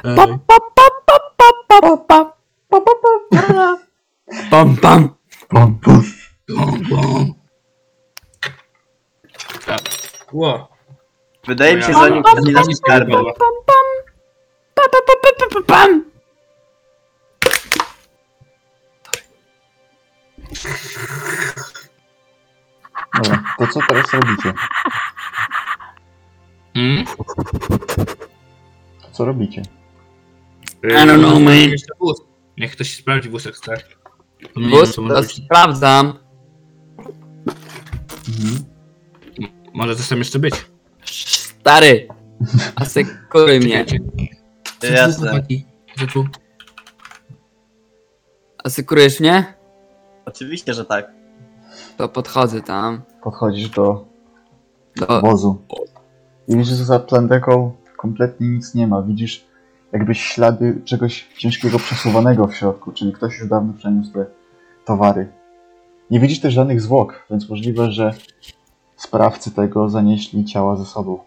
[SPEAKER 2] Ej.
[SPEAKER 4] Pa, pa, pa, pa, pa, pa, pa, pa, pa, pa, pa, pa. Pam, pam.
[SPEAKER 1] Pum, pum.
[SPEAKER 2] Bum, bum. Tak. Ło.
[SPEAKER 3] Wydaje mi się,
[SPEAKER 2] Moja-
[SPEAKER 3] że oni powinni dać
[SPEAKER 2] Moja-
[SPEAKER 3] skarbę.
[SPEAKER 4] Pa, pa, pa, pa, pa, pa, pam.
[SPEAKER 1] Dobra, to co teraz robicie?
[SPEAKER 2] Mm?
[SPEAKER 1] Co robicie?
[SPEAKER 4] I don't know, man.
[SPEAKER 2] Jeszcze wóz. Niech ktoś sprawdzi wózek, tak? To nie wiem,
[SPEAKER 4] Wóz,
[SPEAKER 2] co
[SPEAKER 4] to
[SPEAKER 2] może być.
[SPEAKER 4] sprawdzam.
[SPEAKER 2] Mhm. Może coś tam jeszcze być.
[SPEAKER 4] [laughs] Stary. Asekuruj mnie.
[SPEAKER 2] Czekajcie. Co tu,
[SPEAKER 3] Jasne.
[SPEAKER 2] chłopaki? Co tu?
[SPEAKER 4] Asekurujesz mnie?
[SPEAKER 3] Oczywiście, że tak.
[SPEAKER 4] To podchodzę tam.
[SPEAKER 1] Podchodzisz do
[SPEAKER 4] Do...
[SPEAKER 1] wozu. I widzisz, że za plandeką kompletnie nic nie ma. Widzisz jakby ślady czegoś ciężkiego przesuwanego w środku, czyli ktoś już dawno przeniósł te towary. Nie widzisz też żadnych zwłok, więc możliwe, że sprawcy tego zanieśli ciała ze sobą.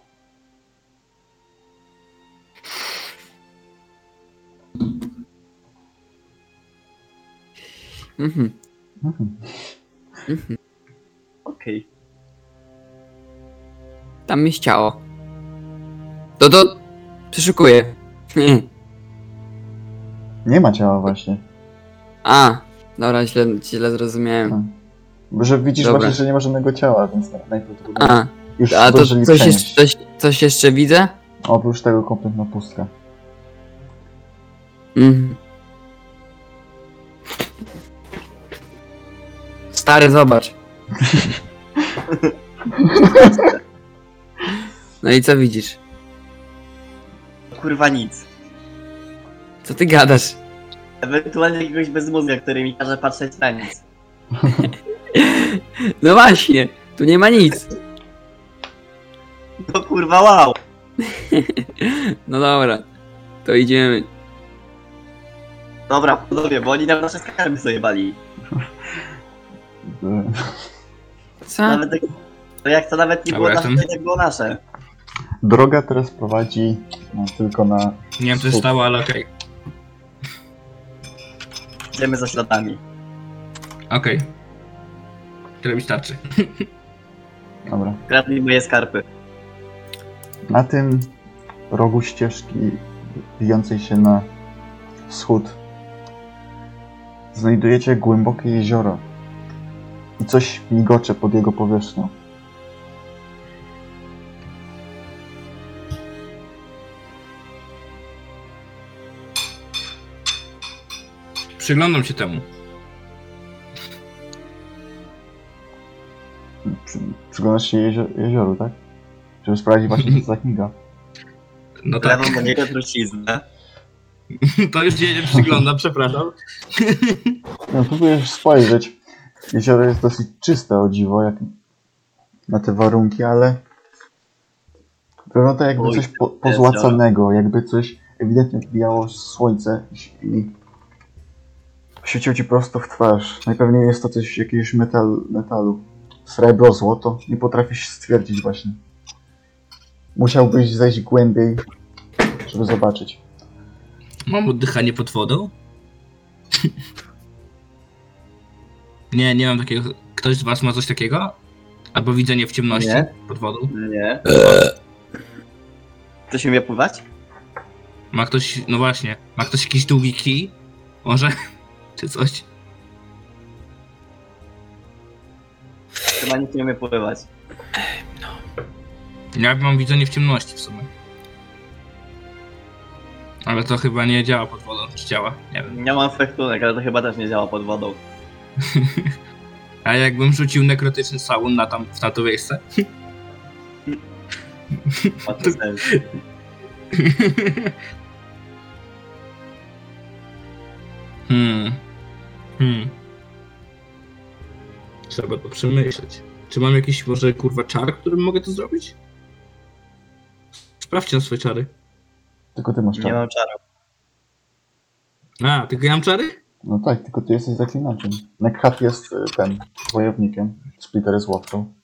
[SPEAKER 4] Mhm.
[SPEAKER 1] Mhm.
[SPEAKER 3] Okej.
[SPEAKER 4] Tam mi chciało. To to... [laughs] Przeszukuję.
[SPEAKER 1] Nie ma ciała właśnie.
[SPEAKER 4] A. Dobra, źle, źle zrozumiałem.
[SPEAKER 1] Mhm. Że widzisz
[SPEAKER 4] Dobra.
[SPEAKER 1] właśnie, że nie ma żadnego ciała, więc na- najprawdopodobniej
[SPEAKER 4] A.
[SPEAKER 1] już
[SPEAKER 4] A to
[SPEAKER 1] zdążyli
[SPEAKER 4] coś
[SPEAKER 1] przenieść.
[SPEAKER 4] jeszcze, coś, coś jeszcze widzę?
[SPEAKER 1] Oprócz tego kompletna pustka. [laughs]
[SPEAKER 4] Mhm. Stary, zobacz. [laughs] No i co widzisz?
[SPEAKER 3] Kurwa nic.
[SPEAKER 4] Co ty gadasz? [laughs]
[SPEAKER 3] Ewentualnie jakiegoś bezmózga, który mi każe patrzeć na nic.
[SPEAKER 4] No właśnie, tu nie ma nic.
[SPEAKER 3] No kurwa wow.
[SPEAKER 4] [laughs] No dobra, to idziemy.
[SPEAKER 3] Dobra, panowie, bo oni nam nasze skarby zajebali.
[SPEAKER 1] Y,
[SPEAKER 4] Co?
[SPEAKER 3] Nawet jak, to jak to nawet nie było
[SPEAKER 2] Dobra,
[SPEAKER 3] nasze,
[SPEAKER 2] ja
[SPEAKER 3] to jak było nasze.
[SPEAKER 1] Droga teraz prowadzi no, tylko na
[SPEAKER 2] Nie wiem, co się stało, ale okej.
[SPEAKER 3] Idziemy za śladami.
[SPEAKER 2] Okej. Tyle mi starczy.
[SPEAKER 1] Dobra.
[SPEAKER 3] Kradnij moje skarpy.
[SPEAKER 1] Na tym rogu ścieżki wijącej się na wschód znajdujecie głębokie jezioro i coś migocze pod jego powierzchnią.
[SPEAKER 2] Przyglądam się temu.
[SPEAKER 1] Przy, przyglądasz się jezio, jezioru, tak? Żeby sprawdzić właśnie co za kmiga.
[SPEAKER 2] No tak,
[SPEAKER 3] Wlewam do niego truciznę.
[SPEAKER 2] [laughs] to już się nie
[SPEAKER 3] [laughs]
[SPEAKER 2] przyglądam, przepraszam.
[SPEAKER 1] No, próbujesz spojrzeć. Jezioro jest dosyć czyste o dziwo, jak na te warunki, ale wygląda jakby
[SPEAKER 3] Oj,
[SPEAKER 1] coś po,
[SPEAKER 3] jest
[SPEAKER 1] pozłacanego, jakby coś ewidentnie wbijało słońce i świeciło ci prosto w twarz. Najpewniej jest to coś jakiegoś metal, metalu. Srebro, złoto. Nie potrafisz stwierdzić właśnie. Musiałbyś zejść głębiej, żeby zobaczyć.
[SPEAKER 2] Mam oddychanie pod wodą? [laughs] Nie, nie mam takiego. Ktoś z was ma coś takiego? Albo widzenie w ciemności
[SPEAKER 3] Nie.
[SPEAKER 2] pod wodą?
[SPEAKER 3] Nie. Chcesz umie pływać?
[SPEAKER 2] Ma ktoś, no właśnie, ma ktoś jakiś długi kij? Może? [laughs] Czy coś?
[SPEAKER 3] Chyba nikt nie umie pływać.
[SPEAKER 2] Ja No mam widzenie w ciemności w sumie. Ale to chyba nie działa pod wodą, czy działa? Nie wiem.
[SPEAKER 3] Ja mam fechtunek, ale to chyba też nie działa pod wodą.
[SPEAKER 2] A jakbym rzucił nekrotyczny sałun na, tam, na to miejsce?
[SPEAKER 3] Ma to sens.
[SPEAKER 2] [laughs] Hmm. Hmm. Trzeba to przemyśleć. Czy mam jakiś może kurwa czar, którym mogę to zrobić? Sprawdźcie na swoje czary.
[SPEAKER 1] Tylko ty masz
[SPEAKER 3] Nie
[SPEAKER 1] czar.
[SPEAKER 3] mam czaru.
[SPEAKER 2] A, tylko ja mam czary?
[SPEAKER 1] No tak, tylko ty jesteś zaklinaczem. Nekhat jest y, ten, wojownikiem. Splitter jest łowcą.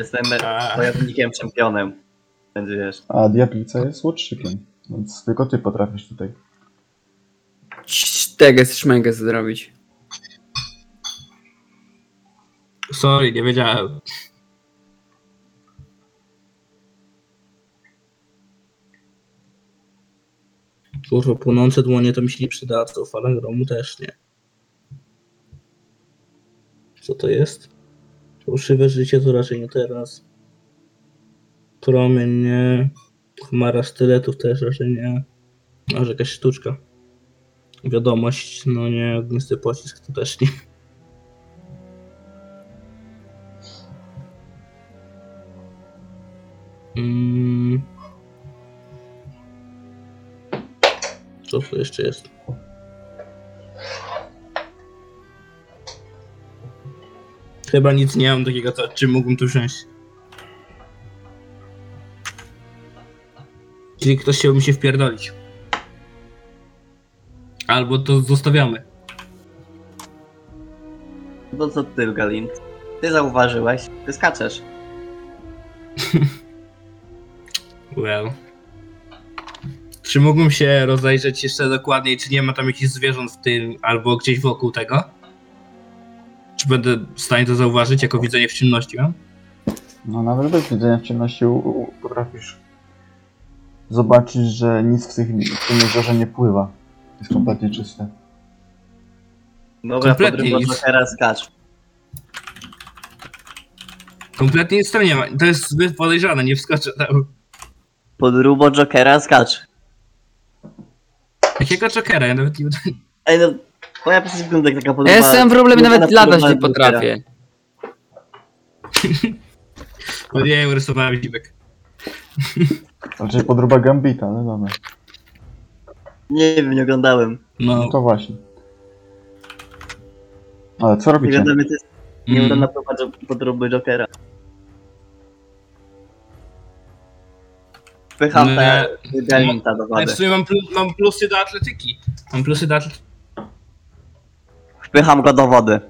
[SPEAKER 3] Jestem
[SPEAKER 2] A.
[SPEAKER 3] wojownikiem, czempionem. Będzie wiesz.
[SPEAKER 1] A diablica jest łotrzykiem. Więc tylko ty potrafisz tutaj.
[SPEAKER 4] Teges, szmeges zrobić.
[SPEAKER 2] Sorry, nie wiedziałem. Kurwa, płonące dłonie to mi się nie przydadzą, fala gromu też nie. Co to jest? Fałszywe życie to raczej nie teraz. Promień nie. Chmara styletów też raczej nie. Może jakaś sztuczka. Wiadomość, no nie, ognisty pocisk to też nie. Mm. Co tu jeszcze jest? Chyba nic nie mam takiego, co, czym mógłbym tu wziąć. Czyli ktoś chciałby mi się wpierdolić. Albo to zostawiamy.
[SPEAKER 3] No co ty, Galin? Ty zauważyłeś, ty skaczesz.
[SPEAKER 2] Well. Czy mógłbym się rozejrzeć jeszcze dokładniej, czy nie ma tam jakichś zwierząt w tym, albo gdzieś wokół tego? Czy będę w stanie to zauważyć, jako widzenie w ciemności mam?
[SPEAKER 1] No nawet bez widzenia w ciemności u, u, potrafisz zobaczyć, że nic w, tych, w tym jeziorze nie pływa. Jest kompletnie czyste.
[SPEAKER 3] Dobra,
[SPEAKER 2] Kompletnie
[SPEAKER 3] podrywa
[SPEAKER 2] nic.
[SPEAKER 3] teraz skacz.
[SPEAKER 2] Kompletnie nic tam nie ma. To jest zbyt podejrzane, nie wskoczę tam.
[SPEAKER 3] Podrubo Jokera skacz.
[SPEAKER 2] Jakiego Jokera? Ja nawet nie
[SPEAKER 3] Ej no, bo ja przecież byłem tak taka podruba.
[SPEAKER 4] Ja jestem problem,
[SPEAKER 3] podruba
[SPEAKER 4] nawet latać
[SPEAKER 3] podruba
[SPEAKER 4] nie
[SPEAKER 3] Jokera.
[SPEAKER 4] potrafię.
[SPEAKER 2] [laughs] nie wiem, rysowałem dziwek.
[SPEAKER 1] Raczej podruba Gambita, ale dobra.
[SPEAKER 3] Nie wiem, nie oglądałem.
[SPEAKER 1] No
[SPEAKER 2] No.
[SPEAKER 1] to właśnie. Ale co
[SPEAKER 3] Nie
[SPEAKER 1] robicie?
[SPEAKER 3] oglądam, to jest nieudana
[SPEAKER 2] Mm.
[SPEAKER 3] próba Jo- podróby Jokera. Wpycham
[SPEAKER 2] No,
[SPEAKER 4] Mm.
[SPEAKER 3] te Galinta do
[SPEAKER 2] Ale
[SPEAKER 3] wody.
[SPEAKER 2] w sumie mam, plus, mam plusy do atletyki. Mam plusy do atletyki.
[SPEAKER 3] Wpycham go do wody.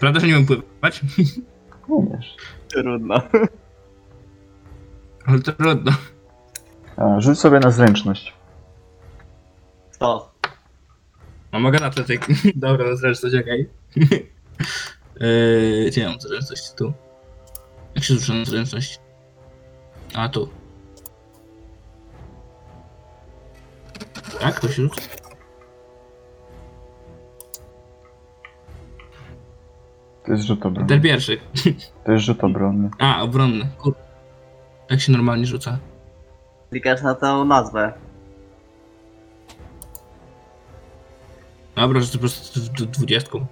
[SPEAKER 2] Prawda, że nie mam pływać?
[SPEAKER 1] Umiesz.
[SPEAKER 3] Trudno.
[SPEAKER 2] [laughs] Ale to trudno.
[SPEAKER 1] A, E, rzuć sobie na zręczność.
[SPEAKER 3] To.
[SPEAKER 2] No mogę na to tak. [laughs] Dobra, no zręczność, okej. [laughs] Yy, Gdzie mam zręczność? Tu. Jak się rzuca na zręczność? A, tu. Tak, to się rzuca.
[SPEAKER 1] To jest rzut obronny.
[SPEAKER 2] Ten pierwszy.
[SPEAKER 1] To jest rzut obronny.
[SPEAKER 2] A, obronny. Kur... Jak się normalnie rzuca?
[SPEAKER 3] Klikasz na tą nazwę.
[SPEAKER 2] Dobra, że to po prostu d- d- dwudziestką.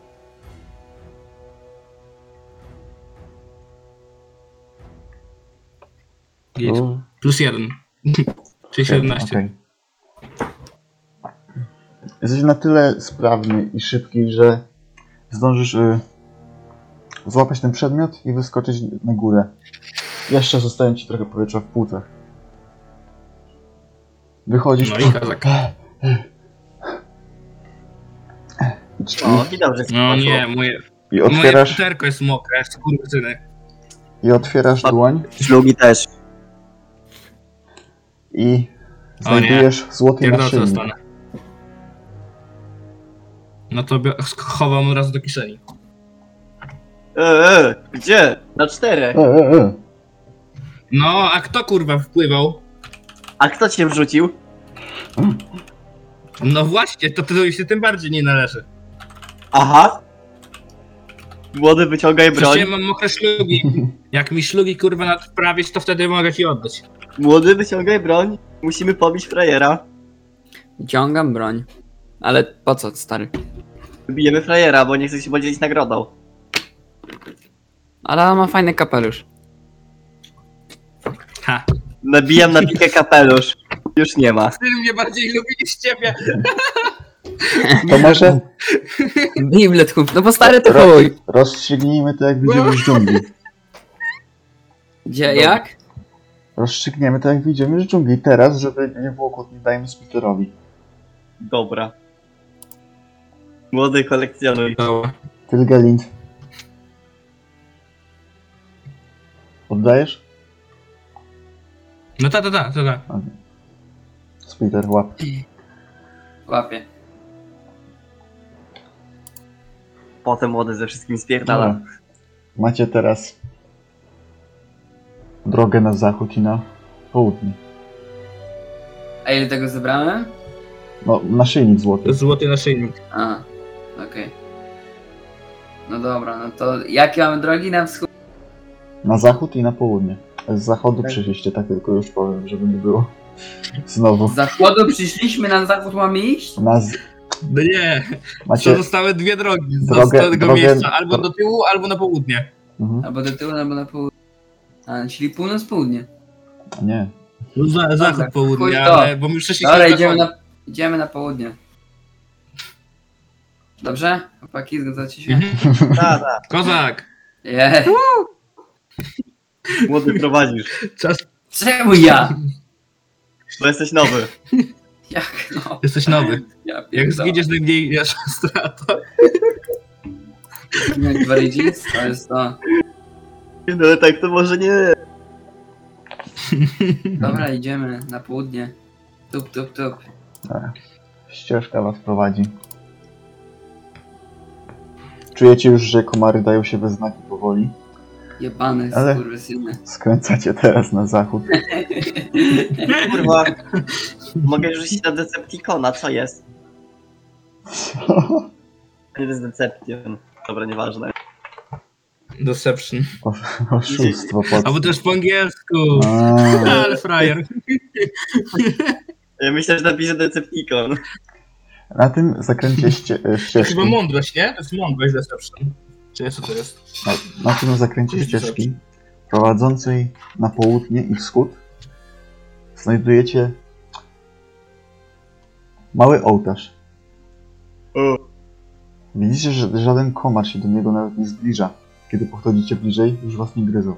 [SPEAKER 2] Jedź.
[SPEAKER 1] Tu-
[SPEAKER 2] Plus jeden. [laughs]
[SPEAKER 1] Okej.
[SPEAKER 2] Czyli 17.
[SPEAKER 1] Jesteś na tyle sprawny i szybki, że zdążysz y, złapać ten przedmiot i wyskoczyć na górę. Jeszcze zostaje ci trochę powietrza w płucach. Wychodzisz.
[SPEAKER 2] No i kazak.
[SPEAKER 3] No
[SPEAKER 4] Mm.
[SPEAKER 3] i dobrze się
[SPEAKER 2] No
[SPEAKER 3] poszło.
[SPEAKER 2] nie, moje,
[SPEAKER 1] I
[SPEAKER 2] moje
[SPEAKER 1] otwierasz,
[SPEAKER 2] futerko jest mokre, skurwysyny.
[SPEAKER 1] i otwierasz dłoń
[SPEAKER 3] Ślugi też.
[SPEAKER 1] i
[SPEAKER 2] O nie.
[SPEAKER 1] znajdujesz złoty
[SPEAKER 2] Pierdolę, co
[SPEAKER 1] naszyjnik.
[SPEAKER 2] dostanę. No to bio- chowam od razu do kieszeni.
[SPEAKER 3] E, e, gdzie? Na czterech.
[SPEAKER 1] E, e, e.
[SPEAKER 2] No, a kto kurwa wpływał?
[SPEAKER 3] A kto cię wrzucił?
[SPEAKER 2] No właśnie, to to się tym bardziej nie należy.
[SPEAKER 3] Aha. Młody, wyciągaj broń.
[SPEAKER 2] Przecież ja mam mokre szlugi. Jak mi szlugi kurwa nadprawić, to wtedy mogę ci oddać.
[SPEAKER 3] Młody, wyciągaj broń. Musimy pobić frajera.
[SPEAKER 4] Ciągam broń. Ale po co, stary?
[SPEAKER 3] Bijemy frajera, bo nie chce się podzielić nagrodą.
[SPEAKER 4] Ale on ma fajny [laughs] kapelusz.
[SPEAKER 2] Ha.
[SPEAKER 3] Nabijam na pikę kapelusz. Już nie ma.
[SPEAKER 2] Ty mnie bardziej lubi niż ciebie.
[SPEAKER 1] To może
[SPEAKER 4] Biblet kup. No bo stary to
[SPEAKER 1] Ro-
[SPEAKER 4] chuj.
[SPEAKER 1] rozstrzygnijmy to jak widzimy w dżungli.
[SPEAKER 4] Gdzie, jak?
[SPEAKER 1] Rozstrzygniemy to jak widzimy w dżungli teraz, żeby nie było kłótni, dajmy Spiterowi.
[SPEAKER 3] Dobra. Młody, kolekcjonuj.
[SPEAKER 2] Dobra.
[SPEAKER 1] Tylgelind. Oddajesz?
[SPEAKER 2] No ta, ta, ta, ta, ta.
[SPEAKER 1] Spiter, łap.
[SPEAKER 4] Łapie.
[SPEAKER 3] Potem młody ze wszystkim spierdala.
[SPEAKER 1] Dobra. Macie teraz drogę na zachód i na południe.
[SPEAKER 4] A ile tego zebrałem?
[SPEAKER 1] No, naszyjnik złoty.
[SPEAKER 2] Złoty naszyjnik.
[SPEAKER 4] A, okej. No dobra, no to jakie mamy drogi na wschód?
[SPEAKER 1] Na zachód i na południe. Z zachodu przyszliście, tak tylko już powiem, żeby nie było. Znowu.
[SPEAKER 4] Z zachodu przyszliśmy, na zachód mamy iść?
[SPEAKER 1] Na z...
[SPEAKER 2] No nie,
[SPEAKER 1] Macie...
[SPEAKER 2] to zostały dwie drogi z
[SPEAKER 1] Drogę-
[SPEAKER 2] z tego
[SPEAKER 1] drogę-
[SPEAKER 2] miejsca. Albo do tyłu, albo na południe.
[SPEAKER 1] Mhm.
[SPEAKER 4] Albo do tyłu, albo na południe. A, czyli północ-południe.
[SPEAKER 1] Nie.
[SPEAKER 2] No Za, zachód
[SPEAKER 4] chuj
[SPEAKER 2] południe,
[SPEAKER 4] to.
[SPEAKER 2] ale bo my przeszliśmy
[SPEAKER 4] Dobra,
[SPEAKER 2] do
[SPEAKER 4] idziemy
[SPEAKER 2] zachodu.
[SPEAKER 4] na, idziemy na południe. Dobrze? Chłopaki, zgadzacie się?
[SPEAKER 2] Mhm.
[SPEAKER 3] Da, da.
[SPEAKER 2] Kozak,
[SPEAKER 4] Yeah.
[SPEAKER 3] Młody prowadzisz.
[SPEAKER 2] czas,
[SPEAKER 4] Czemu ja?
[SPEAKER 3] Bo jesteś nowy.
[SPEAKER 4] Jak no?
[SPEAKER 2] jesteś nowy.
[SPEAKER 4] Ja
[SPEAKER 3] Tak.
[SPEAKER 2] Jak
[SPEAKER 4] pierdolę.
[SPEAKER 2] zgidziesz najmniej [laughs] nasza strata.
[SPEAKER 4] Jak Warydzic, to jest to.
[SPEAKER 3] No ale tak to może nie.
[SPEAKER 4] Dobra, idziemy na południe. Tup, tup, tup.
[SPEAKER 1] Ścieżka was prowadzi. Czujecie już, że komary dają się we znaki powoli.
[SPEAKER 4] Jebany,
[SPEAKER 1] Ale-
[SPEAKER 4] skurwysyny.
[SPEAKER 1] Skręcacie teraz na zachód.
[SPEAKER 3] Kurwa. Mogę rzucić na Decepticona, co jest? Nie to jest Deception. Dobra, nieważne.
[SPEAKER 2] Deception.
[SPEAKER 1] Oszustwo pod...
[SPEAKER 2] Albo też po angielsku.
[SPEAKER 3] No.
[SPEAKER 1] A,
[SPEAKER 2] Ale frajer.
[SPEAKER 3] Ja myślę, że napiszę Decepticon.
[SPEAKER 1] Na tym zakręcie ście... e,
[SPEAKER 2] To chyba
[SPEAKER 1] ścieżki.
[SPEAKER 2] mądrość, nie? To jest mądrość Deception. Czy co to
[SPEAKER 3] [laughs]
[SPEAKER 2] jest?
[SPEAKER 1] Na, na tym zakręcie ścieżki prowadzącej na południe i wschód znajdujecie mały ołtarz.
[SPEAKER 3] O.
[SPEAKER 1] Widzicie, że żaden komar się do niego nawet nie zbliża. Kiedy podchodzicie bliżej, już was nie gryzą.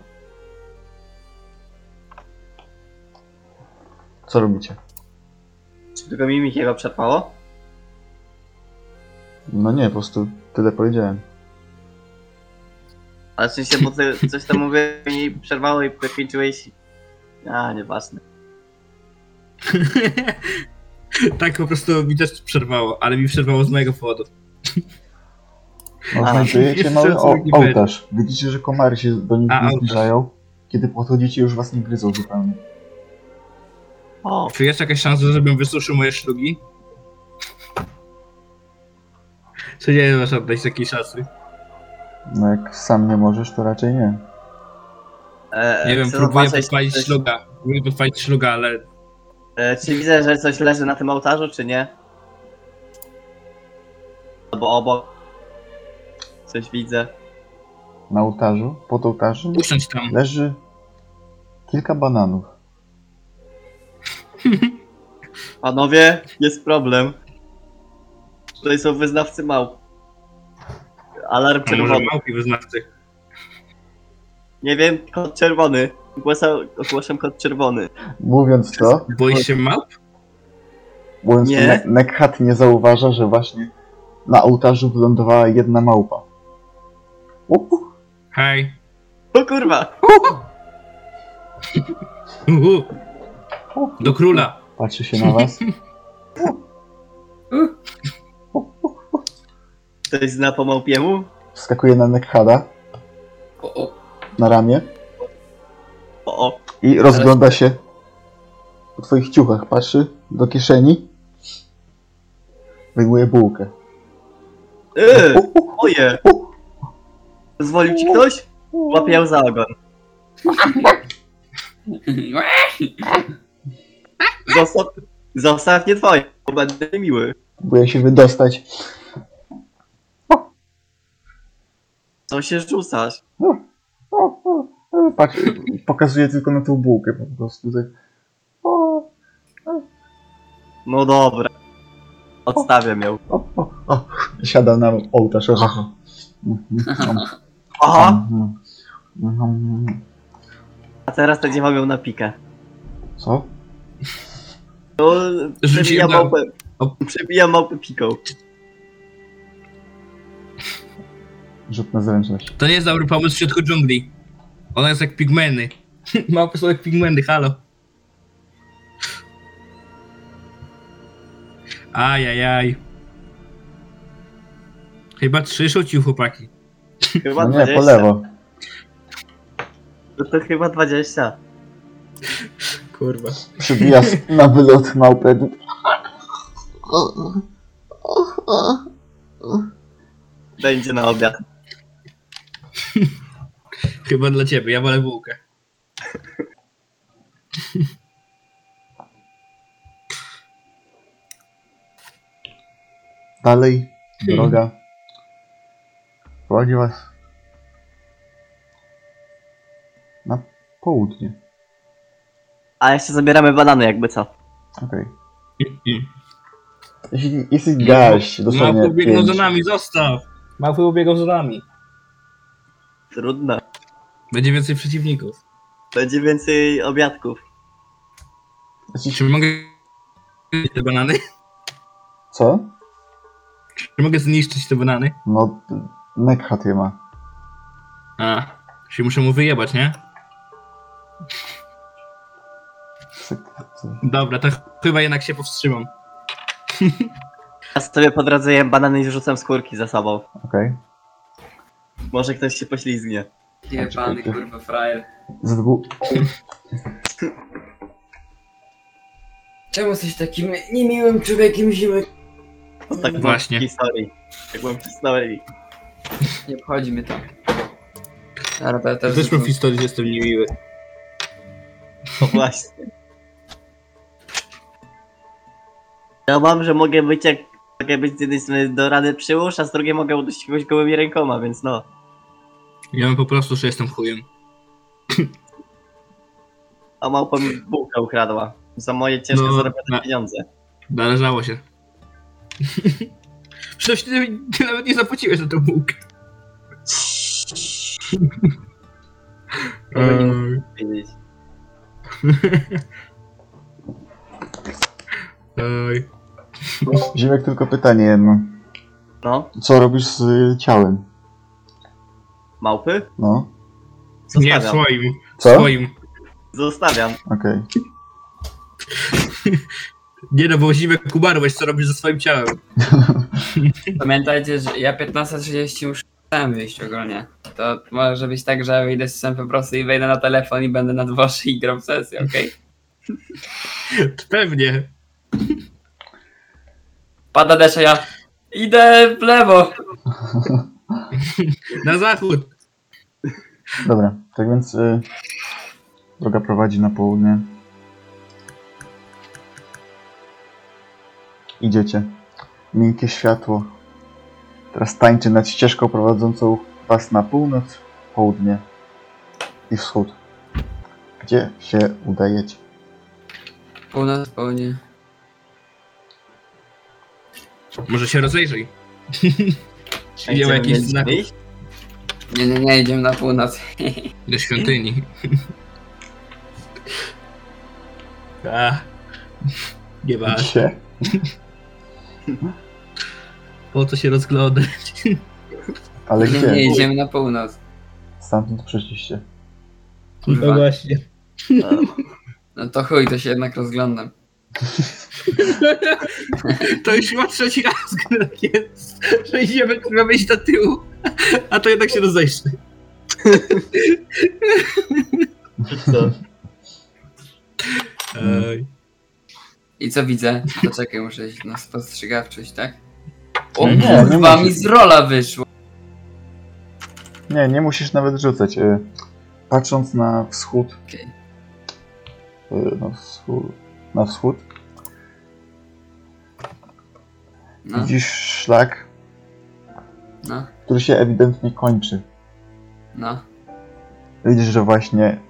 [SPEAKER 1] Co robicie?
[SPEAKER 3] Czy tylko mi Mikiego przerwało?
[SPEAKER 1] No nie, po prostu tyle powiedziałem.
[SPEAKER 3] Ale w sensie, bo ty coś tam mówię i przerwało i wykończyłeś A, nieważne.
[SPEAKER 2] tak po prostu mi też przerwało, ale mi przerwało z mojego powodu.
[SPEAKER 1] No,
[SPEAKER 3] A,
[SPEAKER 1] znajdujecie
[SPEAKER 2] jeszcze
[SPEAKER 1] mały o-
[SPEAKER 2] drugi
[SPEAKER 1] ołtarz. Widzicie, że komary się do nich
[SPEAKER 2] A,
[SPEAKER 1] nie
[SPEAKER 2] ołtarz.
[SPEAKER 1] zbliżają. Kiedy podchodzicie, już was nie gryzą zupełnie.
[SPEAKER 3] O,
[SPEAKER 2] Czy jest jakaś szansa, żebym wysuszył moje szlugi? Czy nie masz oddać takiej szansy?
[SPEAKER 1] No jak sam nie możesz, to raczej nie.
[SPEAKER 3] e,
[SPEAKER 2] Nie wiem,
[SPEAKER 3] chcę
[SPEAKER 2] próbuję
[SPEAKER 3] zobaczyć,
[SPEAKER 2] podpalić
[SPEAKER 3] coś-
[SPEAKER 2] szluga. Próbuję podpalić szluga, ale
[SPEAKER 3] E, Czy widzę, że coś leży na tym ołtarzu, czy nie? Albo obok. Coś widzę.
[SPEAKER 1] Na ołtarzu, pod ołtarzem,
[SPEAKER 2] usiądź tam.
[SPEAKER 1] leży kilka bananów.
[SPEAKER 3] Panowie, jest problem. Tutaj są wyznawcy małp. Alarm
[SPEAKER 2] A może
[SPEAKER 3] czerwony.
[SPEAKER 2] małpi wyznawcy.
[SPEAKER 3] Nie wiem, kod czerwony. Ogłaszam, ogłaszam kod czerwony.
[SPEAKER 1] Mówiąc to,
[SPEAKER 2] Boisz się małp?
[SPEAKER 1] mówiąc to,
[SPEAKER 3] Nie.
[SPEAKER 1] Ne- Nekhat nie zauważa, że właśnie na ołtarzu wylądowała jedna małpa. Upu.
[SPEAKER 2] Hej.
[SPEAKER 3] O kurwa!
[SPEAKER 2] Uhu. Do króla.
[SPEAKER 1] Patrzy się na was.
[SPEAKER 3] Ktoś zna po małpiemu?
[SPEAKER 1] Wskakuje na Nekhada,
[SPEAKER 4] O,
[SPEAKER 2] [laughs]
[SPEAKER 4] o.
[SPEAKER 1] na ramię
[SPEAKER 3] O, o.
[SPEAKER 1] i rozgląda się po twoich ciuchach. Patrzy do kieszeni. Wyjmuje bułkę.
[SPEAKER 3] Yy,
[SPEAKER 1] Upu.
[SPEAKER 3] moje! Pozwolił ci ktoś? Łapie ją za ogon. Zostaw, zostaw nie twoje, bo będę miły.
[SPEAKER 1] Próbuje się wydostać.
[SPEAKER 3] Co się rzucasz?
[SPEAKER 1] O, o, o, Patrz, pokazuje tylko na tą bułkę po prostu. Tak. O,
[SPEAKER 3] No dobra. Odstawiam ją.
[SPEAKER 1] o, o, o. Siada na ołtarz. [laughs] Ha, ha.
[SPEAKER 3] Aha!
[SPEAKER 1] no. Mhm.
[SPEAKER 3] A teraz będzie mam ją na pikę.
[SPEAKER 1] Co?
[SPEAKER 3] No,
[SPEAKER 2] Rzuciłem
[SPEAKER 3] przebija
[SPEAKER 2] na-
[SPEAKER 3] małpę.
[SPEAKER 2] o-
[SPEAKER 3] Przebija małpę piką.
[SPEAKER 1] Rzut na zręczność.
[SPEAKER 2] To nie jest dobry pomysł w środku dżungli. Ona jest jak pigmeny. [laughs] Małpy są jak pigmeny, halo. Ajajaj. Chyba trzy rzucił chłopaki.
[SPEAKER 3] Chyba
[SPEAKER 1] No nie, po
[SPEAKER 3] 20.
[SPEAKER 1] lewo.
[SPEAKER 3] To, to chyba 20.
[SPEAKER 2] Kurwa.
[SPEAKER 1] Przybija s- na wylot małpę.
[SPEAKER 3] Będzie na obiad.
[SPEAKER 2] Chyba dla ciebie, ja wolę bułkę.
[SPEAKER 1] Dalej
[SPEAKER 2] Hmm.
[SPEAKER 1] droga prowadzi was na południe.
[SPEAKER 3] A jeszcze zabieramy banany jakby co.
[SPEAKER 1] Okej. Jeśli Jesteś gaść, dosłownie
[SPEAKER 2] Małpy biegną
[SPEAKER 1] pięć.
[SPEAKER 2] No, za nami, zostaw! Małpy ubiegną za nami.
[SPEAKER 3] Trudno.
[SPEAKER 2] Będzie więcej przeciwników.
[SPEAKER 3] Będzie więcej obiadków.
[SPEAKER 1] Jesteś...
[SPEAKER 2] Czy mogę... te banany?
[SPEAKER 1] Co?
[SPEAKER 2] Czy mogę zniszczyć te banany?
[SPEAKER 1] No, Nekhat je ma.
[SPEAKER 2] A, się muszę mu wyjebać, nie?
[SPEAKER 1] Syk- co?
[SPEAKER 2] Dobra, to chyba jednak się powstrzymam.
[SPEAKER 3] Ja sobie podradzaję banany i rzucam skórki za sobą.
[SPEAKER 1] Okej.
[SPEAKER 3] Może ktoś się poślizgnie.
[SPEAKER 4] Jebany kurwa frajer.
[SPEAKER 1] Za dwu...
[SPEAKER 4] Czemu jesteś takim niemiłym człowiekiem zimy?
[SPEAKER 3] To tak było w
[SPEAKER 2] Właśnie.
[SPEAKER 3] historii. Tak byłem w historii.
[SPEAKER 4] Nie obchodzi mnie to. Dobra, to ja też
[SPEAKER 2] Zresztą w
[SPEAKER 4] rzucę.
[SPEAKER 2] historii że jestem niemiły.
[SPEAKER 3] To No właśnie. Ja mam, że mogę być jak... Mogę być z jednej strony do rady przyłóż, a z drugiej mogę udusić kogoś gołymi rękoma, więc no.
[SPEAKER 2] Ja mam po prostu, że jestem chujem.
[SPEAKER 3] A małpa mi bułkę ukradła. Za moje ciężko
[SPEAKER 2] No,
[SPEAKER 3] zarobione
[SPEAKER 2] na-
[SPEAKER 3] pieniądze.
[SPEAKER 2] Należało się. [laughs] Przecież ty, ty nawet nie zapłaciłeś za tą bułkę.
[SPEAKER 3] Tego nie
[SPEAKER 2] Eee,
[SPEAKER 3] muszę wiedzieć.
[SPEAKER 2] Ej,
[SPEAKER 1] Ziemek, tylko pytanie jedno.
[SPEAKER 3] No,
[SPEAKER 1] Co robisz z y, ciałem?
[SPEAKER 3] małpy?
[SPEAKER 1] No.
[SPEAKER 3] Zostawiam.
[SPEAKER 2] nie, swoim.
[SPEAKER 1] Co?
[SPEAKER 2] Swoim.
[SPEAKER 3] Zostawiam.
[SPEAKER 1] Okej.
[SPEAKER 2] Nie no, bo Zimek umarłeś, co robisz ze swoim ciałem? [laughs]
[SPEAKER 4] Pamiętajcie, że ja 15.30 już chciałem wyjść ogólnie. To może być tak, że wyjdę z po prostu i wejdę na telefon i będę na dworze i gram w sesję, okej?
[SPEAKER 2] Pewnie.
[SPEAKER 4] Pada deszcz, a ja idę w lewo.
[SPEAKER 2] Na zachód.
[SPEAKER 1] Dobra, tak więc y, droga prowadzi na południe. Idziecie. Miękkie światło. Teraz tańczy nad ścieżką prowadzącą was na północ, południe i wschód. Gdzie się udajecie?
[SPEAKER 4] Północ, południe.
[SPEAKER 2] Może się rozejrzyj.
[SPEAKER 3] A
[SPEAKER 2] Widział
[SPEAKER 3] gdzie
[SPEAKER 2] jakiś
[SPEAKER 3] będziemy
[SPEAKER 2] znak
[SPEAKER 3] iść?
[SPEAKER 4] Nie, nie, nie, idziemy na północ.
[SPEAKER 2] do świątyni. [laughs] A, nie ma.
[SPEAKER 1] Gdzie?
[SPEAKER 2] Po co się rozglądać?
[SPEAKER 1] Ale
[SPEAKER 4] Nie, nie,
[SPEAKER 1] gdzie?
[SPEAKER 4] idziemy na północ.
[SPEAKER 1] Stamtąd przeszliście.
[SPEAKER 4] Kurwa.
[SPEAKER 2] No właśnie.
[SPEAKER 4] No to chuj, to się jednak rozglądam.
[SPEAKER 2] To już chyba trzeci raz, [laughs] gdy tak jest, że idziemy kurwa wyjść do tyłu, a to jednak się rozejrzy.
[SPEAKER 3] Czy co?
[SPEAKER 2] Ej.
[SPEAKER 4] I co widzę? To czekaj, muszę iść na spostrzegawczość, tak? O
[SPEAKER 2] Nie, nie
[SPEAKER 4] kurwa,
[SPEAKER 1] musisz.
[SPEAKER 4] mi z rola wyszło.
[SPEAKER 1] Nie, nie musisz nawet rzucać. y, Patrząc na wschód,
[SPEAKER 4] Okej.
[SPEAKER 1] y, na wschód, na wschód
[SPEAKER 4] No,
[SPEAKER 1] widzisz szlak,
[SPEAKER 4] no,
[SPEAKER 1] który się ewidentnie kończy.
[SPEAKER 4] no.
[SPEAKER 1] Widzisz, że właśnie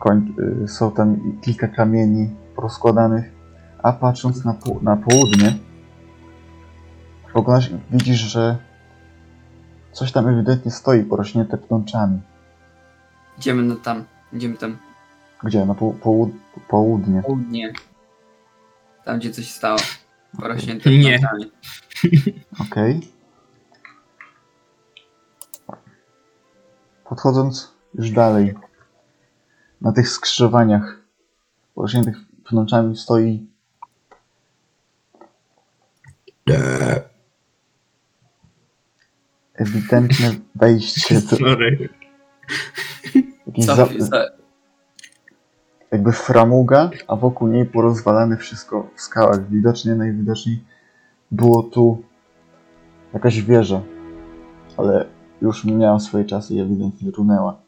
[SPEAKER 1] koń, y, są tam i kilka kamieni rozkładanych, a patrząc na, pół, na południe, oglądasz, i widzisz, że coś tam ewidentnie stoi porośnięte pnączami.
[SPEAKER 4] Idziemy na tam, idziemy tam.
[SPEAKER 1] Gdzie? Na pół, połud, południe.
[SPEAKER 4] południe. Tam, gdzie coś stało. Porośnięte
[SPEAKER 2] Nie.
[SPEAKER 4] plantami.
[SPEAKER 1] Okej. Podchodząc już dalej, na tych skrzyżowaniach, porośniętych pnączami, stoi ewidentne wejście do
[SPEAKER 2] Sorry.
[SPEAKER 1] jakiejś
[SPEAKER 4] Co,
[SPEAKER 1] za,
[SPEAKER 4] za,
[SPEAKER 1] jakby framuga, a wokół niej porozwalane wszystko w skałach. Widocznie, najwidoczniej było tu jakaś wieża, ale już miała swoje czasy i ewidentnie runęła.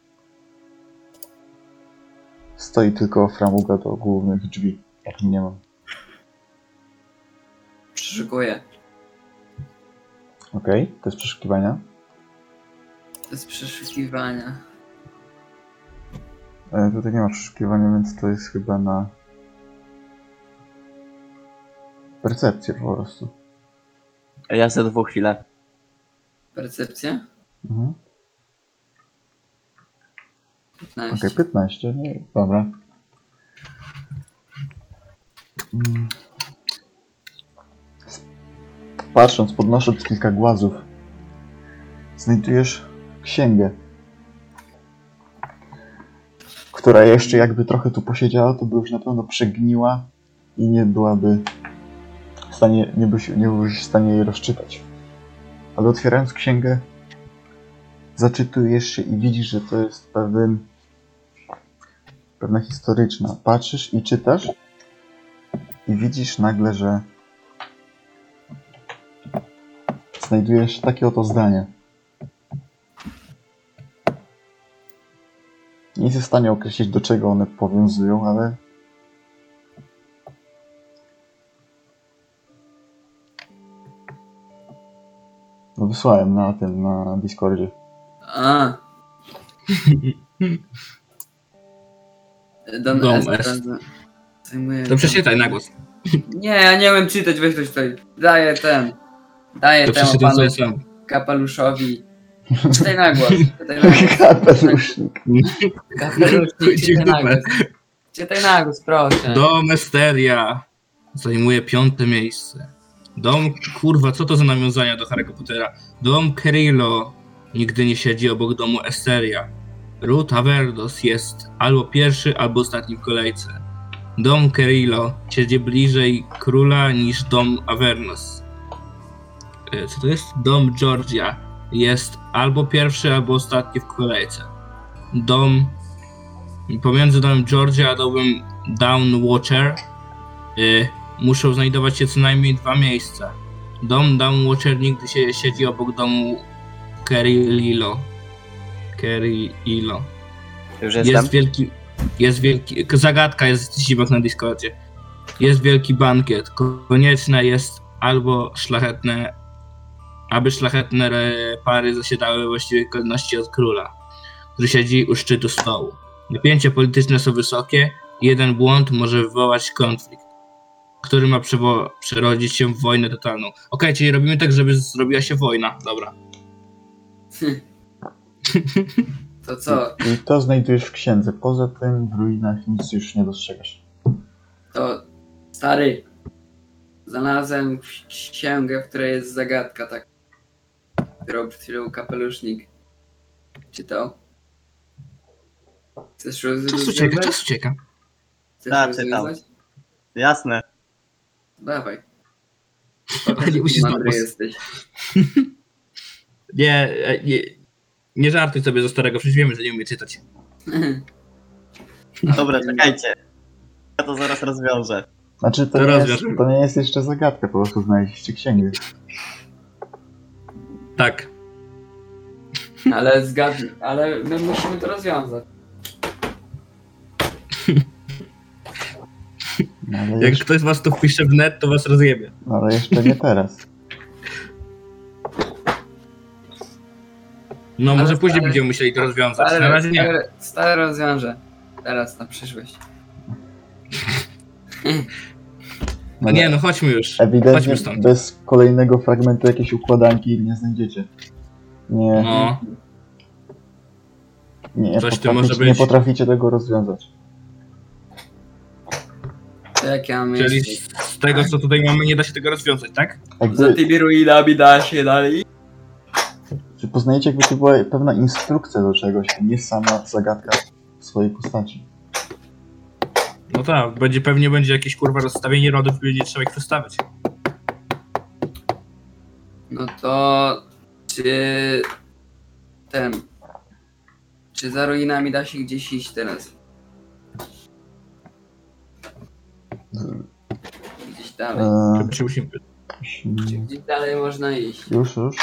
[SPEAKER 1] Stoi tylko framuga do głównych drzwi, jak nie mam.
[SPEAKER 4] przeszukuję.
[SPEAKER 1] Okej, to jest przeszukiwania.
[SPEAKER 4] To jest przeszukiwania.
[SPEAKER 1] E, tutaj nie ma przeszukiwania, więc to jest chyba na... Percepcję po prostu.
[SPEAKER 3] Ja za dwóch chwilę.
[SPEAKER 4] Percepcja?
[SPEAKER 1] Mhm. Okej,
[SPEAKER 4] 15.
[SPEAKER 1] 15, nie, dobra. Mm. Patrząc, podnosząc kilka głazów, znajdujesz księgę, która jeszcze jakby trochę tu posiedziała, to by już na pewno przegniła i nie byłaby w stanie, nie byłbyś, nie byłbyś w stanie jej rozczytać. Ale otwierając księgę, zaczytujesz się i widzisz, że to jest pewien pewna historyczna. Patrzysz i czytasz i widzisz nagle, że znajdujesz takie oto zdanie. Nie jestem w stanie określić, do czego one powiązują, ale No wysłałem na tym, na Discordzie.
[SPEAKER 4] A. [laughs] Don
[SPEAKER 2] Dom
[SPEAKER 4] S.
[SPEAKER 2] S.
[SPEAKER 4] Zajmuje
[SPEAKER 2] To przeczytaj na głos.
[SPEAKER 4] Nie, ja nie umiem czytać, weź ktoś tutaj. Daję ten. Daję
[SPEAKER 2] To
[SPEAKER 4] temu
[SPEAKER 2] przeczytaj
[SPEAKER 4] panu
[SPEAKER 2] sobie sam.
[SPEAKER 1] [laughs]
[SPEAKER 4] kapeluszowi. Czytaj na głos. Czytaj na głos.
[SPEAKER 1] Kapelusznik.
[SPEAKER 4] Kapelusznik,
[SPEAKER 2] Chuj,
[SPEAKER 4] czytaj na
[SPEAKER 2] dupę.
[SPEAKER 4] głos. Czytaj na głos, proszę.
[SPEAKER 2] Domesteria zajmuje piąte miejsce. Dom, kurwa, co to za nawiązania do Harry'ego Pottera? Dom Kyrillo nigdy nie siedzi obok domu Esteria. Ruth Averdos jest albo pierwszy, albo ostatni w kolejce. Dom Kerillo siedzi bliżej króla niż dom Avernos. E, Co to jest? Dom Georgia jest albo pierwszy, albo ostatni w kolejce. Dom. Pomiędzy domem Georgia a domem Downwatcher y, muszą znajdować się co najmniej dwa miejsca. Dom Downwatcher nigdy się siedzi obok domu Kerillo. Kerillo.
[SPEAKER 3] Już
[SPEAKER 2] Jest wielki, jest wielki, zagadka jest zibek na Discordzie. Jest wielki bankiet. Konieczne jest albo szlachetne, aby szlachetne e, pary zasiadały w właściwej kolejności od króla, który siedzi u szczytu stołu. Napięcia polityczne są wysokie i jeden błąd może wywołać konflikt, który ma przywo- przerodzić się w wojnę totalną. Okej, czyli robimy tak, żeby zrobiła się wojna. Dobra.
[SPEAKER 4] To co?
[SPEAKER 1] I to znajdujesz w księdze. Poza tym w ruinach nic już nie dostrzegasz.
[SPEAKER 4] To stary. Znalazłem księgę, w której jest zagadka tak. Którą przed chwilą kapelusznik czytał. Chcesz
[SPEAKER 2] Czas ucieka,
[SPEAKER 4] rozwiązać?
[SPEAKER 2] czas ucieka.
[SPEAKER 4] Chcesz
[SPEAKER 3] Tak,
[SPEAKER 4] rozwiązać?
[SPEAKER 3] Jasne.
[SPEAKER 4] Dawaj.
[SPEAKER 2] [laughs] Nie musisz
[SPEAKER 4] Mądry
[SPEAKER 2] znowu-
[SPEAKER 4] jesteś. [laughs]
[SPEAKER 2] Nie, e, nie, nie żartuj sobie ze starego, przecież wiemy, że nie umie czytać.
[SPEAKER 3] Dobra, czekajcie. Ja to zaraz rozwiążę.
[SPEAKER 1] Znaczy to,
[SPEAKER 2] To
[SPEAKER 1] nie jest,
[SPEAKER 2] rozwiąż.
[SPEAKER 1] to nie jest jeszcze zagadka, po prostu znaleźliście księgę.
[SPEAKER 2] Tak.
[SPEAKER 4] Ale zgadnij, ale my musimy to rozwiązać.
[SPEAKER 1] No ale,
[SPEAKER 2] Jak
[SPEAKER 1] jeszcze,
[SPEAKER 2] ktoś z was to wpisze w net, to was rozjebie.
[SPEAKER 1] no, ale jeszcze nie
[SPEAKER 2] [laughs]
[SPEAKER 1] teraz.
[SPEAKER 2] No
[SPEAKER 4] Ale
[SPEAKER 2] może później
[SPEAKER 4] stary-
[SPEAKER 2] będziemy musieli to rozwiązać.
[SPEAKER 4] Stary,
[SPEAKER 2] Na razie nie.
[SPEAKER 4] stary, stary rozwiąże. Teraz na przyszłość.
[SPEAKER 2] No nie, no chodźmy już.
[SPEAKER 4] E,
[SPEAKER 1] Ewidentnie
[SPEAKER 2] Chodźmy stąd.
[SPEAKER 1] bez kolejnego fragmentu jakiejś układanki nie znajdziecie. Nie,
[SPEAKER 2] No,
[SPEAKER 1] nie,
[SPEAKER 2] coś tu
[SPEAKER 1] potraficie,
[SPEAKER 2] może
[SPEAKER 1] nie
[SPEAKER 2] być.
[SPEAKER 1] potraficie tego rozwiązać.
[SPEAKER 4] To jak ja mam
[SPEAKER 2] czyli
[SPEAKER 4] jeszcze?
[SPEAKER 2] z z tego co tutaj mamy, nie da się tego rozwiązać, tak?
[SPEAKER 4] Za
[SPEAKER 1] Jakby,
[SPEAKER 4] tymi ruinami da się dalej.
[SPEAKER 1] czy poznajecie jakby to była pewna instrukcja do czegoś, a nie sama zagadka w swojej postaci.
[SPEAKER 2] No tak, będzie, pewnie będzie jakieś kurwa rozstawienie rodów, będzie trzeba ich przestawiać.
[SPEAKER 4] Tak. No to czy ten. Czy za ruinami da się gdzieś iść teraz? Gdzieś dalej.
[SPEAKER 1] Eee,
[SPEAKER 2] Czy musimy...
[SPEAKER 4] Czy gdzieś dalej można iść?
[SPEAKER 1] już, już.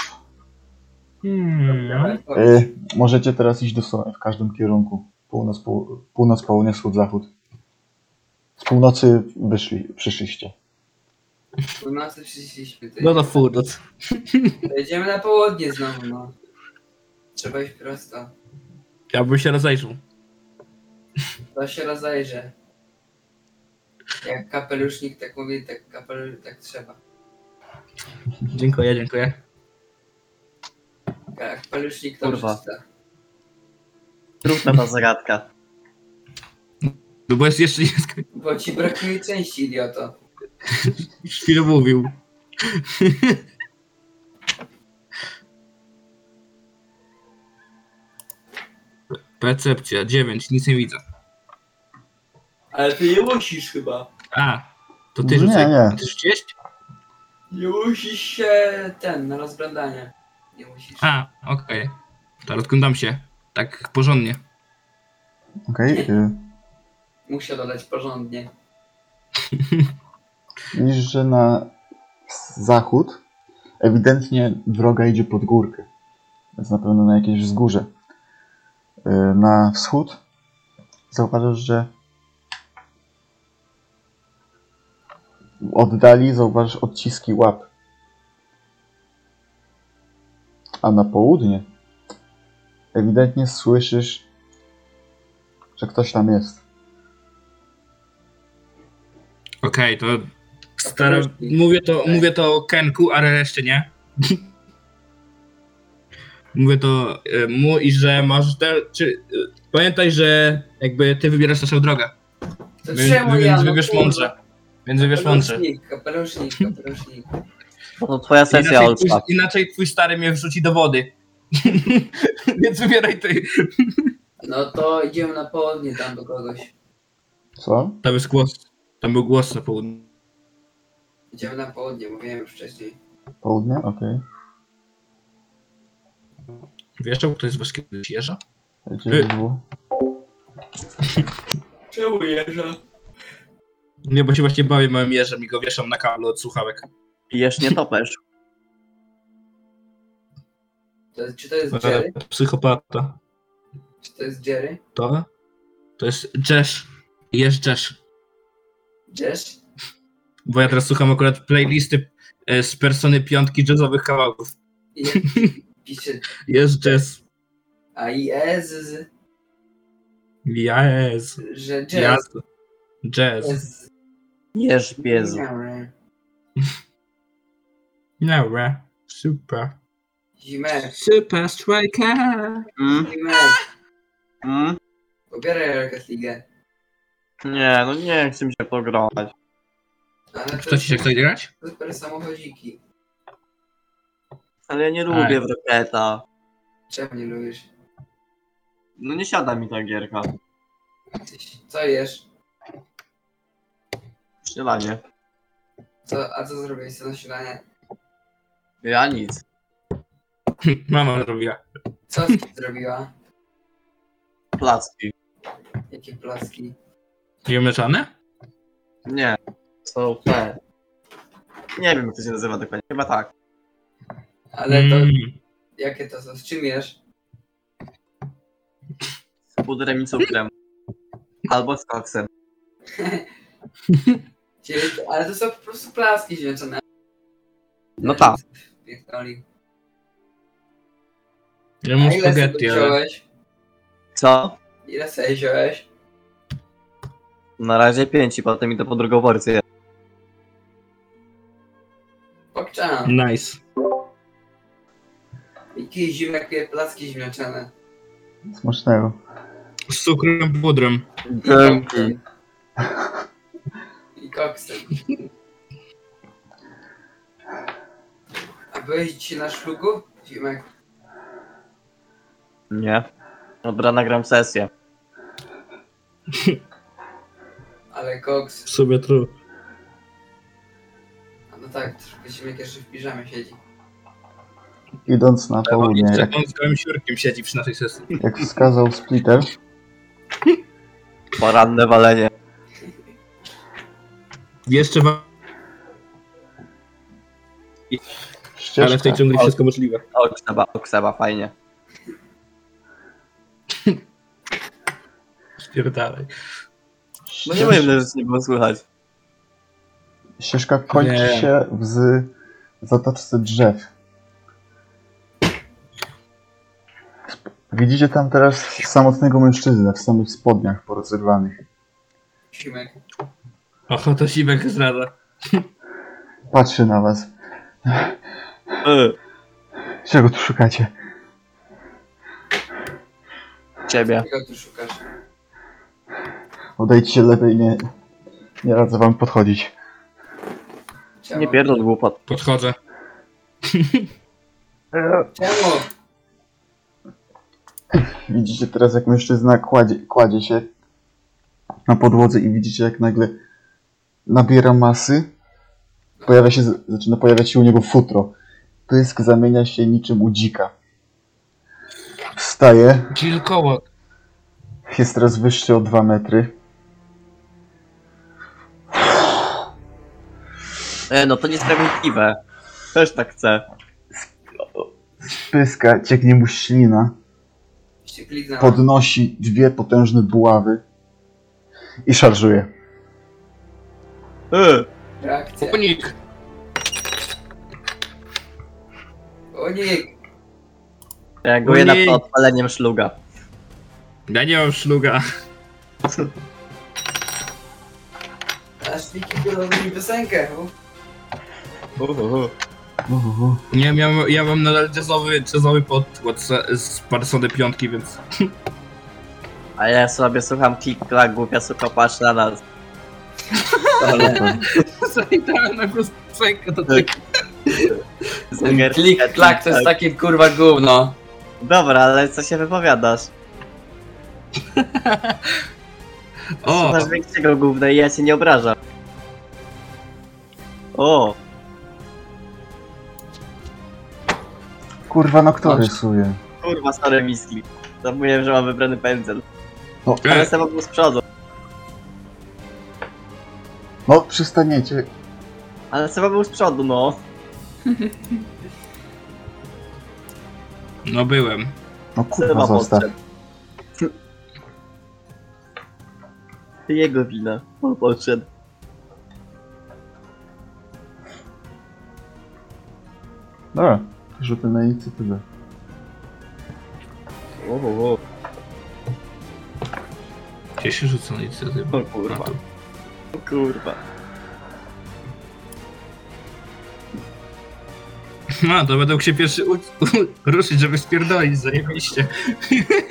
[SPEAKER 2] Hmm.
[SPEAKER 1] E, możecie teraz iść dosłownie w każdym kierunku. Północ, pół, północ południe, wschód, zachód. Z północy wyszli, przyszliście.
[SPEAKER 4] U nas też przyszliśmy. tutaj.
[SPEAKER 2] No to furt.
[SPEAKER 4] To Jedziemy na południe znowu, no. Trzeba iść prosto.
[SPEAKER 2] Ja bym się rozejrzał.
[SPEAKER 4] To się rozejrzę. Jak kapelusznik tak mówi, tak kapel, tak trzeba.
[SPEAKER 2] Dziękuję, dziękuję.
[SPEAKER 4] Jak kapelusznik to
[SPEAKER 3] Kurwa.
[SPEAKER 4] czyta.
[SPEAKER 3] Trudna ta zagadka.
[SPEAKER 2] No bo jest jeszcze nie skończył.
[SPEAKER 4] Bo ci brakuje części, idioto.
[SPEAKER 2] Chwilę mówił. Percepcja 9, nic nie widzę.
[SPEAKER 4] Ale ty nie musisz chyba.
[SPEAKER 2] A, to ty
[SPEAKER 1] Nie,
[SPEAKER 2] rzucaj.
[SPEAKER 1] nie.
[SPEAKER 2] A Ty rzuciłeś?
[SPEAKER 4] Nie musisz się ten, na rozglądanie. Nie musisz.
[SPEAKER 2] A, okej. To rozglądam się. Tak porządnie.
[SPEAKER 1] Okej? e,
[SPEAKER 4] Musiał dodać porządnie.
[SPEAKER 1] Widzisz, że na zachód ewidentnie droga idzie pod górkę. Więc na pewno na jakieś wzgórze. E, Na wschód zauważasz, że w oddali zauważysz odciski łap. A na południe ewidentnie słyszysz, że ktoś tam jest.
[SPEAKER 2] Okej, to stara... Mówię to, mówię to o Kenku, ale reszcie nie. [laughs] mówię to e, mu i że masz... Te, czy, e, pamiętaj, że jakby ty wybierasz naszą drogę.
[SPEAKER 4] To
[SPEAKER 2] Więc, więc wybierz mądrze. Więc wybierz mądrze.
[SPEAKER 4] Kapelusznik, kapelusznik, kapelusznik.
[SPEAKER 3] To twoja sesja,
[SPEAKER 2] Inaczej twój,
[SPEAKER 3] Olsza.
[SPEAKER 2] [laughs] inaczej twój stary mnie wrzuci do wody. Więc wybieraj ty.
[SPEAKER 4] No to idziemy na południe tam do kogoś.
[SPEAKER 1] Co?
[SPEAKER 2] Tam jest głos. Tam był głos na południu.
[SPEAKER 4] Idziemy na południe, mówiłem już wcześniej.
[SPEAKER 1] Południe? Okej.
[SPEAKER 2] Wiesz, że ktoś z was kiedyś jeżdża?
[SPEAKER 1] Gdzie było?
[SPEAKER 4] Czemu jeżdża?
[SPEAKER 2] Nie, bo się właśnie bawię małym jeżem i go wieszam na kablu od słuchawek.
[SPEAKER 3] Pijesz nie topesz.
[SPEAKER 4] To jest, czy to jest
[SPEAKER 2] E,
[SPEAKER 4] Jerry?
[SPEAKER 2] psychopata.
[SPEAKER 4] Czy to jest Jerry?
[SPEAKER 2] To? To jest Jesz. Jest Jesz.
[SPEAKER 4] Jesz?
[SPEAKER 2] Bo ja teraz słucham akurat playlisty e, z Persony piątki jazzowych kawałków.
[SPEAKER 4] I pisze
[SPEAKER 2] Jest Jazz.
[SPEAKER 4] A i e z, z,
[SPEAKER 2] Jazz.
[SPEAKER 4] że E jazz.
[SPEAKER 2] Jazz. Jazz.
[SPEAKER 4] Jazz.
[SPEAKER 3] Jesz Jezu.
[SPEAKER 2] No, re. Super.
[SPEAKER 4] Zimek,
[SPEAKER 2] Super Striker.
[SPEAKER 3] Mm,
[SPEAKER 4] Zimek,
[SPEAKER 3] mm.
[SPEAKER 4] pobieraj Rocket League.
[SPEAKER 3] Nie, no nie chcę mi się pograć.
[SPEAKER 4] Ale
[SPEAKER 2] Kto
[SPEAKER 4] to
[SPEAKER 2] ci się chce grać?
[SPEAKER 4] super samochodziki.
[SPEAKER 3] Ale ja nie
[SPEAKER 2] Aj.
[SPEAKER 3] lubię w roketa.
[SPEAKER 4] Czemu nie lubisz?
[SPEAKER 3] No nie siada mi ta gierka.
[SPEAKER 4] Tyś- Co jesz?
[SPEAKER 3] Strzelanie.
[SPEAKER 4] Co, a co zrobiłeś co na śniadanie?
[SPEAKER 3] Ja nic.
[SPEAKER 2] Mama zrobiła.
[SPEAKER 4] Co z kim zrobiła?
[SPEAKER 3] Placki.
[SPEAKER 4] Jakie plaski?
[SPEAKER 2] Ziemniaczane?
[SPEAKER 3] Nie. Są te. Nie wiem jak to się nazywa dokładnie. Chyba tak.
[SPEAKER 4] Ale to,
[SPEAKER 2] Mm.
[SPEAKER 4] jakie to są? Z czym jesz?
[SPEAKER 3] Z pudrem i cukrem. Albo z koksem.
[SPEAKER 4] Czyli- Ale to są po prostu plaski zwiększone.
[SPEAKER 3] No tak.
[SPEAKER 4] Pierdoli.
[SPEAKER 2] Ja
[SPEAKER 4] A
[SPEAKER 2] mam
[SPEAKER 4] ile sobie
[SPEAKER 2] spaghetti, ale...
[SPEAKER 4] wziąłeś?
[SPEAKER 3] Co?
[SPEAKER 4] Ile sobie wziąłeś?
[SPEAKER 3] Na razie pięć i potem idę po drugą porcję.
[SPEAKER 4] Pokczam.
[SPEAKER 2] Nice.
[SPEAKER 4] Jakie zimne pie- placki ziemniaczane.
[SPEAKER 1] Smacznego.
[SPEAKER 2] Z cukrem pudrem.
[SPEAKER 3] Dzięki.
[SPEAKER 4] I koksem. A byłeś dzisiaj na szlugu? Zimek.
[SPEAKER 3] Nie. Dobra, nagram sesję.
[SPEAKER 4] Ale koks.
[SPEAKER 2] Sobie tru.
[SPEAKER 4] A no tak, troszkę Zimek jeszcze w piżamie siedzi.
[SPEAKER 1] Idąc na południe, jak,
[SPEAKER 2] On z całym siurkiem siedzi przy naszej sesji.
[SPEAKER 1] jak wskazał Splitter,
[SPEAKER 3] Poranne walenie.
[SPEAKER 2] Jeszcze wa- ale w
[SPEAKER 1] ścieżka,
[SPEAKER 2] tej ciągu wszystko możliwe.
[SPEAKER 3] Okseba, okseba, fajnie.
[SPEAKER 2] Spierdalaj.
[SPEAKER 3] No nie wiem, no- że nie było słychać.
[SPEAKER 1] ścieżka kończy
[SPEAKER 2] Nie.
[SPEAKER 1] się w z zatoczce drzew. Widzicie tam teraz samotnego mężczyznę w samych spodniach porozerwanych.
[SPEAKER 4] Zimek.
[SPEAKER 2] Oho, to Simek zrada.
[SPEAKER 1] Patrzy na was.
[SPEAKER 3] Y,
[SPEAKER 1] Czego tu szukacie?
[SPEAKER 3] ciebie.
[SPEAKER 4] Czego tu szukasz?
[SPEAKER 1] Odejdźcie lepiej, nie, nie radzę wam podchodzić.
[SPEAKER 4] Czemu?
[SPEAKER 3] Nie pierdol głupot.
[SPEAKER 2] Podchodzę.
[SPEAKER 3] E,
[SPEAKER 4] Czemu?
[SPEAKER 1] Widzicie teraz, jak mężczyzna kładzie, kładzie się na podłodze i widzicie, jak nagle nabiera masy. Pojawia się, zaczyna pojawiać się u niego futro. Pysk zamienia się niczym u dzika. Wstaje,
[SPEAKER 2] Kilkołak.
[SPEAKER 1] jest teraz wyższy o 2 metry.
[SPEAKER 3] E, no to niesprawiedliwe. Też tak chcę.
[SPEAKER 1] Z pyska cieknie mu ślina.
[SPEAKER 4] Się kliknę.
[SPEAKER 1] Podnosi dwie potężne buławy i szarżuje.
[SPEAKER 3] Y,
[SPEAKER 4] Reakcja.
[SPEAKER 2] Unik.
[SPEAKER 4] Unik.
[SPEAKER 3] reaguję na
[SPEAKER 2] Ojej.
[SPEAKER 3] to odpaleniem szluga.
[SPEAKER 2] Ja nie mam szluga.
[SPEAKER 4] Aż Miki mi piosenkę.
[SPEAKER 3] Uhuhu.
[SPEAKER 1] Uhuhu.
[SPEAKER 2] Nie, ja, mam- ja mam nadal jazzowy, jazzowy podkład z- z Parsony piątki, więc...
[SPEAKER 3] A ja sobie słucham klik-klak, głupia suka patrz na nas. Ale
[SPEAKER 2] Zajdarna piosenka to tak.
[SPEAKER 3] zegar- tak.
[SPEAKER 6] Klik, klak to jest takie kurwa gówno.
[SPEAKER 3] Dobra, ale co się wypowiadasz?
[SPEAKER 2] O!
[SPEAKER 3] Masz większego gówna i ja cię nie obrażam. O,
[SPEAKER 1] Kurwa, no kto
[SPEAKER 4] Dobrze.
[SPEAKER 1] rysuje?
[SPEAKER 3] kurwa, stary miski. Zapomniałem, że mam wybrany pędzel.
[SPEAKER 1] No,
[SPEAKER 2] E,
[SPEAKER 3] Ale sam był z przodu.
[SPEAKER 1] no przystaniecie.
[SPEAKER 3] Ale Seba był z przodu, no.
[SPEAKER 2] No byłem.
[SPEAKER 1] No
[SPEAKER 3] Seba
[SPEAKER 1] kurwa, zostaw.
[SPEAKER 3] podszedł. To Jego wina. On podszedł.
[SPEAKER 1] Dobra, rzuty na inicjatywę.
[SPEAKER 3] O, o, o.
[SPEAKER 2] Gdzie się rzuca na inicjatywę?
[SPEAKER 3] O kurwa.
[SPEAKER 2] A, tu.
[SPEAKER 3] Kurwa.
[SPEAKER 2] No, to będę mógł się pierwszy u- u- ruszyć, żeby spierdolić, zajebiście.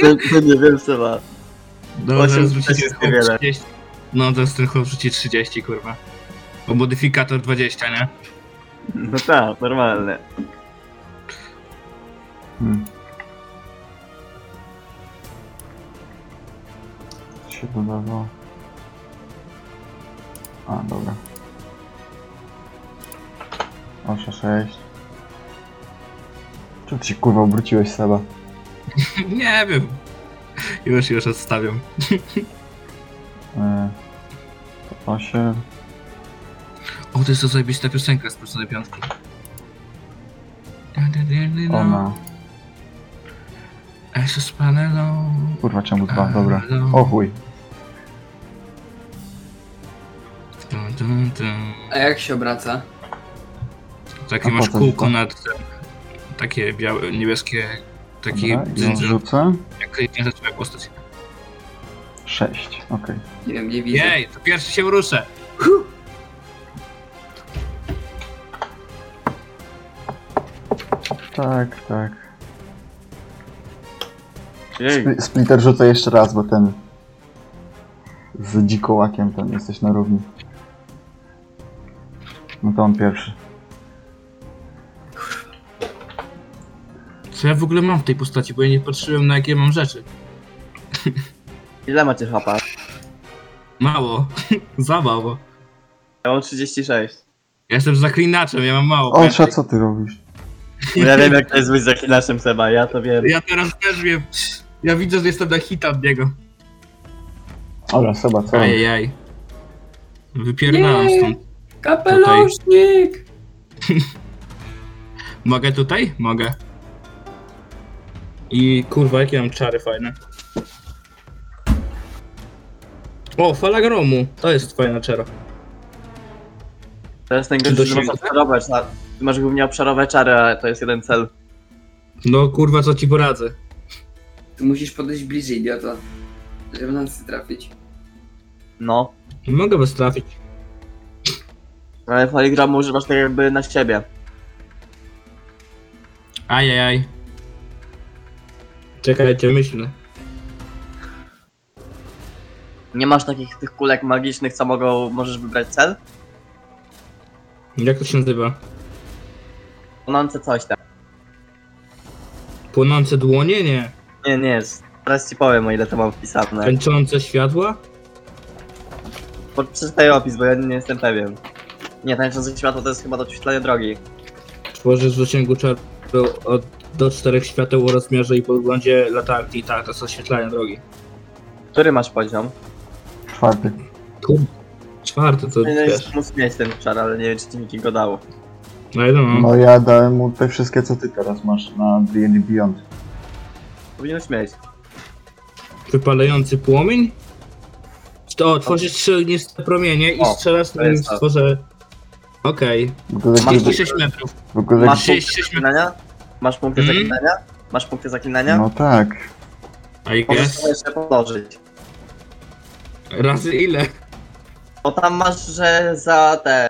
[SPEAKER 3] To, to nie wiem, Seba.
[SPEAKER 2] No,
[SPEAKER 3] Osiem
[SPEAKER 2] zaraz
[SPEAKER 3] to
[SPEAKER 2] rzucicie
[SPEAKER 3] jest niewiele.
[SPEAKER 2] 30. No, zaraz ten chłop rzuci 30, kurwa. Bo modyfikator 20, nie? [laughs]
[SPEAKER 3] No tak, normalne.
[SPEAKER 1] Hmm. 7 dodawało. A, dobra. 8, 6. Czemu ty się kurwa obróciłeś Seba?
[SPEAKER 2] Nie wiem. Już, już odstawiam.
[SPEAKER 1] E, 8.
[SPEAKER 2] O, to jest to zajebista piosenka z Personej Piątki. No.
[SPEAKER 1] Ona.
[SPEAKER 2] Esos panelą.
[SPEAKER 1] Kurwa czemu dwa, dobra. O chuj.
[SPEAKER 2] Dun, dun, dun.
[SPEAKER 4] A jak się obraca?
[SPEAKER 2] Takie
[SPEAKER 1] A
[SPEAKER 2] masz
[SPEAKER 1] potem
[SPEAKER 2] kółko
[SPEAKER 1] to-
[SPEAKER 2] nad tym. Takie białe, niebieskie. Taki
[SPEAKER 1] Dobra, i
[SPEAKER 2] cyndzel,
[SPEAKER 1] rzucę.
[SPEAKER 2] jak klikniesz na twoją postać.
[SPEAKER 1] 6, okej.
[SPEAKER 4] Nie wiem, nie widzę.
[SPEAKER 2] Jej, to pierwszy się ruszę.
[SPEAKER 1] Tak, tak.
[SPEAKER 3] Jej.
[SPEAKER 1] Spli- Splitter rzucę jeszcze raz, bo ten z dzikołakiem ten jesteś na równi. No to on pierwszy.
[SPEAKER 2] Co ja w ogóle mam w tej postaci, bo ja nie patrzyłem na jakie mam rzeczy.
[SPEAKER 3] Ile macie chapa?
[SPEAKER 2] Mało. [laughs] Za mało.
[SPEAKER 3] Ja mam 36.
[SPEAKER 2] Ja jestem zaklinaczem, ja mam mało.
[SPEAKER 1] O,
[SPEAKER 2] pętli.
[SPEAKER 1] Sza, co ty robisz?
[SPEAKER 3] Bo ja wiem jak to jest być zaklinaszem Seba, ja to wiem.
[SPEAKER 2] Ja teraz też wiem. Ja widzę, że jestem na hita od niego.
[SPEAKER 1] Dobra, Seba, co robisz?
[SPEAKER 2] Ajajaj. Wypierdalam
[SPEAKER 4] Nie.
[SPEAKER 2] stąd.
[SPEAKER 4] Kapelusznik!
[SPEAKER 2] [laughs] Mogę tutaj? Mogę. I kurwa, jakie mam czary fajne. O, fala gromu. To jest fajna czara.
[SPEAKER 3] Teraz ten
[SPEAKER 2] Czy to
[SPEAKER 3] gość, że
[SPEAKER 2] się
[SPEAKER 3] masz
[SPEAKER 2] uda?
[SPEAKER 3] obszarowe czary. Ty masz głównie obszarowe czary, ale to jest jeden cel.
[SPEAKER 2] No kurwa, co ci poradzę?
[SPEAKER 4] Tu musisz podejść bliżej, idioto. Żeby nas trafić.
[SPEAKER 3] No.
[SPEAKER 2] Nie mogę was trafić.
[SPEAKER 3] Ale faligramu używasz tak jakby na siebie.
[SPEAKER 2] Ajajaj. Czekajcie, myślę.
[SPEAKER 3] Nie masz takich tych kulek magicznych, co mogą, możesz wybrać cel?
[SPEAKER 2] Jak to się nazywa?
[SPEAKER 3] Płonące coś tam.
[SPEAKER 2] Płonące dłonie? Nie.
[SPEAKER 3] Nie, nie jest. Teraz ci powiem o ile to mam wpisane.
[SPEAKER 2] Tańczące światła?
[SPEAKER 3] Po- Przeczytaj opis, bo ja nie jestem pewien. Nie, tańczące światło to jest chyba do oświetlenia drogi.
[SPEAKER 2] Tworzysz w zasięgu czaru od, do czterech świateł o rozmiarze i podglądzie latarki. Tak, to są oświetlania drogi.
[SPEAKER 3] Który masz poziom?
[SPEAKER 1] Czwarty.
[SPEAKER 2] Kurde. Czwarte to
[SPEAKER 3] Nie, no
[SPEAKER 2] wiesz.
[SPEAKER 3] Muszę mieć ten czar, ale nie wiem czy ci mi go dało.
[SPEAKER 2] No i no.
[SPEAKER 1] No ja dałem mu te wszystkie, co ty teraz masz na D&D Beyond.
[SPEAKER 3] Powinieneś mieć.
[SPEAKER 2] Wypalający płomień? To tworzysz trzy ogniste promienie i
[SPEAKER 3] O,
[SPEAKER 2] strzelasz
[SPEAKER 3] to
[SPEAKER 2] na nim
[SPEAKER 3] jest to.
[SPEAKER 2] stworze... Okej.
[SPEAKER 1] W ogóle,
[SPEAKER 3] Masz
[SPEAKER 1] jakby-
[SPEAKER 2] 36 metrów.
[SPEAKER 1] w ogóle
[SPEAKER 3] Masz
[SPEAKER 1] jakby-
[SPEAKER 3] punkty
[SPEAKER 2] 36 metrów.
[SPEAKER 3] zaklinania? Masz punkty
[SPEAKER 2] Mm.
[SPEAKER 3] zaklinania? Masz punkty zaklinania?
[SPEAKER 1] No tak.
[SPEAKER 2] I
[SPEAKER 3] Możesz to
[SPEAKER 2] guess.
[SPEAKER 3] jeszcze położyć.
[SPEAKER 2] Razy ile?
[SPEAKER 3] Bo tam masz, że za te.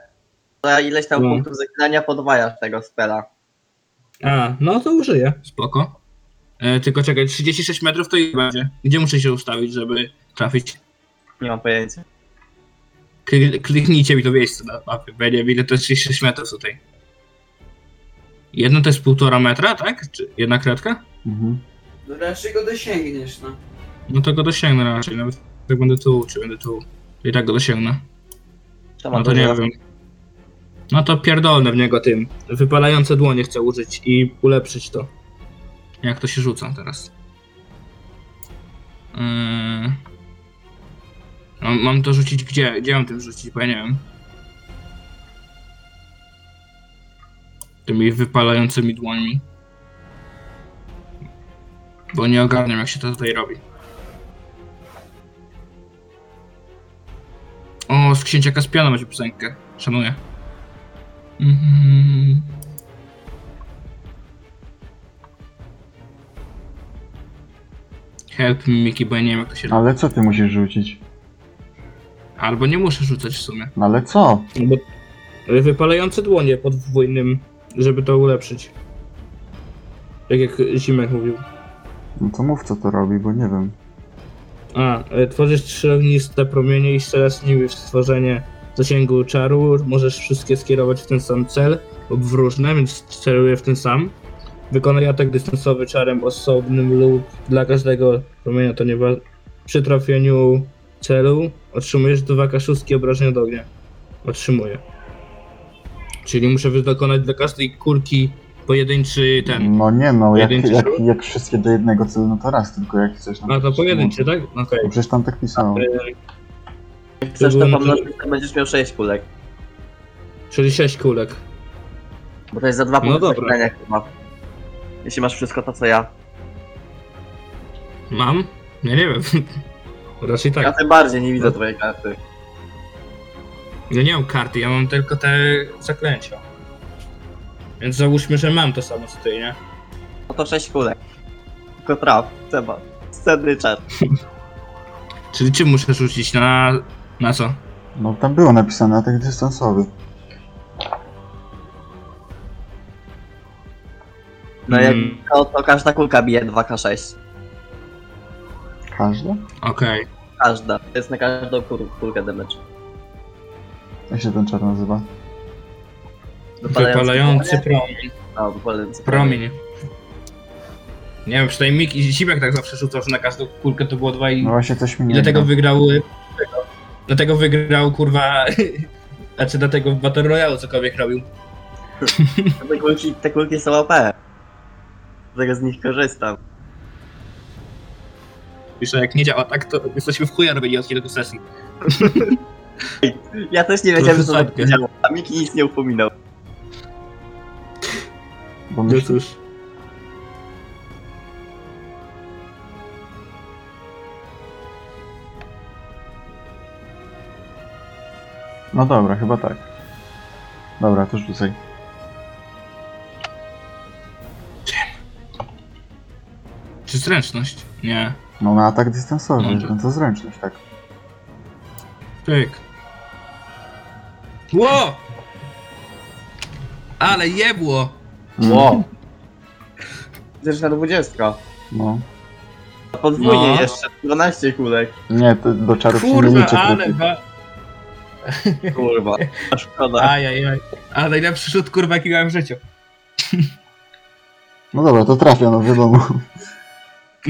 [SPEAKER 3] za ileś tam
[SPEAKER 2] No.
[SPEAKER 3] punktów zaklinania podwajasz tego spela.
[SPEAKER 2] A, no to użyję. Spoko. E, tylko czekaj, 36 metrów to i będzie. Gdzie muszę się ustawić, żeby trafić?
[SPEAKER 3] Nie mam pojęcia.
[SPEAKER 2] Kli- kliknijcie mi to miejsce na mapie, bo ja nie wiem, ile to jest 36 metrów tutaj. Jedno to jest półtora metra, tak? Czy jedna kredka?
[SPEAKER 1] Mhm.
[SPEAKER 5] No raczej go dosięgniesz, no.
[SPEAKER 2] No to go dosięgnę raczej, nawet jak będę tu, czy będę tu, to i tak go dosięgnę.
[SPEAKER 3] To ma
[SPEAKER 2] No to
[SPEAKER 3] duże
[SPEAKER 2] nie wiem. No to pierdolne w niego tym. Wypalające dłonie chcę użyć i ulepszyć to. Jak to się rzuca teraz? Yy... No, mam to rzucić gdzie? Gdzie mam tym rzucić? Bo ja nie wiem. Tymi wypalającymi dłońmi. Bo nie ogarniam jak się to tutaj robi. O, z księcia Kaspiana macie piosenkę. Szanuję. Mhm. Help me, Miki, bo ja nie wiem jak to się robi.
[SPEAKER 1] Ale co ty musisz rzucić?
[SPEAKER 2] Albo nie muszę rzucać w sumie.
[SPEAKER 1] No ale co?
[SPEAKER 2] No bo ale wypalające dłonie podwójnym, żeby to ulepszyć. Tak jak Zimek mówił.
[SPEAKER 1] No to mów co to robi, bo nie wiem.
[SPEAKER 2] A, e, tworzysz trzy ogniste promienie i strzelasz nimi w stworzenie zasięgu czaru. Możesz wszystkie skierować w ten sam cel lub w różne, więc celuję w ten sam. Wykonaj atak dystansowy czarem osobnym lub dla każdego promienia to nie wa- Przy trafieniu celu otrzymujesz 2k6 obrażeń od ognia. Otrzymuję. Czyli muszę wydokonać dla każdej kurki pojedynczy ten.
[SPEAKER 1] No nie no, jak,
[SPEAKER 2] Pojedynczy
[SPEAKER 1] jak,
[SPEAKER 2] rzut?
[SPEAKER 1] jak wszystkie do jednego celu, no to raz, tylko jak chcesz...
[SPEAKER 2] A to
[SPEAKER 1] przecież-
[SPEAKER 2] pojedynczy, tak? Okej. E,
[SPEAKER 1] No przecież tam tak pisało.
[SPEAKER 3] Jak chcesz to
[SPEAKER 2] było na
[SPEAKER 3] pomnożyć, to będziesz miał 6 kulek.
[SPEAKER 2] Czyli 6 kulek.
[SPEAKER 3] Bo to jest za dwa
[SPEAKER 2] No
[SPEAKER 3] punkty
[SPEAKER 2] dobra.
[SPEAKER 3] zaklęcia chyba. Jeśli masz wszystko to co ja.
[SPEAKER 2] Mam? Ja nie wiem. Raczej tak.
[SPEAKER 3] Ja tym bardziej nie widzę
[SPEAKER 2] No.
[SPEAKER 3] twojej karty.
[SPEAKER 2] Ja nie mam karty, ja mam tylko te zaklęcia. Więc załóżmy, że mam to samo co ty, nie?
[SPEAKER 3] No to 6 kulek. Tylko traf, trzeba. Sceny czar.
[SPEAKER 2] Czyli czym muszę rzucić? Na... na co?
[SPEAKER 1] No tam było napisane atak dystansowy.
[SPEAKER 3] No jak
[SPEAKER 2] Mm,
[SPEAKER 3] to, to każda kulka bije 2k6.
[SPEAKER 1] Każda?
[SPEAKER 2] Okej.
[SPEAKER 3] Każda. To jest na każdą kul kulkę damage.
[SPEAKER 1] Jak się ten czar nazywa?
[SPEAKER 2] Wypalający promień.
[SPEAKER 3] No, wypalający
[SPEAKER 2] promień. Nie wiem, przynajmniej Mik i Zimek tak zawsze rzucał, że na każdą kulkę to było dwa i...
[SPEAKER 1] No właśnie coś mi
[SPEAKER 2] I
[SPEAKER 1] nie
[SPEAKER 2] dlatego
[SPEAKER 1] gra.
[SPEAKER 2] wygrał. y, tego- Dlatego wygrał kurwa. [laughs] Znaczy dlatego w Battle Royale cokolwiek robił.
[SPEAKER 3] No, Te kulki, te kulki są OP. Dlatego z nich korzystam.
[SPEAKER 2] Pisze, jak nie działa tak, to jesteśmy w chuja robieni od kilku sesji.
[SPEAKER 3] Ja też nie
[SPEAKER 2] To
[SPEAKER 3] wiedziałem, że to
[SPEAKER 2] wysadkę.
[SPEAKER 3] tak działa. A Miki nic nie upominał.
[SPEAKER 1] Bo myśl-
[SPEAKER 2] No cóż.
[SPEAKER 1] No dobra, chyba tak. Dobra, to rzucaj.
[SPEAKER 2] Czy zręczność? Nie.
[SPEAKER 1] No na atak dystansowy,
[SPEAKER 2] Mądrze.
[SPEAKER 1] no to zręczność, tak.
[SPEAKER 2] Pyk. Ło! Ale jebło!
[SPEAKER 3] Wow. Przecież na 20.
[SPEAKER 1] No.
[SPEAKER 3] A Podwójnie
[SPEAKER 2] No.
[SPEAKER 3] jeszcze 12 kulek.
[SPEAKER 1] Nie, to do czarów się nie
[SPEAKER 2] Kurwa,
[SPEAKER 1] liczy.
[SPEAKER 2] ale
[SPEAKER 1] krytyk.
[SPEAKER 2] ba... [laughs]
[SPEAKER 3] Kurwa. A szkoda.
[SPEAKER 2] Ajajaj. Ale najlepszy rzut kurwa jaki miałem w życiu.
[SPEAKER 1] No dobra, to trafia, no wiadomo.
[SPEAKER 2] [laughs]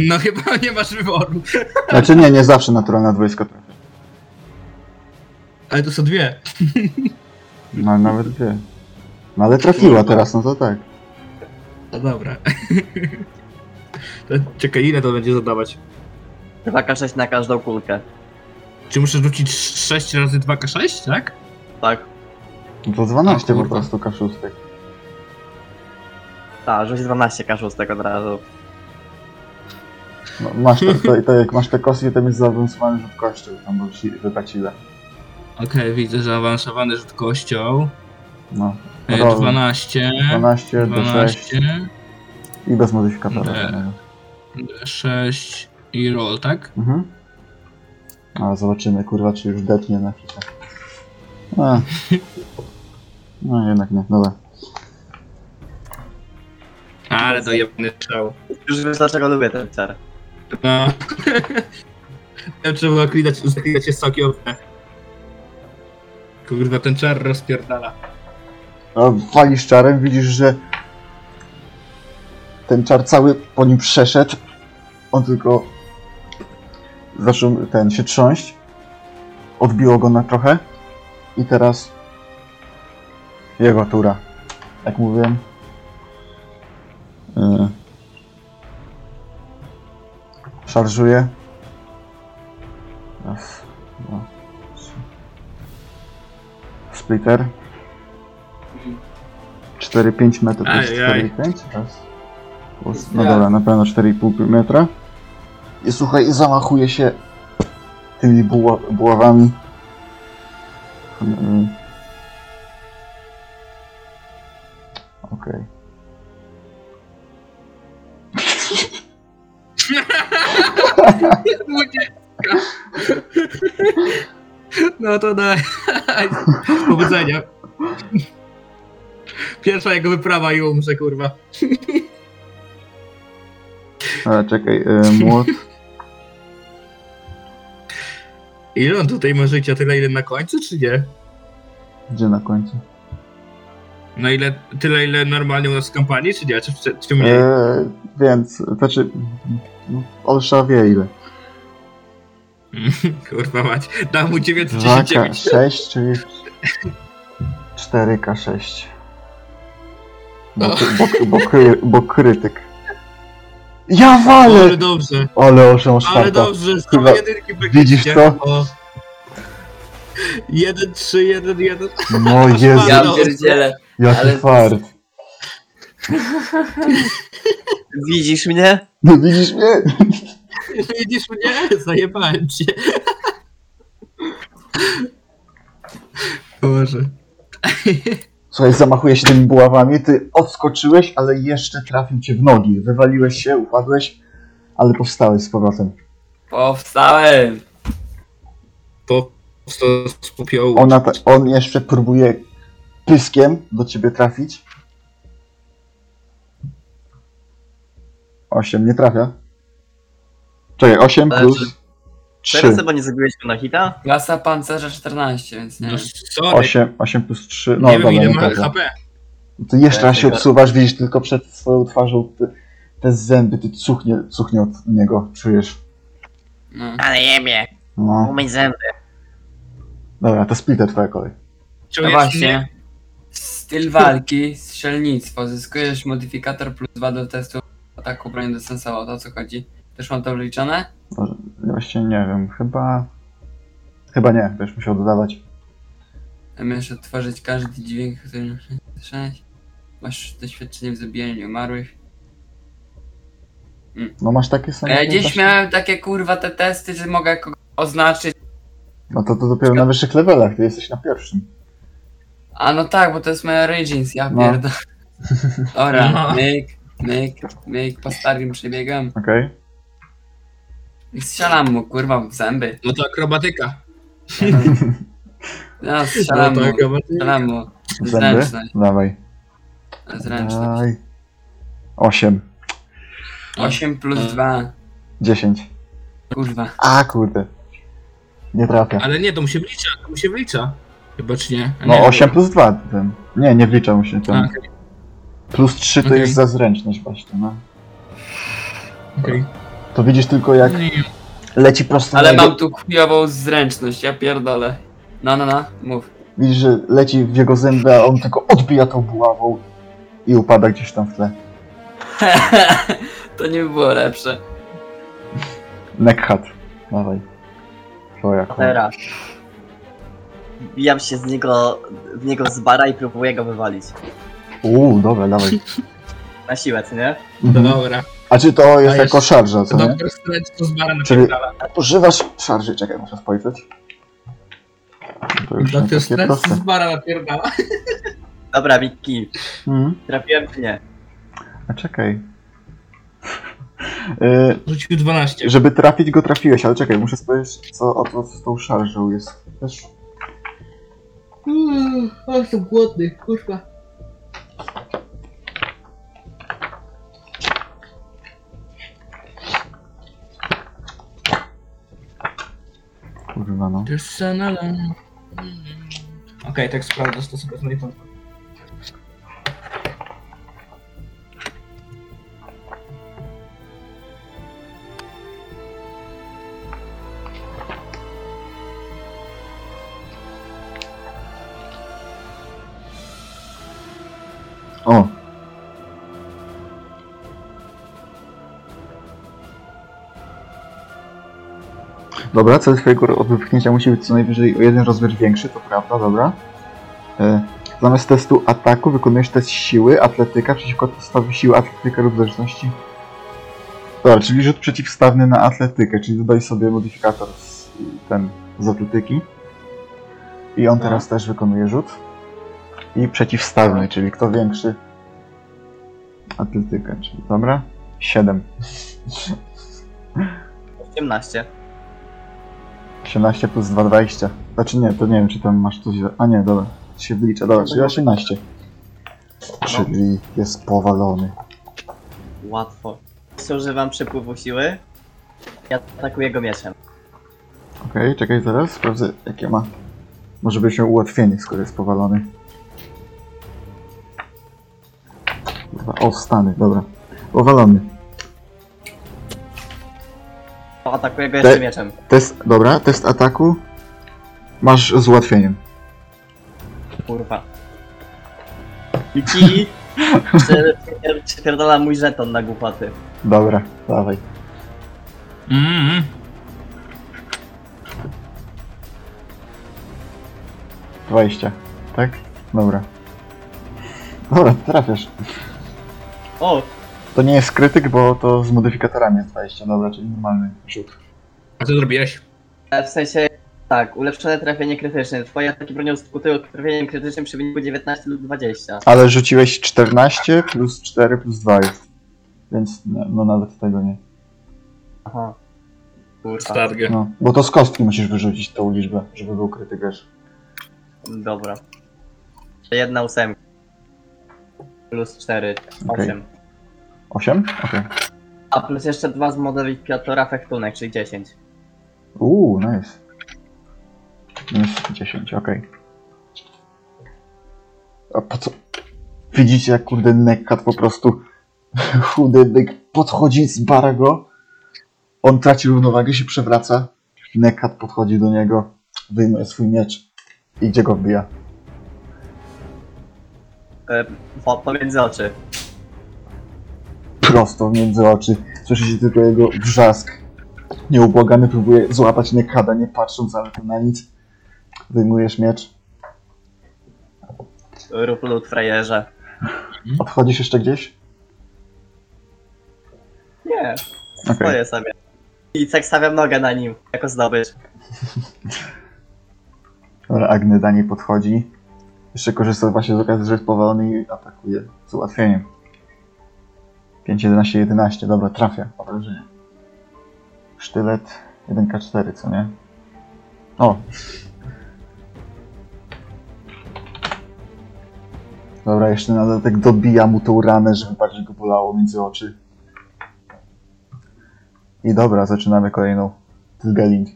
[SPEAKER 2] No chyba [laughs] nie masz wyboru.
[SPEAKER 1] Znaczy nie, nie zawsze naturalna dwójska trafia.
[SPEAKER 2] Ale to są dwie.
[SPEAKER 1] No nawet dwie. No ale trafiła teraz, no to tak.
[SPEAKER 2] No dobra. [laughs] To Czekaj, ile to będzie zadawać?
[SPEAKER 3] 2k6 na każdą kulkę.
[SPEAKER 2] Czy muszę rzucić 6 razy 2k6, tak?
[SPEAKER 3] Tak.
[SPEAKER 1] No to 12
[SPEAKER 2] O
[SPEAKER 1] po
[SPEAKER 2] kurwa.
[SPEAKER 1] prostu kaszustek.
[SPEAKER 3] Tak, rzuć 12k6 od razu.
[SPEAKER 1] No, masz to, to, to, jak masz te kostki, to jest zaawansowany rzut kością, tam był ci- wypacile.
[SPEAKER 2] Okej, widzę zaawansowany rzut kością.
[SPEAKER 1] No.
[SPEAKER 2] E,
[SPEAKER 1] Roll.
[SPEAKER 2] 12.
[SPEAKER 1] 12 do 6
[SPEAKER 2] 12.
[SPEAKER 1] i bez modyfikatora.
[SPEAKER 2] Nie.
[SPEAKER 1] żadnego.
[SPEAKER 2] 6 i roll, tak?
[SPEAKER 1] Mhm. A zobaczymy, kurwa, czy już detnie na hita. A. No jednak nie, dobra.
[SPEAKER 2] Ale dojebny strzał.
[SPEAKER 3] Już wiesz dlaczego lubię ten czar.
[SPEAKER 2] [laughs] No. Ja trzeba klinać, zaklinać się soki obne. Kurwa, ten czar rozpierdala.
[SPEAKER 1] No, walisz czarem, widzisz, że ten czar cały po nim przeszedł. On tylko zaczął ten się trząść. Odbiło go na trochę. I teraz jego tura. Jak mówiłem. Yy. Szarżuje. Raz, dwa, trzy. Splitter. 4-5 metrów. to jest
[SPEAKER 2] Ajaj.
[SPEAKER 1] 4,5? Raz. Plus- No dobra, na pewno 4,5 metra. I słuchaj, zamachuje się tymi buła, buławami. Mm. Okej.
[SPEAKER 2] No to daj. Powodzenia. Pierwsza jego wyprawa i umrze, kurwa.
[SPEAKER 1] Ale czekaj, y,
[SPEAKER 2] [laughs]
[SPEAKER 1] młot.
[SPEAKER 2] Ile on tutaj ma życia? Tyle ile na końcu, czy nie?
[SPEAKER 1] Gdzie na końcu?
[SPEAKER 2] No ile, tyle ile normalnie u nas w kampanii, czy nie? Czy, czy, czy mniej?
[SPEAKER 1] E, więc, znaczy. no, Olsza wie ile.
[SPEAKER 2] Kurwa mać. Dam mu 910.
[SPEAKER 1] 2K6, czyli 4K6. Bo,
[SPEAKER 2] O.
[SPEAKER 1] bo, bo, kry, bo krytyk. Ja walę!
[SPEAKER 2] Ale dobrze,
[SPEAKER 1] Ale Olsza masz
[SPEAKER 2] ale
[SPEAKER 1] farta.
[SPEAKER 2] dobrze,
[SPEAKER 1] Kurwa,
[SPEAKER 2] same jedynki
[SPEAKER 1] widzisz
[SPEAKER 2] praktycznie.
[SPEAKER 1] to?
[SPEAKER 2] O. Jeden, trzy, jeden, jeden. [laughs]
[SPEAKER 1] No Jezu,
[SPEAKER 4] Ja
[SPEAKER 2] no.
[SPEAKER 4] pierdzielę.
[SPEAKER 1] jaki
[SPEAKER 4] ale-
[SPEAKER 1] fart.
[SPEAKER 3] Widzisz mnie?
[SPEAKER 1] No widzisz mnie?
[SPEAKER 2] Widzisz mnie? Zajebałem cię. Boże.
[SPEAKER 1] Słuchaj, zamachuje się tymi buławami, ty odskoczyłeś, ale jeszcze trafił cię w nogi. Wywaliłeś się, upadłeś, ale powstałeś z powrotem.
[SPEAKER 4] Powstałem.
[SPEAKER 2] Po prostu z popiołu.
[SPEAKER 1] Ona ta, on jeszcze próbuje pyskiem do ciebie trafić. Osiem nie trafia. Czekaj, 8
[SPEAKER 3] Ale
[SPEAKER 1] plus
[SPEAKER 3] Teraz
[SPEAKER 1] 3.
[SPEAKER 3] chyba nie zrobiłeś go na hita?
[SPEAKER 4] Klasa pancerza 14, więc nie.
[SPEAKER 2] No sorry,
[SPEAKER 1] 8, 8 plus 3. No
[SPEAKER 2] nie
[SPEAKER 1] dobra,
[SPEAKER 2] wiem ile
[SPEAKER 1] nie
[SPEAKER 2] ma
[SPEAKER 1] trafia.
[SPEAKER 2] HP.
[SPEAKER 1] Ty jeszcze raz się
[SPEAKER 3] Czekaj.
[SPEAKER 1] odsuwasz, widzisz tylko przed swoją twarzą te, te zęby, ty cuchnie, cuchnie od niego, czujesz.
[SPEAKER 4] No.
[SPEAKER 3] Ale jebie,
[SPEAKER 1] No.
[SPEAKER 3] umyj zęby.
[SPEAKER 1] Dobra, to splitter twoja kolej.
[SPEAKER 4] No
[SPEAKER 2] Czujesz mnie?
[SPEAKER 4] właśnie. Styl walki, strzelnictwo. Zyskujesz modyfikator plus 2 do testu ataku broni dystansowo. O to co chodzi? Też mam to wliczone?
[SPEAKER 1] Właśnie nie wiem, chyba... Chyba nie, będziesz musiał dodawać.
[SPEAKER 4] Możesz odtworzyć każdy dźwięk, który słyszałeś. Masz doświadczenie w zabijaniu umarłych.
[SPEAKER 1] No masz takie
[SPEAKER 4] A
[SPEAKER 1] same...
[SPEAKER 4] ja gdzieś
[SPEAKER 1] właśnie?
[SPEAKER 4] miałem takie kurwa te testy, że mogę kogoś oznaczyć.
[SPEAKER 1] No to, to dopiero na wyższych levelach, ty jesteś na pierwszym.
[SPEAKER 4] A no tak, bo to jest moja Origins, ja
[SPEAKER 1] No.
[SPEAKER 4] pierdolę. Dobra,
[SPEAKER 2] No.
[SPEAKER 4] myk, myk, myk, po starym przebiegam.
[SPEAKER 1] Okej?
[SPEAKER 4] I strzelam mu kurwa w zęby.
[SPEAKER 2] No to akrobatyka.
[SPEAKER 4] No,
[SPEAKER 2] No
[SPEAKER 4] strzelam
[SPEAKER 2] to
[SPEAKER 4] mu,
[SPEAKER 2] akrobatyka.
[SPEAKER 4] strzelam mu.
[SPEAKER 1] Zęby?
[SPEAKER 4] Zręczność,
[SPEAKER 1] Dawaj. No
[SPEAKER 4] zręczność.
[SPEAKER 1] 8,
[SPEAKER 4] 8 plus 2,
[SPEAKER 1] 10.
[SPEAKER 4] kurwa.
[SPEAKER 1] A kurde. Nie trafia.
[SPEAKER 2] Ale nie, to mu się wlicza, to mu się wlicza. Chyba czy nie? A nie,
[SPEAKER 1] No 8 plus 2 ten. Nie, nie wlicza mu się ten.
[SPEAKER 2] A,
[SPEAKER 1] Plus 3 to
[SPEAKER 2] Okej.
[SPEAKER 1] jest za zręczność właśnie, no.
[SPEAKER 2] okej.
[SPEAKER 1] To widzisz tylko jak
[SPEAKER 2] Nie,
[SPEAKER 1] leci prosto
[SPEAKER 4] Ale
[SPEAKER 1] na
[SPEAKER 4] mam
[SPEAKER 1] jego...
[SPEAKER 4] tu chujową zręczność, ja pierdolę. No, no, no, mów.
[SPEAKER 1] Widzisz, że leci w jego zęby, a on tylko odbija tą buławą i upada gdzieś tam w tle.
[SPEAKER 4] to nie było lepsze.
[SPEAKER 1] Neckhat. Dawaj. To jak
[SPEAKER 3] Teraz. Wbijam się z niego, w niego z bara i próbuję go wywalić.
[SPEAKER 1] Uuu, dobra, dawaj.
[SPEAKER 3] Na siłę, co nie?
[SPEAKER 1] Mhm.
[SPEAKER 2] No Dobra.
[SPEAKER 1] A czy to jest
[SPEAKER 2] Dajesz.
[SPEAKER 1] jako szarża, co nie?
[SPEAKER 2] Doktor Strange to zbara na
[SPEAKER 1] Czyli-
[SPEAKER 2] pierdala.
[SPEAKER 1] Używasz szarży, czekaj, muszę spojrzeć. To już nie
[SPEAKER 2] Doktor
[SPEAKER 1] takie
[SPEAKER 2] Strange to
[SPEAKER 1] proste.
[SPEAKER 2] zbara na pierdala.
[SPEAKER 3] Dobra, Wiki,
[SPEAKER 1] Mhm.
[SPEAKER 3] trafiłem czy nie?
[SPEAKER 1] A czekaj. [laughs] Y,
[SPEAKER 2] Rzucił 12.
[SPEAKER 1] żeby trafić go trafiłeś, ale czekaj, muszę spojrzeć co o co z tą szarżą jest. Też
[SPEAKER 2] Uuu, o, Mm, jestem głodny, kurwa.
[SPEAKER 1] kurwa no.
[SPEAKER 2] Okej, okay, tak sprawdzę, to sobie znajdę.
[SPEAKER 1] O, Dobra, cel twojego ro- wypchnięcia musi być co najwyżej o jeden rozmiar większy, to prawda, dobra. E, zamiast testu ataku wykonujesz test siły, atletyka przeciwko testowi siły, atletyka lub zręczności. Dobra, czyli rzut przeciwstawny na atletykę, czyli dodaj sobie modyfikator z, ten, z atletyki. I on teraz też wykonuje rzut. I przeciwstawny, czyli kto większy. Atletyka, czyli dobra. 7.
[SPEAKER 3] 18.
[SPEAKER 1] 18 plus 2, 20. Znaczy nie, to nie wiem, czy tam masz coś... za- A nie, dobra, to się wylicza, dobra, czyli 18. Czyli jest powalony.
[SPEAKER 3] Łatwo. Jeszcze używam przepływu siły. Ja atakuję go mieczem.
[SPEAKER 1] Okej, czekaj zaraz, sprawdzę jakie ma. Może byś miał ułatwienie, skoro jest powalony. Kurwa, O, stany, dobra. Powalony.
[SPEAKER 3] O, Atakuję go jeszcze
[SPEAKER 1] Te-
[SPEAKER 3] mieczem.
[SPEAKER 1] Test, dobra, test ataku. Masz z ułatwieniem.
[SPEAKER 3] Kurwa. Miki! [laughs] Czy- czy- Czy pierdala mój żeton na głupoty?
[SPEAKER 1] Dobra, dawaj.
[SPEAKER 2] Mm. mm.
[SPEAKER 1] 20, tak? Dobra. Dobra, trafiasz.
[SPEAKER 3] O,
[SPEAKER 1] To nie jest krytyk, bo to z modyfikatorami jest 20, dobra, czyli normalny rzut.
[SPEAKER 2] A co zrobiłeś?
[SPEAKER 3] E, W sensie, tak, ulepszone trafienie krytyczne. Twoje ataki bronią skutkują trafieniem krytycznym przy wyniku 19 lub 20.
[SPEAKER 1] Ale rzuciłeś 14 plus 4 plus 2 jest. Więc no, no nawet tego nie.
[SPEAKER 3] Aha. Kurwa.
[SPEAKER 2] Stargę.
[SPEAKER 1] No, bo to z kostki musisz wyrzucić tą liczbę, żeby był krytyk wiesz.
[SPEAKER 3] Dobra. Jedna ósemka. Plus 4,
[SPEAKER 1] Okej.
[SPEAKER 3] 8.
[SPEAKER 1] 8? Okej.
[SPEAKER 3] A plus jeszcze dwa z modeli Piotra fechtunek, czyli 10.
[SPEAKER 1] Uuu, nice. Minus 10, okej. A po co? Widzicie, jak kurde Nekkat po prostu [laughs] chudy byk podchodzi, zbara go. On traci równowagę, się przewraca. Nekkat podchodzi do niego, wyjmuje swój miecz i gdzie go wbija.
[SPEAKER 3] E, po, pomiędzy oczy.
[SPEAKER 1] Prosto między oczy. Słyszy się tylko jego wrzask. Nieubłagany próbuje złapać Nekkada, nie patrząc ale to na nic. Wyjmujesz miecz.
[SPEAKER 3] Rób lud frajerze.
[SPEAKER 1] Odchodzisz jeszcze gdzieś?
[SPEAKER 3] Nie,
[SPEAKER 1] Okej.
[SPEAKER 3] stoję sobie. I tak stawiam nogę na nim, jako zdobycz.
[SPEAKER 1] Dobra, Agny do niej podchodzi. Jeszcze korzysta właśnie z okazji, że jest powalony i atakuje z ułatwieniem. 5, 11, 11. Dobra, trafia. Obrażenie. Sztylet 1K4, co nie? O! Dobra, jeszcze na dodatek dobija mu tą ranę, żeby bardziej go bolało między oczy. I dobra, zaczynamy kolejną. Tilgaling.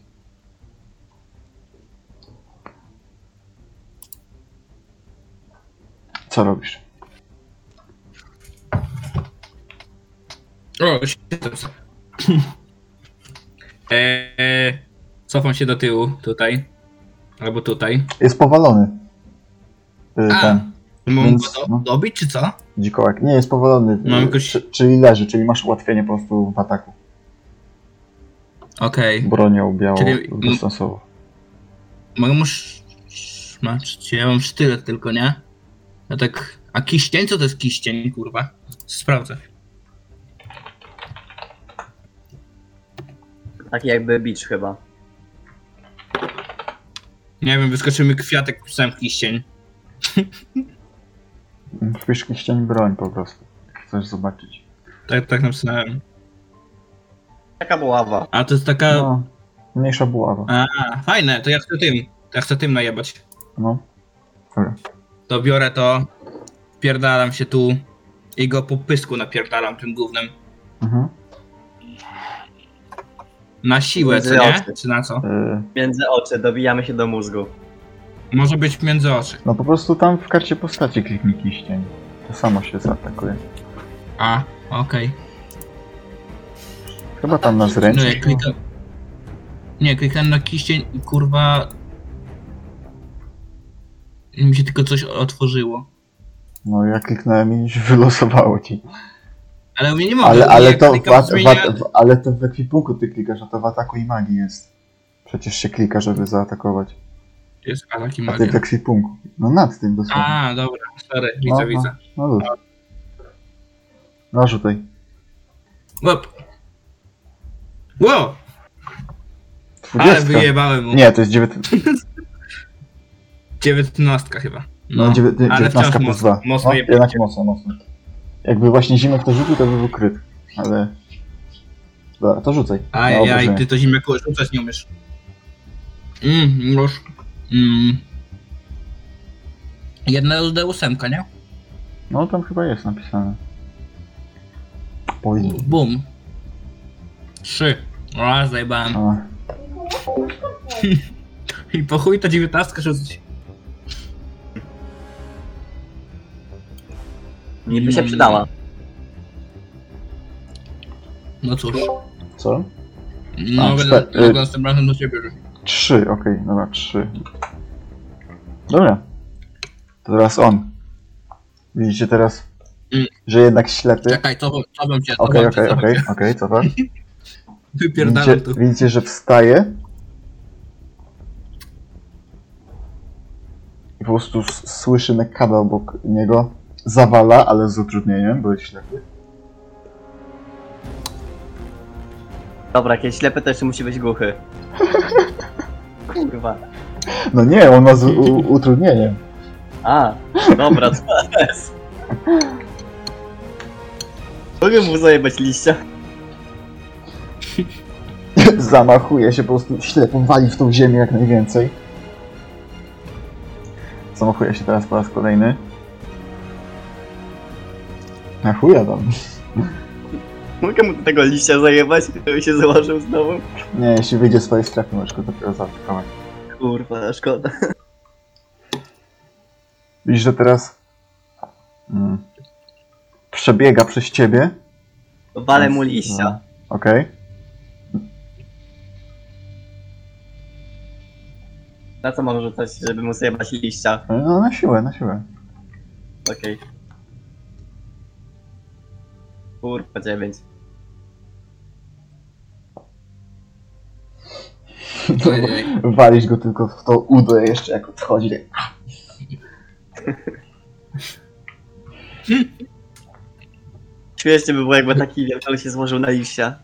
[SPEAKER 1] Co robisz?
[SPEAKER 2] O, [laughs] siedem. Eee, cofam się do tyłu, tutaj. Albo tutaj.
[SPEAKER 1] Jest powalony. Y,
[SPEAKER 2] A.
[SPEAKER 1] ten
[SPEAKER 2] Mam
[SPEAKER 1] Więc-
[SPEAKER 2] go
[SPEAKER 1] no.
[SPEAKER 2] do, dobić, czy co?
[SPEAKER 1] dzikołek. Nie, jest powalony.
[SPEAKER 2] No,
[SPEAKER 1] y,
[SPEAKER 2] jakoś-
[SPEAKER 1] czy, czyli leży, czyli masz ułatwienie po prostu w ataku.
[SPEAKER 2] Okej.
[SPEAKER 1] Bronią białą
[SPEAKER 2] Czyli-
[SPEAKER 1] dystansową.
[SPEAKER 2] Mogę mu sz- szmać, czy ja mam sztylet tylko, nie? Ja tak, a kiścień? Co to jest kiścień, kurwa? Sprawdzę.
[SPEAKER 3] Taki jakby bicz chyba.
[SPEAKER 2] Nie wiem, wyskoczył mi kwiatek, pisałem kiścień.
[SPEAKER 1] Wpisz kiścień broń po prostu. jak Chcesz zobaczyć.
[SPEAKER 2] Tak, tak napisałem.
[SPEAKER 3] Taka buława.
[SPEAKER 2] A to jest taka...
[SPEAKER 1] No, mniejsza buława.
[SPEAKER 2] A, fajne, to ja chcę tym. Ja chcę tym najebać.
[SPEAKER 1] No. Dobra.
[SPEAKER 2] To biorę to, pierdalam się tu i go po pysku napierdalam tym głównym.
[SPEAKER 1] Mhm.
[SPEAKER 2] Na siłę, co nie? Czy na co?
[SPEAKER 1] Y,
[SPEAKER 3] Między oczy, dobijamy się do mózgu.
[SPEAKER 2] Może być między oczy.
[SPEAKER 1] no po prostu tam w karcie postaci kliknij kiścień. To samo się zaatakuje.
[SPEAKER 2] A, okej.
[SPEAKER 1] Chyba tam na
[SPEAKER 2] No
[SPEAKER 1] zręczność.
[SPEAKER 2] jak klikam... Nie, klikam na kiścień i kurwa... Mi się tylko coś otworzyło.
[SPEAKER 1] No ja kliknąłem i [laughs] się wylosowało ci.
[SPEAKER 2] Ale u mnie nie mogę.
[SPEAKER 1] Ale,
[SPEAKER 2] u mnie
[SPEAKER 1] ale,
[SPEAKER 2] jak
[SPEAKER 1] to w,
[SPEAKER 2] klikam,
[SPEAKER 1] at- w,
[SPEAKER 2] zmienia-
[SPEAKER 1] at- w, ale to w ekwipunku ty klikasz, a to w ataku i magii jest. Przecież się klika, żeby zaatakować.
[SPEAKER 2] Jest atak i
[SPEAKER 1] A ty
[SPEAKER 2] magia.
[SPEAKER 1] w ekwipunku. No nad tym dosłownie.
[SPEAKER 2] A, dobra, sorry,
[SPEAKER 1] No,
[SPEAKER 2] widzę,
[SPEAKER 1] no.
[SPEAKER 2] widzę.
[SPEAKER 1] No dobrze. No rzutaj. no.
[SPEAKER 2] Łop. Wow, ale
[SPEAKER 1] 20.
[SPEAKER 2] wyjebałem mu.
[SPEAKER 1] Nie, to jest 19.
[SPEAKER 2] 19 chyba.
[SPEAKER 1] No, dziewię-
[SPEAKER 2] ale wciąż
[SPEAKER 1] 19 plus
[SPEAKER 2] mocno,
[SPEAKER 1] 2.
[SPEAKER 2] mocno
[SPEAKER 1] no,
[SPEAKER 2] jeb-
[SPEAKER 1] jednak mocno, mocno. Jakby właśnie zimek to rzucił, to by był kryt. Ale... Dobra, to rzucaj. No,
[SPEAKER 2] Ajaj,
[SPEAKER 1] obrażenia.
[SPEAKER 2] ty to zimek rzucać nie umiesz. Mm, już. Mm. Jedna D8, nie?
[SPEAKER 1] No tam chyba jest napisane. Powinno.
[SPEAKER 2] Bum. Trzy. O, zajebałem.
[SPEAKER 1] A,
[SPEAKER 2] I po chuj to 19 rzucić.
[SPEAKER 3] Niby się
[SPEAKER 2] Mm.
[SPEAKER 3] przydała.
[SPEAKER 2] No cóż.
[SPEAKER 1] co?
[SPEAKER 2] No,
[SPEAKER 1] A,
[SPEAKER 2] będę,
[SPEAKER 1] cztery.
[SPEAKER 2] będę następnym razem do ciebie rzucił.
[SPEAKER 1] Trzy, okej, dobra, trzy. Dobra. To teraz on. Widzicie teraz,
[SPEAKER 2] Mm. Tak.
[SPEAKER 1] że jednak ślepy.
[SPEAKER 2] Czekaj, cofam, cofam cię, cofam
[SPEAKER 1] Okej,
[SPEAKER 2] cię,
[SPEAKER 1] okej,
[SPEAKER 2] cofam
[SPEAKER 1] okej,
[SPEAKER 2] cię.
[SPEAKER 1] okej, co
[SPEAKER 2] [laughs]
[SPEAKER 1] tak?
[SPEAKER 2] Wypierdalam
[SPEAKER 1] Widzicie,
[SPEAKER 2] tu.
[SPEAKER 1] widzicie, że wstaje. I po prostu s- słyszy nekada obok niego. Zawala, ale z utrudnieniem, bo jest ślepy.
[SPEAKER 3] Dobra, jak jest ślepy, to jeszcze musi być
[SPEAKER 1] [laughs]
[SPEAKER 3] głuchy. Kurwa.
[SPEAKER 1] No nie, on ma z u- utrudnieniem.
[SPEAKER 3] A, dobra, co to jest? Mogę mu zajebać liścia?
[SPEAKER 1] [laughs] Zamachuje się po prostu ślepo, wali w tą ziemię jak najwięcej. Zamachuje się teraz po raz kolejny. Na chuja tam.
[SPEAKER 3] Mogę mu tego liścia zajebać, żeby się założył znowu?
[SPEAKER 1] Nie, jeśli wyjdzie z swojej strefy, możesz go dopiero zaatakować.
[SPEAKER 3] Kurwa, szkoda.
[SPEAKER 1] Widzisz, że teraz mm, przebiega przez ciebie.
[SPEAKER 3] Walę mu liścia.
[SPEAKER 1] No, Okej.
[SPEAKER 3] Na co mam rzucać, żeby mu zajebać liścia?
[SPEAKER 1] No na siłę, na siłę.
[SPEAKER 3] Okej. Kurwa, dziewięć.
[SPEAKER 2] No
[SPEAKER 4] Ojej.
[SPEAKER 1] Walisz go tylko w to udo jeszcze jak odchodzi. tak.
[SPEAKER 3] Śmiesznie by było, jakby taki wielkość się złożył na liścia.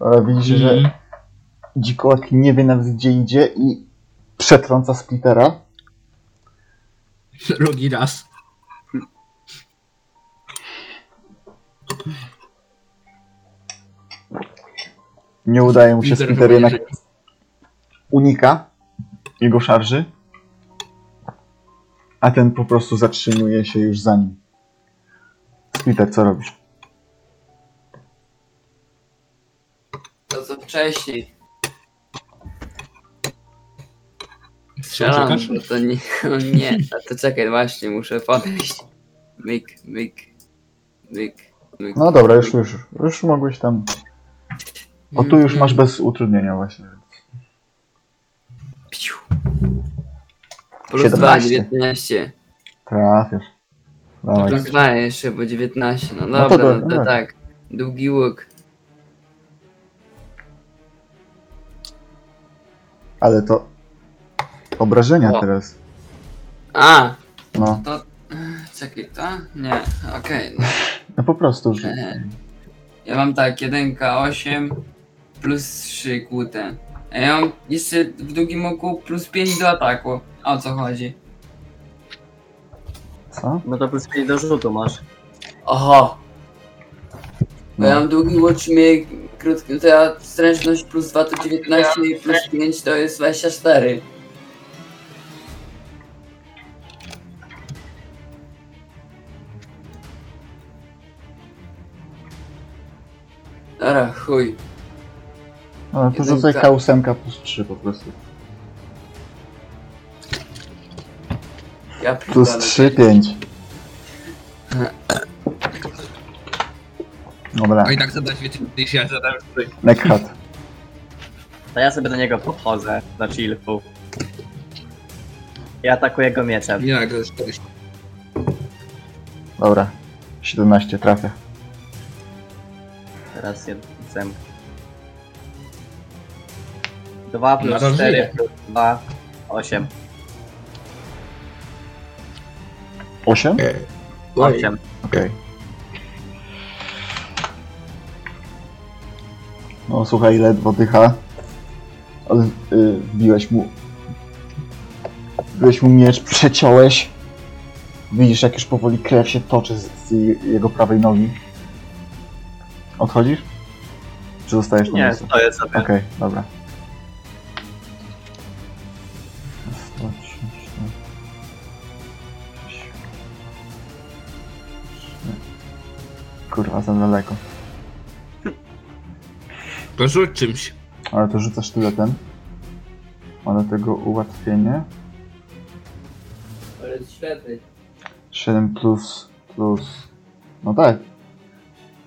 [SPEAKER 1] Ale widzisz, że
[SPEAKER 2] Mhm.
[SPEAKER 1] Dzikołak nie wie nawet gdzie idzie i przetrąca splittera.
[SPEAKER 2] Drugi raz.
[SPEAKER 1] Nie udaje mu się,
[SPEAKER 2] Peter
[SPEAKER 1] splitter
[SPEAKER 2] chyba nie
[SPEAKER 1] jednak unika jego szarży. A ten po prostu zatrzymuje się już za nim. Splitter, co robisz?
[SPEAKER 5] To co wcześniej.
[SPEAKER 4] Strzelam,
[SPEAKER 2] Strzelasz?
[SPEAKER 4] bo to nie, [laughs] no nie, a to czekaj, właśnie, muszę podejść. Myk, myk, myk, myk.
[SPEAKER 1] No dobra, już, już, już mogłeś tam... O tu już masz bez utrudnienia właśnie.
[SPEAKER 4] Piu. Plus 2,
[SPEAKER 1] 17.
[SPEAKER 4] 19.
[SPEAKER 1] Trafiasz. Dawaj.
[SPEAKER 5] Tak.
[SPEAKER 4] Plus 2 jeszcze, bo 19. No dobra,
[SPEAKER 1] No
[SPEAKER 4] no
[SPEAKER 1] to
[SPEAKER 4] to,
[SPEAKER 1] do-
[SPEAKER 4] no
[SPEAKER 1] dobra.
[SPEAKER 4] to tak. Długi łuk.
[SPEAKER 1] Ale to... Obrażenia
[SPEAKER 4] O.
[SPEAKER 1] teraz.
[SPEAKER 4] A!
[SPEAKER 1] No.
[SPEAKER 4] Czekaj, to? Nie, okej. no.
[SPEAKER 1] No po prostu rzuć.
[SPEAKER 4] E, Ja mam tak, 1K8 plus 3 kłute. A ja mam jeszcze w drugim oku plus 5 do ataku. O co chodzi?
[SPEAKER 1] Co?
[SPEAKER 3] No to plus 5 do rzutu masz.
[SPEAKER 4] Oho! Bo ja
[SPEAKER 1] No.
[SPEAKER 4] mam długi łuk, czy mnie krótki, to ja stręczność plus 2 to 19 i plus 5 to jest 24. Dobra, chuj.
[SPEAKER 1] No to
[SPEAKER 4] Jeden
[SPEAKER 1] rzucaj
[SPEAKER 4] za-
[SPEAKER 1] K8 plus 3 po prostu.
[SPEAKER 4] Ja
[SPEAKER 1] Plus
[SPEAKER 4] pierdolę.
[SPEAKER 1] 3, 5. Dobra,
[SPEAKER 2] No i tak zadać więcej niż ja zadałem.
[SPEAKER 1] Neckhat.
[SPEAKER 3] To ja sobie do niego podchodzę, na chillfu. I atakuję go mieczem.
[SPEAKER 2] Nie tak, to jest 40.
[SPEAKER 1] Dobra, 17 trafia.
[SPEAKER 3] Teraz je zem. 2 plus
[SPEAKER 2] Nadal
[SPEAKER 3] 4
[SPEAKER 2] żyje.
[SPEAKER 3] plus 2, 8.
[SPEAKER 1] 8? Okej.
[SPEAKER 2] Oj,
[SPEAKER 3] 8.
[SPEAKER 1] No słuchaj, ledwo dycha. Ale yy, wbiłeś mu... Wbiłeś mu miecz, przeciąłeś. Widzisz, jak już powoli krew się toczy z, z jego prawej nogi. Odchodzisz? Czy zostajesz na
[SPEAKER 3] Nie,
[SPEAKER 1] miejscu?
[SPEAKER 3] stoję sobie.
[SPEAKER 1] Okej, dobra. Kurwa, za daleko.
[SPEAKER 2] to rzuć czymś.
[SPEAKER 1] Ale to rzucasz tyle ten. Ma do tego ułatwienie.
[SPEAKER 5] Ale jest ślepy.
[SPEAKER 1] 7 plus plus. No tak.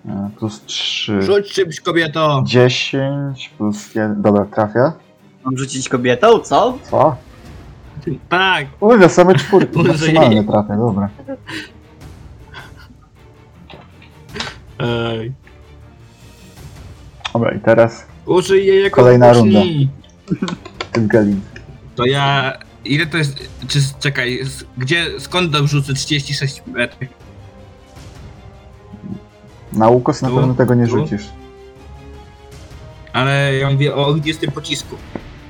[SPEAKER 1] E, Plus 3.
[SPEAKER 2] Rzuć czymś, kobieto!
[SPEAKER 1] 10 plus 1. Dobra, trafia.
[SPEAKER 3] Mam rzucić kobietą, co?
[SPEAKER 1] Co?
[SPEAKER 2] Tak,
[SPEAKER 1] Kurde, same czwórki.
[SPEAKER 2] [laughs] Boże.
[SPEAKER 1] Maksymalnie trafia, dobra.
[SPEAKER 2] Ej.
[SPEAKER 1] Dobra, i teraz
[SPEAKER 2] Użyj jej jako
[SPEAKER 1] Kolejna
[SPEAKER 2] włóczni.
[SPEAKER 1] runda. ten galin.
[SPEAKER 2] To ja... Ile to jest... Czy, czekaj, z, gdzie... Skąd do rzucę 36 metrów?
[SPEAKER 1] Na ukos na
[SPEAKER 2] Tu?
[SPEAKER 1] pewno tego nie
[SPEAKER 2] Tu?
[SPEAKER 1] rzucisz.
[SPEAKER 2] Ale ja mówię o 20 pocisku.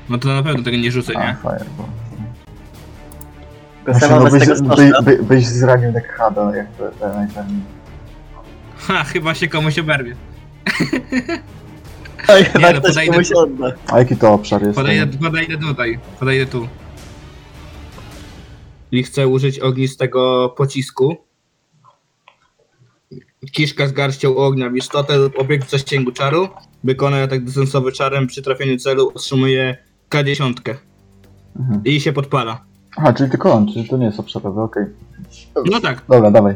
[SPEAKER 2] No to na pewno tego nie rzucę,
[SPEAKER 1] A,
[SPEAKER 2] nie?
[SPEAKER 1] fireball.
[SPEAKER 3] Tylko sama
[SPEAKER 1] no,
[SPEAKER 3] bez
[SPEAKER 1] byś, by,
[SPEAKER 3] tego [laughs] stożka.
[SPEAKER 1] by, byś zranił tak hada, jak to, to najpewniej.
[SPEAKER 2] Ha, chyba się komuś oberwie.
[SPEAKER 3] Oj, chyba
[SPEAKER 2] Nie,
[SPEAKER 3] Tak,
[SPEAKER 2] no,
[SPEAKER 3] ktoś
[SPEAKER 2] podejdę-
[SPEAKER 3] komuś odda.
[SPEAKER 1] A jaki to obszar jest?
[SPEAKER 2] Podejdę, podejdę tutaj, podejdę tu. I chcę użyć ognistego pocisku. Kiszka z garścią ognia w istotę lub obiekt w zasięgu czaru. Wykona atak dystansowy czarem przy trafieniu celu otrzymuje K10
[SPEAKER 1] Mhm.
[SPEAKER 2] i się podpala.
[SPEAKER 1] Aha, czyli tylko on, czyli to nie jest obszarowy, okej.
[SPEAKER 2] No tak.
[SPEAKER 1] Dobra, dawaj.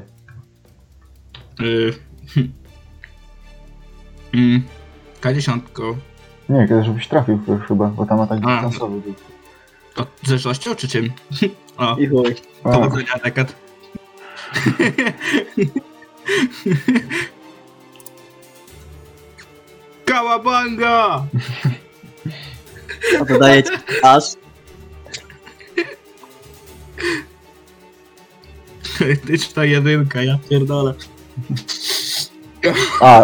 [SPEAKER 2] Y... [laughs] Mm. K10.
[SPEAKER 1] Nie, kiedy żebyś trafił już chyba, bo tam atak
[SPEAKER 2] A.
[SPEAKER 1] dystansowy był.
[SPEAKER 2] To zresztą czy czym? [laughs] O,
[SPEAKER 3] I chuj.
[SPEAKER 1] A,
[SPEAKER 2] powodzenia dekad. [laughs] Kałabanga!
[SPEAKER 3] No to daję ci aż.
[SPEAKER 2] Krytyczna jedynka, ja pierdolę.
[SPEAKER 1] a,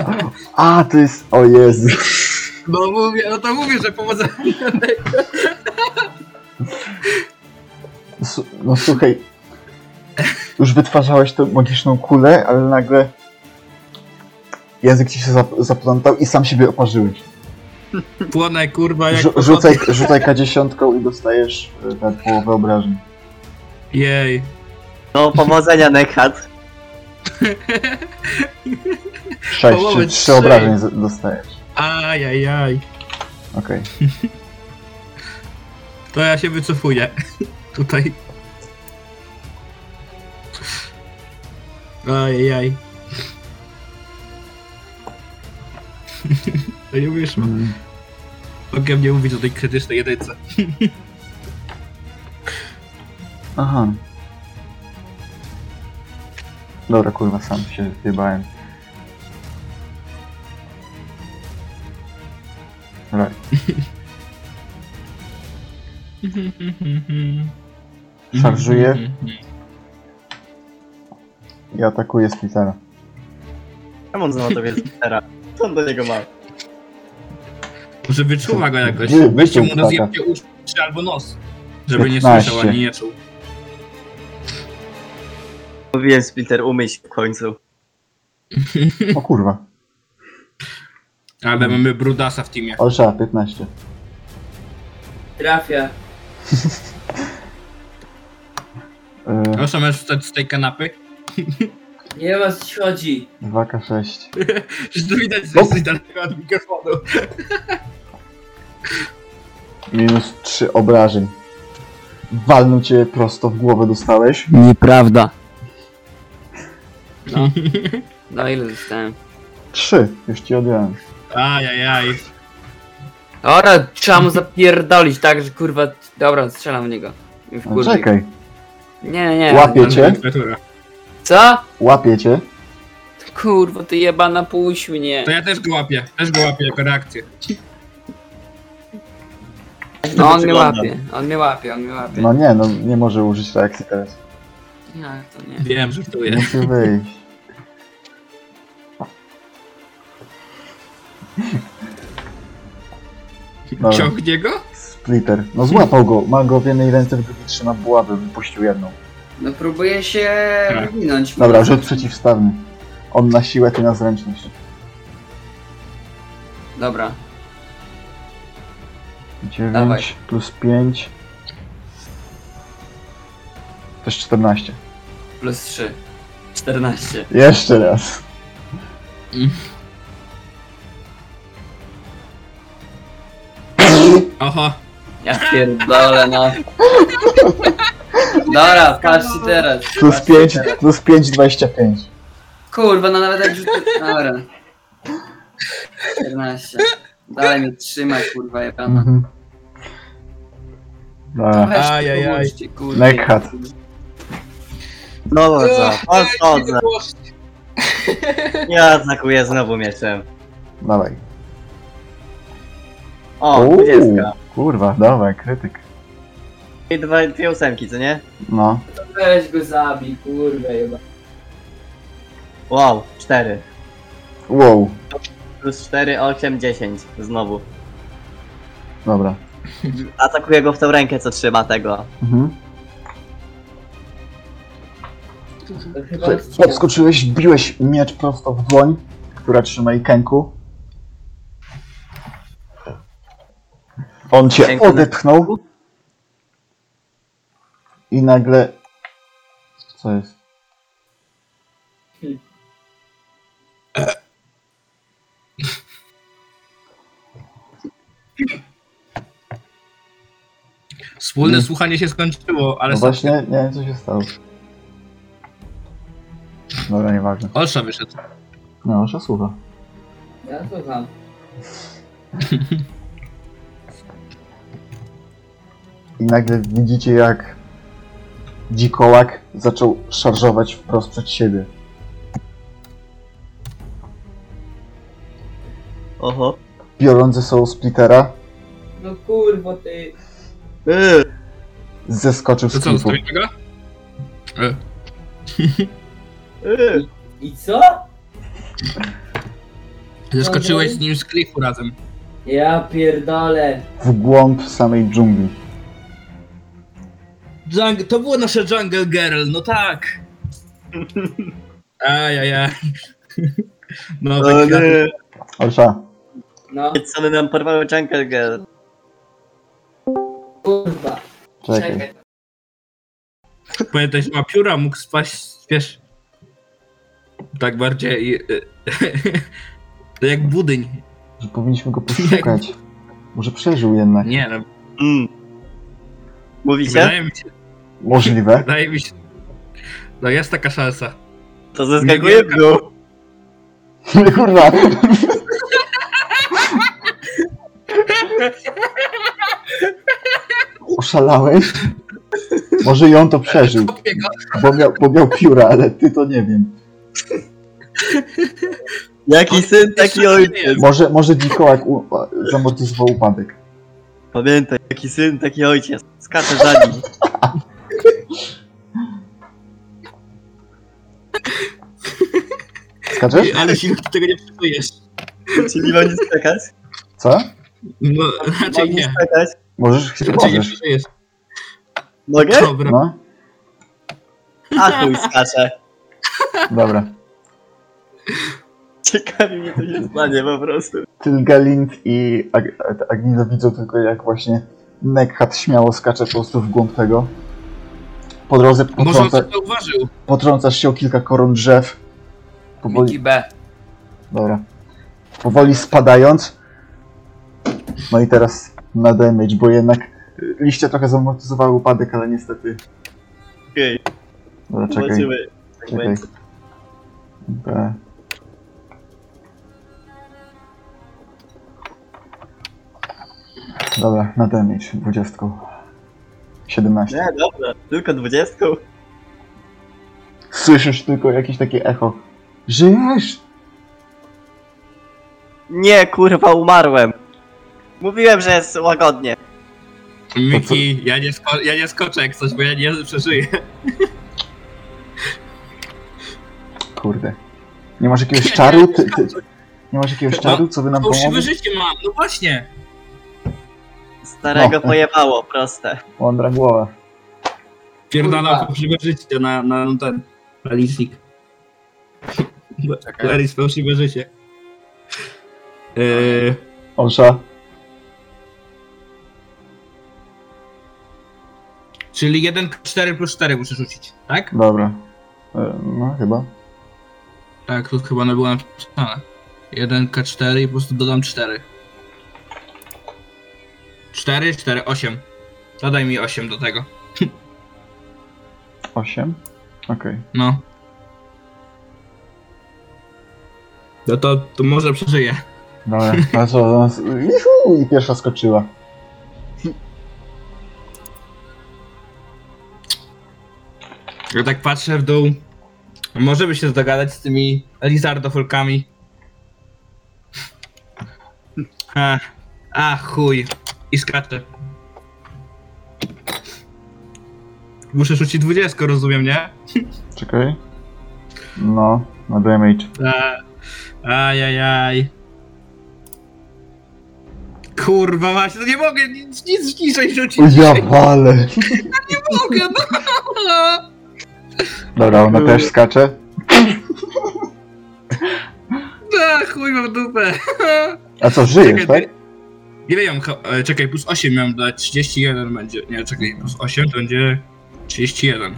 [SPEAKER 1] a, to jest, o Jezu.
[SPEAKER 2] No mówię, no to mówię, że powodzenia.
[SPEAKER 1] Su- No słuchaj, już wytwarzałeś tę magiczną kulę, ale nagle język ci się zap- zaplątał i sam siebie oparzyłeś.
[SPEAKER 2] Płonę kurwa jak...
[SPEAKER 1] Rzu- rzucaj, rzucaj K10 i dostajesz e, na połowę obrażeń.
[SPEAKER 2] Jej.
[SPEAKER 3] No, powodzenia, Nekhat.
[SPEAKER 1] 6
[SPEAKER 2] Połowę
[SPEAKER 1] czy
[SPEAKER 2] trzy.
[SPEAKER 1] 3 obrażeń z- dostajesz.
[SPEAKER 2] Ajajaj.
[SPEAKER 1] Okej.
[SPEAKER 2] To ja się wycofuję. [laughs] Tutaj. Ajajaj. [laughs] To nie wyszło.
[SPEAKER 1] Mm,
[SPEAKER 2] Mogę nie mówić o tej krytycznej jedynce.
[SPEAKER 1] Aha. Dobra, kurwa, sam się zjebałem. Dobra, Szarżuję.
[SPEAKER 2] Mhm.
[SPEAKER 1] i atakuję Splittera.
[SPEAKER 3] Czemu on znowu to wie teraz? Co on do niego ma?
[SPEAKER 2] Może wyczuwa go jakoś.
[SPEAKER 1] Wy-
[SPEAKER 2] Weźcie mu
[SPEAKER 1] wyczuł
[SPEAKER 2] rozjebcie uszy albo nos. Żeby nie
[SPEAKER 1] 15.
[SPEAKER 2] słyszał ani nie czuł.
[SPEAKER 3] Mówiłem, Splitter, umyj się w końcu.
[SPEAKER 1] O kurwa. Mhm.
[SPEAKER 2] Ale mamy brudasa w teamie.
[SPEAKER 1] Ale trzeba, 15.
[SPEAKER 5] Trafia.
[SPEAKER 1] Yy,
[SPEAKER 2] Proszę, możesz wstać z tej kanapy.
[SPEAKER 5] Nie ma co ci chodzi.
[SPEAKER 1] 2K6.
[SPEAKER 2] Przecież to widać, że jesteś daleko od mikrofonu.
[SPEAKER 1] Minus 3 obrażeń. Walnął cię prosto w głowę dostałeś.
[SPEAKER 4] Nieprawda. No. No ile dostałem?
[SPEAKER 1] 3. Już ci odjąłem.
[SPEAKER 2] Ajajaj.
[SPEAKER 4] Ora, trzeba mu zapierdolić tak, że kurwa... Dobra, strzelam w niego. Już
[SPEAKER 1] No, czekaj.
[SPEAKER 4] Nie, nie.
[SPEAKER 1] Łapie. Wiecie?
[SPEAKER 2] Temperatura.
[SPEAKER 4] Co?
[SPEAKER 1] Łapie cię.
[SPEAKER 4] Kurwa, ty jebana, puść mnie.
[SPEAKER 2] To ja też go łapię, też go łapię jako reakcję.
[SPEAKER 4] No on mnie
[SPEAKER 3] Wygląda.
[SPEAKER 4] łapie, on mnie łapie, on mnie łapie.
[SPEAKER 1] No nie, no nie może użyć reakcji teraz.
[SPEAKER 4] Jak to nie?
[SPEAKER 2] Wiem, żartuję.
[SPEAKER 1] Musi wyjść. Dobra.
[SPEAKER 2] Ciągnie go?
[SPEAKER 1] Splitter. No złapał go. Ma go w jednej ręce, w drugiej trzyma buławę. Wypuścił jedną.
[SPEAKER 5] No próbuję się
[SPEAKER 2] Tak.
[SPEAKER 5] wywinąć.
[SPEAKER 1] Dobra, rzut przeciwstawny. On na siłę, ty na zręczność.
[SPEAKER 4] Dobra.
[SPEAKER 1] 9
[SPEAKER 4] Dawaj.
[SPEAKER 1] plus 5. To jest 14.
[SPEAKER 4] Plus 3. 14.
[SPEAKER 1] Jeszcze raz.
[SPEAKER 2] Oho.
[SPEAKER 4] Ja pierdolę na. [laughs] Dobra, patrzcie teraz.
[SPEAKER 1] Plus
[SPEAKER 4] patrzcie
[SPEAKER 1] 5,
[SPEAKER 4] teraz.
[SPEAKER 1] plus 5, 25.
[SPEAKER 4] Kurwa, no nawet jak rzucę. Dobra. 14. Dalej mnie trzymaj, kurwa, jebana.
[SPEAKER 1] Mhm. Dobra.
[SPEAKER 4] Weźcie,
[SPEAKER 2] Ajajaj.
[SPEAKER 4] pomóżcie, kurwa.
[SPEAKER 1] Neckhat.
[SPEAKER 3] No dobrze,
[SPEAKER 2] Ach,
[SPEAKER 3] odchodzę. Ja atakuję znowu mieczem.
[SPEAKER 1] Dawaj.
[SPEAKER 3] O,
[SPEAKER 1] Uuu,
[SPEAKER 3] 20.
[SPEAKER 1] Kurwa, dawaj, krytyk.
[SPEAKER 3] I dwa, dwie ósemki, co nie?
[SPEAKER 1] No.
[SPEAKER 4] Weź go zabij, kurwa, jebana.
[SPEAKER 3] Wow, 4.
[SPEAKER 1] Wow.
[SPEAKER 3] Plus 4, 8, 10. Znowu.
[SPEAKER 1] Dobra.
[SPEAKER 3] Atakuję go w tą rękę, co trzyma tego.
[SPEAKER 1] Mhm.
[SPEAKER 4] To chyba
[SPEAKER 1] Słuchaj, Podskoczyłeś, wbiłeś miecz prosto w dłoń, która trzyma jej kęku. On cię
[SPEAKER 3] Kęku
[SPEAKER 1] odepchnął. I nagle... Co jest?
[SPEAKER 2] Wspólne
[SPEAKER 1] Mm.
[SPEAKER 2] słuchanie się skończyło, ale
[SPEAKER 1] No
[SPEAKER 2] no
[SPEAKER 1] właśnie, nie wiem co się stało. Dobra, nieważne.
[SPEAKER 2] Olsza wyszedł.
[SPEAKER 1] No, nasza słucha.
[SPEAKER 4] Ja słucham.
[SPEAKER 1] I nagle widzicie jak dzikołak zaczął szarżować wprost przed siebie.
[SPEAKER 3] Oho.
[SPEAKER 1] Biorąc ze sobą splittera,
[SPEAKER 4] No kurwa, ty.
[SPEAKER 3] Yy,
[SPEAKER 1] zeskoczył
[SPEAKER 2] To
[SPEAKER 1] z
[SPEAKER 2] co,
[SPEAKER 1] klifu.
[SPEAKER 2] zostawimy go? E,
[SPEAKER 3] yy.
[SPEAKER 4] I co?
[SPEAKER 2] Zeskoczyłeś z nim z klifu razem.
[SPEAKER 4] Ja pierdolę.
[SPEAKER 1] W głąb samej dżungli.
[SPEAKER 2] Jung- to było nasze Jungle Girl, no [laughs] tak. Ajajaj. No,
[SPEAKER 3] O
[SPEAKER 2] tak
[SPEAKER 3] nie.
[SPEAKER 1] Olsza,
[SPEAKER 4] No
[SPEAKER 3] Sony nam porwały Jungle Girl.
[SPEAKER 4] kurwa.
[SPEAKER 1] czekaj.
[SPEAKER 2] Pamiętaj, że ma pióra, mógł spaść, wiesz... Tak bardziej... y, y, [laughs] to jak budyń.
[SPEAKER 1] Że powinniśmy go poszukać. Może przeżył jednak.
[SPEAKER 2] Nie no,
[SPEAKER 3] Mm. Mówicie?
[SPEAKER 2] wydaje mi się,
[SPEAKER 1] Możliwe. [laughs]
[SPEAKER 2] wydaje mi się... No jest taka szansa.
[SPEAKER 3] To zeskakuje w dół.
[SPEAKER 1] Kurwa. Oszalałeś? Może ją to przeżył,
[SPEAKER 2] Kopię go.
[SPEAKER 1] bo miał, bo miał pióra, ale ty to nie wiem.
[SPEAKER 3] Jaki syn, taki
[SPEAKER 2] Jeszcze
[SPEAKER 3] ojciec.
[SPEAKER 1] Może, może dzikołak u, zamortyzował upadek.
[SPEAKER 3] Pamiętaj, jaki syn, taki ojciec. Skacze za nim.
[SPEAKER 1] Skaczesz?
[SPEAKER 2] Ale się tego nie przeżyjesz.
[SPEAKER 3] Czyli mam nie skakać?
[SPEAKER 1] Co?
[SPEAKER 2] No, raczej
[SPEAKER 3] Mam nie
[SPEAKER 2] nie.
[SPEAKER 3] skakać?
[SPEAKER 1] Możesz, chyba
[SPEAKER 2] Raczej nie
[SPEAKER 1] możesz.
[SPEAKER 2] przeżyjesz.
[SPEAKER 3] Mogę?
[SPEAKER 2] Dobra.
[SPEAKER 1] No,
[SPEAKER 3] A chuj, skacze.
[SPEAKER 1] dobra.
[SPEAKER 3] Ciekawi mnie, co się stanie po prostu.
[SPEAKER 1] Tylgalind i Ag Agnida widzą tylko jak właśnie Nekhat śmiało skacze po prostu w głąb tego. Po drodze
[SPEAKER 2] Może on
[SPEAKER 1] potrąca,
[SPEAKER 2] No, to zauważył.
[SPEAKER 1] potrącasz się o kilka koron drzew. Powoli,
[SPEAKER 4] Miki B.
[SPEAKER 1] dobra. Powoli spadając. No i teraz na damage, bo jednak y, liście trochę zamortyzowały upadek, ale niestety...
[SPEAKER 3] Okej,
[SPEAKER 1] Dobra, czekaj,
[SPEAKER 3] zobaczymy. Tak
[SPEAKER 1] czekaj.
[SPEAKER 3] będzie.
[SPEAKER 1] B. Dobra, na damage, dwudziestką. 17.
[SPEAKER 3] Nie, dobra, tylko dwudziestką.
[SPEAKER 1] Słyszysz tylko jakieś takie echo. Żyjesz?
[SPEAKER 3] Nie, kurwa, umarłem. Mówiłem, że jest łagodnie.
[SPEAKER 2] Miki, ja nie, sko- ja nie skoczę jak coś, bo ja nie przeżyję.
[SPEAKER 1] Kurde. Nie masz jakiegoś czaru? Ty, ty, nie masz jakiegoś czaru, co by nam pomogło?
[SPEAKER 2] Fałszywe życie mam, no właśnie.
[SPEAKER 3] Starego
[SPEAKER 1] No.
[SPEAKER 3] pojebało, proste.
[SPEAKER 1] Mądra głowa.
[SPEAKER 2] Pierdala
[SPEAKER 5] Kurwa.
[SPEAKER 2] fałszywe życie na, na na ten... Na licznik.
[SPEAKER 4] Czekaj.
[SPEAKER 2] Larry, fałszywe życie. Yy,
[SPEAKER 1] Osza.
[SPEAKER 2] czyli 1, 4 plus 4 muszę rzucić, tak?
[SPEAKER 1] Dobra. E, No chyba.
[SPEAKER 2] Tak, tu chyba było napisane. 1K4 i po prostu dodam 4. 4, 4, 8. Dodaj mi 8 do tego.
[SPEAKER 1] Osiem. Okej.
[SPEAKER 2] No. No to, to może przeżyję.
[SPEAKER 1] Dobra. [laughs] No co, do nas... Juhu! I pierwsza skoczyła.
[SPEAKER 2] Ja tak patrzę w dół. Możemy się dogadać z tymi Lizardofolkami. A, a chuj. I skaczę. Muszę rzucić 20, rozumiem, nie?
[SPEAKER 1] Czekaj. No, na damage.
[SPEAKER 2] A- Ajajaj. Kurwa właśnie, no nie mogę nic, nic niżej rzucić.
[SPEAKER 1] Ja walę.
[SPEAKER 2] Nie mogę, [laughs] no.
[SPEAKER 1] Dobra, ona też skacze.
[SPEAKER 2] A, chuj mam dupę. [laughs]
[SPEAKER 1] A co, żyjesz, tak?
[SPEAKER 2] Czekaj, Ile ja mam? he- e, Czekaj, plus 8 miałem dać, 31 będzie. Nie, czekaj, plus 8 to będzie 31.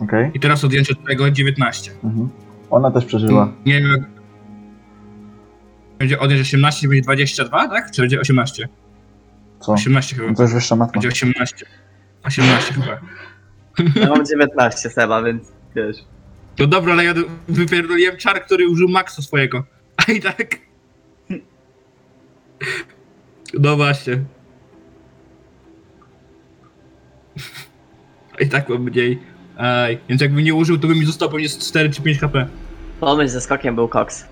[SPEAKER 1] Okej.
[SPEAKER 2] I teraz odjąć od tego 19.
[SPEAKER 1] Mhm. Ona też przeżyła.
[SPEAKER 2] Nie wiem jak... Będzie odjąć 18, będzie 22, tak? Czy będzie 18?
[SPEAKER 1] Co?
[SPEAKER 2] 18 chyba.
[SPEAKER 1] No to już wyższa matka.
[SPEAKER 2] Będzie 18. 18 chyba.
[SPEAKER 3] Ja [laughs] mam 19 seba, więc wiesz.
[SPEAKER 2] No dobra, ale ja wypierdoliłem czar, który użył maksa swojego. A i tak. No właśnie. A i tak mam mniej. Aj, więc jakbym nie użył, to by mi zostało pewnie 4 czy 5 HP.
[SPEAKER 3] Pomysł ze skokiem był koks.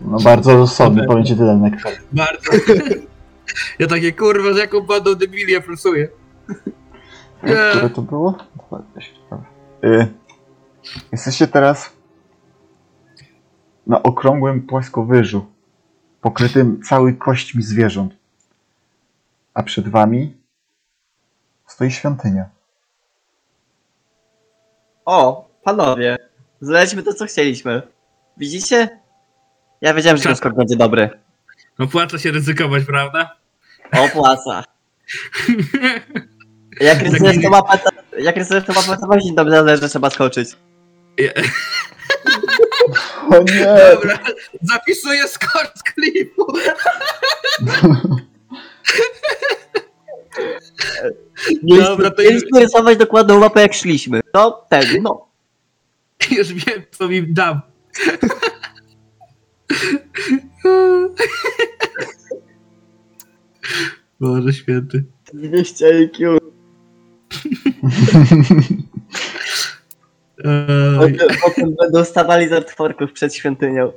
[SPEAKER 1] No bardzo rozsądny, powiem ci tyle, Nek.
[SPEAKER 2] Bardzo. Ja takie kurwa, z jaką bandą debili ja pracuję. Nie.
[SPEAKER 1] Które to było? 20. dobra. Y, Jesteście teraz na okrągłym płaskowyżu, pokrytym cały kośćmi zwierząt. A przed wami stoi świątynia.
[SPEAKER 3] O, panowie, zlećmy to, co chcieliśmy. Widzicie? Ja wiedziałem, że ten skok będzie dobry.
[SPEAKER 2] No płaca się ryzykować, prawda?
[SPEAKER 3] [laughs] Opłaca. Jak rysujesz to mapę, to, jak rysujesz to mapę, to właśnie dobrze zależy, że trzeba skoczyć.
[SPEAKER 2] Ja-
[SPEAKER 1] O nie!
[SPEAKER 2] Dobra, zapisuję skor z klipu. Dobra, to jest-
[SPEAKER 3] Mieliśmy rysować dokładną mapę, jak szliśmy. No, ten, no.
[SPEAKER 2] [laughs] Już wiem, co mi dam. [laughs] Boże święty.
[SPEAKER 3] 200 IQ.
[SPEAKER 2] Ej,
[SPEAKER 3] Potem, potem będą stawali z artworków przed świątynią.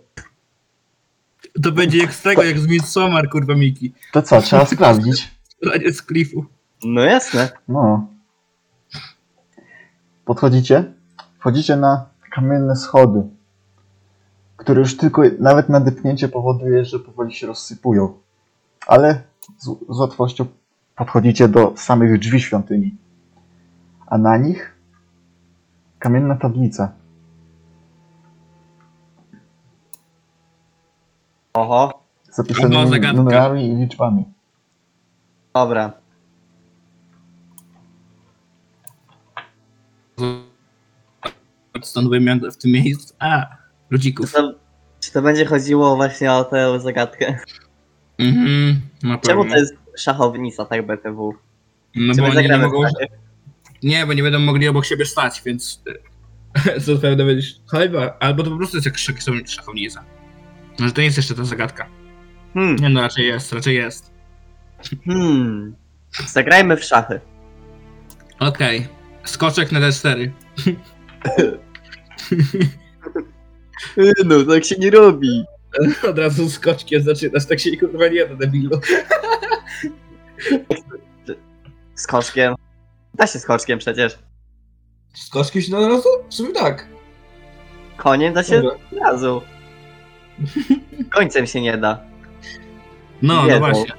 [SPEAKER 2] To będzie jak z tego, jak z Midsommar, kurwa Miki.
[SPEAKER 1] To co, trzeba sprawdzić.
[SPEAKER 2] Ranie z klifu.
[SPEAKER 3] No jasne.
[SPEAKER 1] No. Podchodzicie? Wchodzicie na kamienne schody, które już tylko nawet nadepnięcie powoduje, że powoli się rozsypują. Ale z, z łatwością podchodzicie do samych drzwi świątyni. A na nich kamienna tablica.
[SPEAKER 3] Oho,
[SPEAKER 1] z zapisanymi
[SPEAKER 2] zagadka.
[SPEAKER 1] numerami i liczbami.
[SPEAKER 3] dobra.
[SPEAKER 2] Stanowiłem w tym miejscu. A,
[SPEAKER 3] Czy
[SPEAKER 2] ludzików.
[SPEAKER 3] to, czy to będzie chodziło właśnie o tę zagadkę?
[SPEAKER 2] Mhm, na
[SPEAKER 3] Czemu
[SPEAKER 2] pewno.
[SPEAKER 3] to jest szachownica, tak BTW?
[SPEAKER 2] No
[SPEAKER 3] Czy
[SPEAKER 2] bo
[SPEAKER 3] my
[SPEAKER 2] oni nie
[SPEAKER 3] zagramy tak? w
[SPEAKER 2] mogą...
[SPEAKER 3] takie?
[SPEAKER 2] Nie, bo nie będą mogli obok siebie stać, więc... e, [laughs] Zapewne będziesz... Chyba, albo to po prostu jest jak szach- szachownica. Może to nie jest jeszcze ta zagadka.
[SPEAKER 3] Hmm,
[SPEAKER 2] Nie no, raczej jest, raczej jest.
[SPEAKER 3] hmm. Zagrajmy w szachy.
[SPEAKER 2] Okej. Skoczek na D4.
[SPEAKER 3] No, tak się nie robi.
[SPEAKER 2] [laughs] Od razu z koczkiem zaczynasz, tak się kurwa nie da debilu.
[SPEAKER 3] Z koszkiem. Da się z koszkiem przecież.
[SPEAKER 2] Z koczkiem się da od razu? W sumie tak.
[SPEAKER 3] Koniem da się od razu. Końcem się nie da.
[SPEAKER 2] No, no
[SPEAKER 3] Jedną.
[SPEAKER 2] właśnie.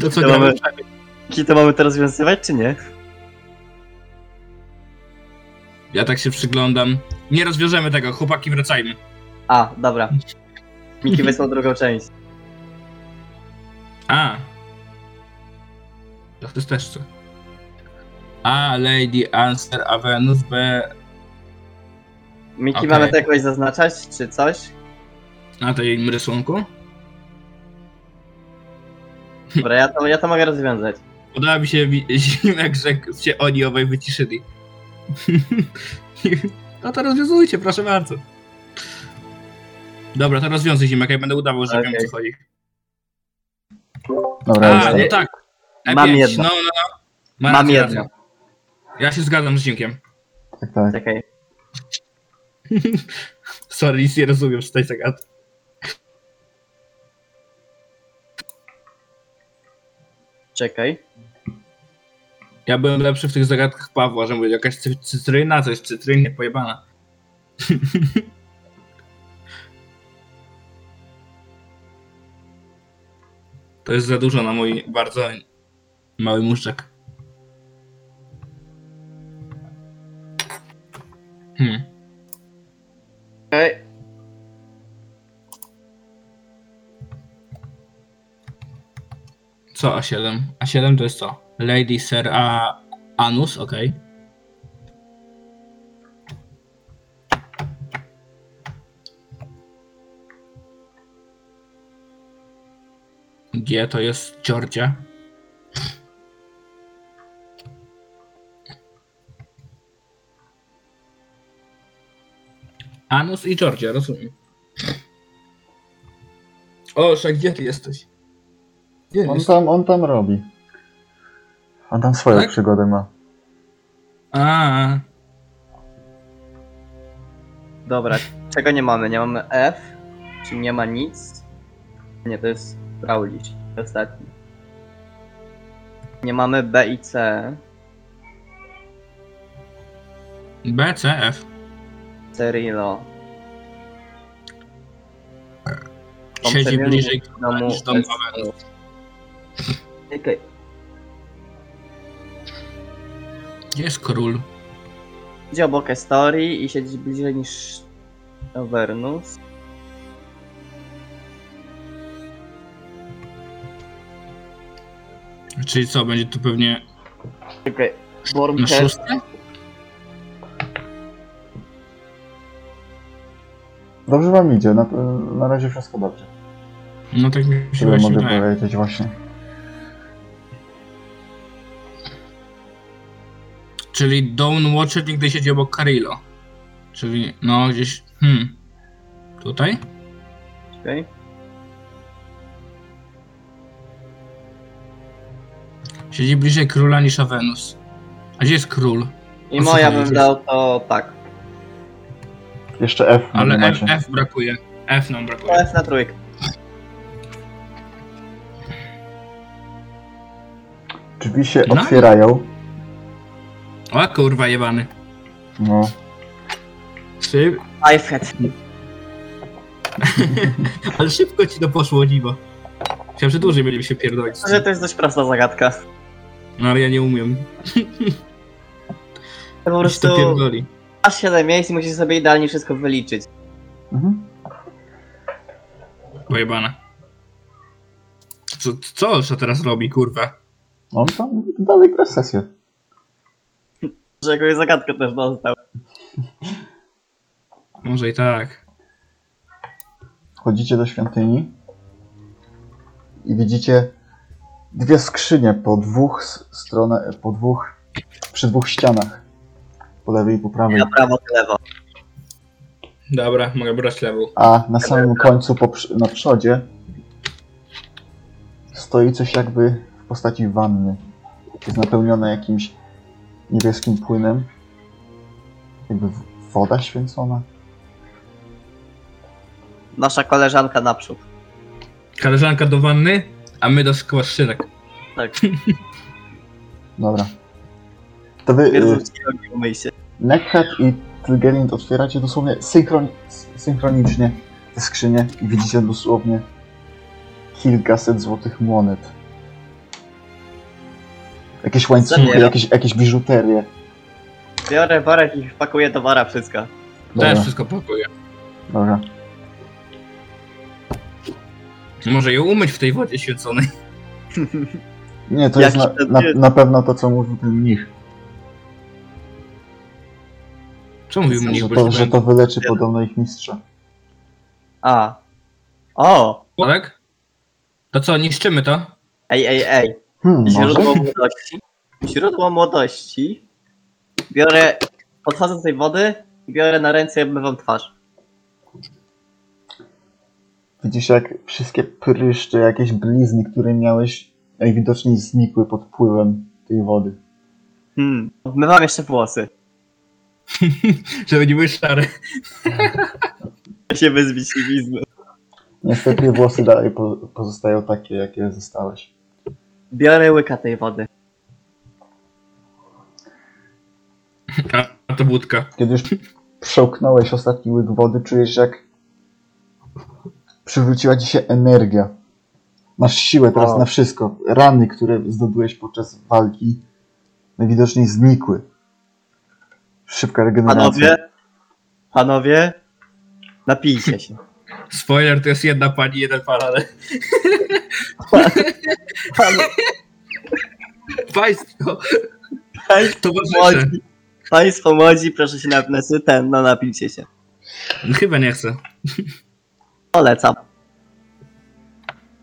[SPEAKER 2] To co
[SPEAKER 3] To
[SPEAKER 2] gramy?
[SPEAKER 3] mamy- Czy to mamy to rozwiązywać, czy nie?
[SPEAKER 2] Ja tak się przyglądam. Nie rozwiążemy tego, chłopaki wracajmy.
[SPEAKER 3] A, dobra. Miki wysłał drugą część.
[SPEAKER 2] A. To jest też co. A, Lady Answer, A, Venus, B.
[SPEAKER 3] Miki,
[SPEAKER 2] Okej.
[SPEAKER 3] mamy to jakoś zaznaczać, czy coś?
[SPEAKER 2] Na tej rysunku?
[SPEAKER 3] Dobra, ja to, ja to mogę rozwiązać.
[SPEAKER 2] Podoba mi [laughs] się wi- zimna że się oni obaj wyciszyli. [laughs] No to rozwiązujcie, proszę bardzo. Dobra, to rozwiązuj zimek, ja będę udawał, że wiem o
[SPEAKER 3] Okej.
[SPEAKER 2] co chodzi.
[SPEAKER 1] Dobra,
[SPEAKER 2] A,
[SPEAKER 1] już.
[SPEAKER 2] no tak. E5,
[SPEAKER 3] Mam jedno.
[SPEAKER 2] No, no, no. Ma
[SPEAKER 3] Mam
[SPEAKER 2] rację,
[SPEAKER 3] jedno.
[SPEAKER 2] rację. Ja się zgadzam z zimkiem.
[SPEAKER 1] tak, tak.
[SPEAKER 3] Czekaj.
[SPEAKER 2] Sorry, nic nie rozumiem z tej zagadki.
[SPEAKER 3] Czekaj.
[SPEAKER 2] Ja byłem lepszy w tych zagadkach Pawła, że mówię, jakaś cy- cytryna, coś cytrynie, pojebana. [laughs] to jest za dużo na mój bardzo mały muszczek. Hmm.
[SPEAKER 3] Czekaj.
[SPEAKER 2] Co A7? A7 to jest co? Lady Sir A... Anus, okej. G to jest Georgia. Anus i Georgia, rozumiem. O, Szak, gdzie ty jesteś? Gdzie
[SPEAKER 1] On
[SPEAKER 2] jesteś?
[SPEAKER 1] tam, on tam robi. On tam swoją
[SPEAKER 2] Tak?
[SPEAKER 1] przygodę ma.
[SPEAKER 2] A,
[SPEAKER 3] Dobra, czego nie mamy? Nie mamy F, czyli nie ma nic. Nie, to jest Braulisz, ostatni. Nie mamy B i C.
[SPEAKER 2] B, C, F.
[SPEAKER 3] Cyrilo. Są
[SPEAKER 2] Siedzi
[SPEAKER 3] przemiennik
[SPEAKER 2] bliżej
[SPEAKER 3] w
[SPEAKER 2] domu niż dom
[SPEAKER 3] S.
[SPEAKER 2] nowe.
[SPEAKER 3] Czekaj.
[SPEAKER 2] Gdzie jest król?
[SPEAKER 3] Siedzi obok Estorii i siedzi bliżej niż Avernus.
[SPEAKER 2] Czyli co, będzie tu pewnie
[SPEAKER 3] Czekaj.
[SPEAKER 2] na
[SPEAKER 3] Bormker.
[SPEAKER 2] szóstym?
[SPEAKER 1] Dobrze wam idzie, na, na razie wszystko dobrze.
[SPEAKER 2] No tak mi się
[SPEAKER 1] Tyle
[SPEAKER 2] właśnie
[SPEAKER 1] mogę
[SPEAKER 2] wydaje.
[SPEAKER 1] powiedzieć właśnie.
[SPEAKER 2] Czyli Dawn Watcher nigdy siedzi obok Carilo. Czyli no gdzieś, hmm. Tutaj?
[SPEAKER 3] Czekaj.
[SPEAKER 2] Siedzi bliżej króla niż Avenus. A gdzie jest król?
[SPEAKER 3] I
[SPEAKER 2] O co
[SPEAKER 3] moja
[SPEAKER 2] chodzi?
[SPEAKER 3] bym dał to tak.
[SPEAKER 1] Jeszcze F
[SPEAKER 2] Ale
[SPEAKER 1] nie
[SPEAKER 2] F,
[SPEAKER 1] macie.
[SPEAKER 2] F brakuje. F nam
[SPEAKER 3] To
[SPEAKER 2] brakuje.
[SPEAKER 3] F na trójkę.
[SPEAKER 1] Drzwi się
[SPEAKER 2] No.
[SPEAKER 1] otwierają.
[SPEAKER 2] O kurwa jebany.
[SPEAKER 1] No.
[SPEAKER 2] Szyb...
[SPEAKER 3] I've had.
[SPEAKER 2] Ale szybko ci to poszło, dziwo. Chciałem, że dłużej będziemy się pierdolić.
[SPEAKER 3] Myślę, że to jest dość prosta zagadka.
[SPEAKER 2] No ale ja nie umiem.
[SPEAKER 3] To po
[SPEAKER 2] Po
[SPEAKER 3] prostu
[SPEAKER 2] prostu pierdoli.
[SPEAKER 3] masz 7 miejsc i musisz sobie idealnie wszystko wyliczyć.
[SPEAKER 1] Mhm.
[SPEAKER 2] Pojebana. Co, co on teraz robi, kurwa?
[SPEAKER 1] On No, tam dalej gra sesję.
[SPEAKER 3] Że jakąś zagadkę też dostał.
[SPEAKER 2] Może i tak.
[SPEAKER 1] Chodzicie do świątyni i widzicie dwie skrzynie po dwóch s- stronach, po dwóch, przy dwóch ścianach. Po lewej i po prawej.
[SPEAKER 3] Na prawo, na lewo.
[SPEAKER 2] Dobra, mogę brać lewą.
[SPEAKER 1] A na samym końcu, po, prz- na przodzie, stoi coś jakby w postaci wanny. Jest napełnione jakimś niebieskim płynem. Jakby w- woda święcona.
[SPEAKER 3] Nasza koleżanka naprzód.
[SPEAKER 2] Koleżanka do wanny, a my do skłaszczynek.
[SPEAKER 3] Tak.
[SPEAKER 1] Dobra. To
[SPEAKER 2] Yy.
[SPEAKER 1] wy, y,
[SPEAKER 3] Twierdzę ci nogi, umyj się.
[SPEAKER 1] Neckhead i Trygerind otwieracie dosłownie synchron, synchronicznie te skrzynie i widzicie dosłownie kilkaset złotych monet. Jakieś łańcuchy,
[SPEAKER 3] Zabieram.
[SPEAKER 1] jakieś, jakieś biżuterie.
[SPEAKER 3] Biorę worek i wpakuję do wora wszystko.
[SPEAKER 2] Też
[SPEAKER 1] Dobra,
[SPEAKER 2] wszystko pakuję.
[SPEAKER 1] dobra.
[SPEAKER 2] Może ją umyć w tej wodzie świeconej.
[SPEAKER 1] Nie, to
[SPEAKER 3] Jaki
[SPEAKER 1] jest na,
[SPEAKER 3] to
[SPEAKER 1] na,
[SPEAKER 3] jest?
[SPEAKER 1] na pewno to, co mówił ten mnich.
[SPEAKER 2] Co mówił mnie?
[SPEAKER 1] Że to, że to wyleczy podobno ich mistrza.
[SPEAKER 3] A. O!
[SPEAKER 2] Tak? To co, niszczymy to?
[SPEAKER 3] Ej, ej, ej.
[SPEAKER 1] Hmm, może?
[SPEAKER 3] Źródło młodości. Źródło młodości. Biorę. Podchodzę do tej wody, biorę na ręce i obmywam twarz.
[SPEAKER 1] Widzisz, jak wszystkie pryszcze, jakieś blizny, które miałeś, najwidoczniej znikły pod wpływem tej wody.
[SPEAKER 3] Hmm. Obmywam jeszcze włosy.
[SPEAKER 2] Żeby nie były szare.
[SPEAKER 3] Chcę się wyzbić siwizny.
[SPEAKER 1] Niestety włosy dalej po, pozostają takie, jakie zostałeś.
[SPEAKER 3] Biorę łyka tej wody.
[SPEAKER 2] A, a to budka.
[SPEAKER 1] Kiedy już przełknąłeś ostatni łyk wody, czujesz, jak przywróciła ci się energia. Masz siłę teraz
[SPEAKER 3] O.
[SPEAKER 1] na wszystko. Rany, które zdobyłeś podczas walki, najwidoczniej znikły. Szybka regeneracja.
[SPEAKER 3] Panowie. Panowie. Napijcie się.
[SPEAKER 2] Spoiler, to jest jedna pani, jeden pan, ale...
[SPEAKER 3] Pan-
[SPEAKER 2] [laughs] Państwo,
[SPEAKER 3] Państwo
[SPEAKER 2] towarzysze.
[SPEAKER 3] młodzi. Państwo młodzi, proszę się napnąć ten, no napijcie się.
[SPEAKER 2] Chyba nie chcę.
[SPEAKER 3] Polecam.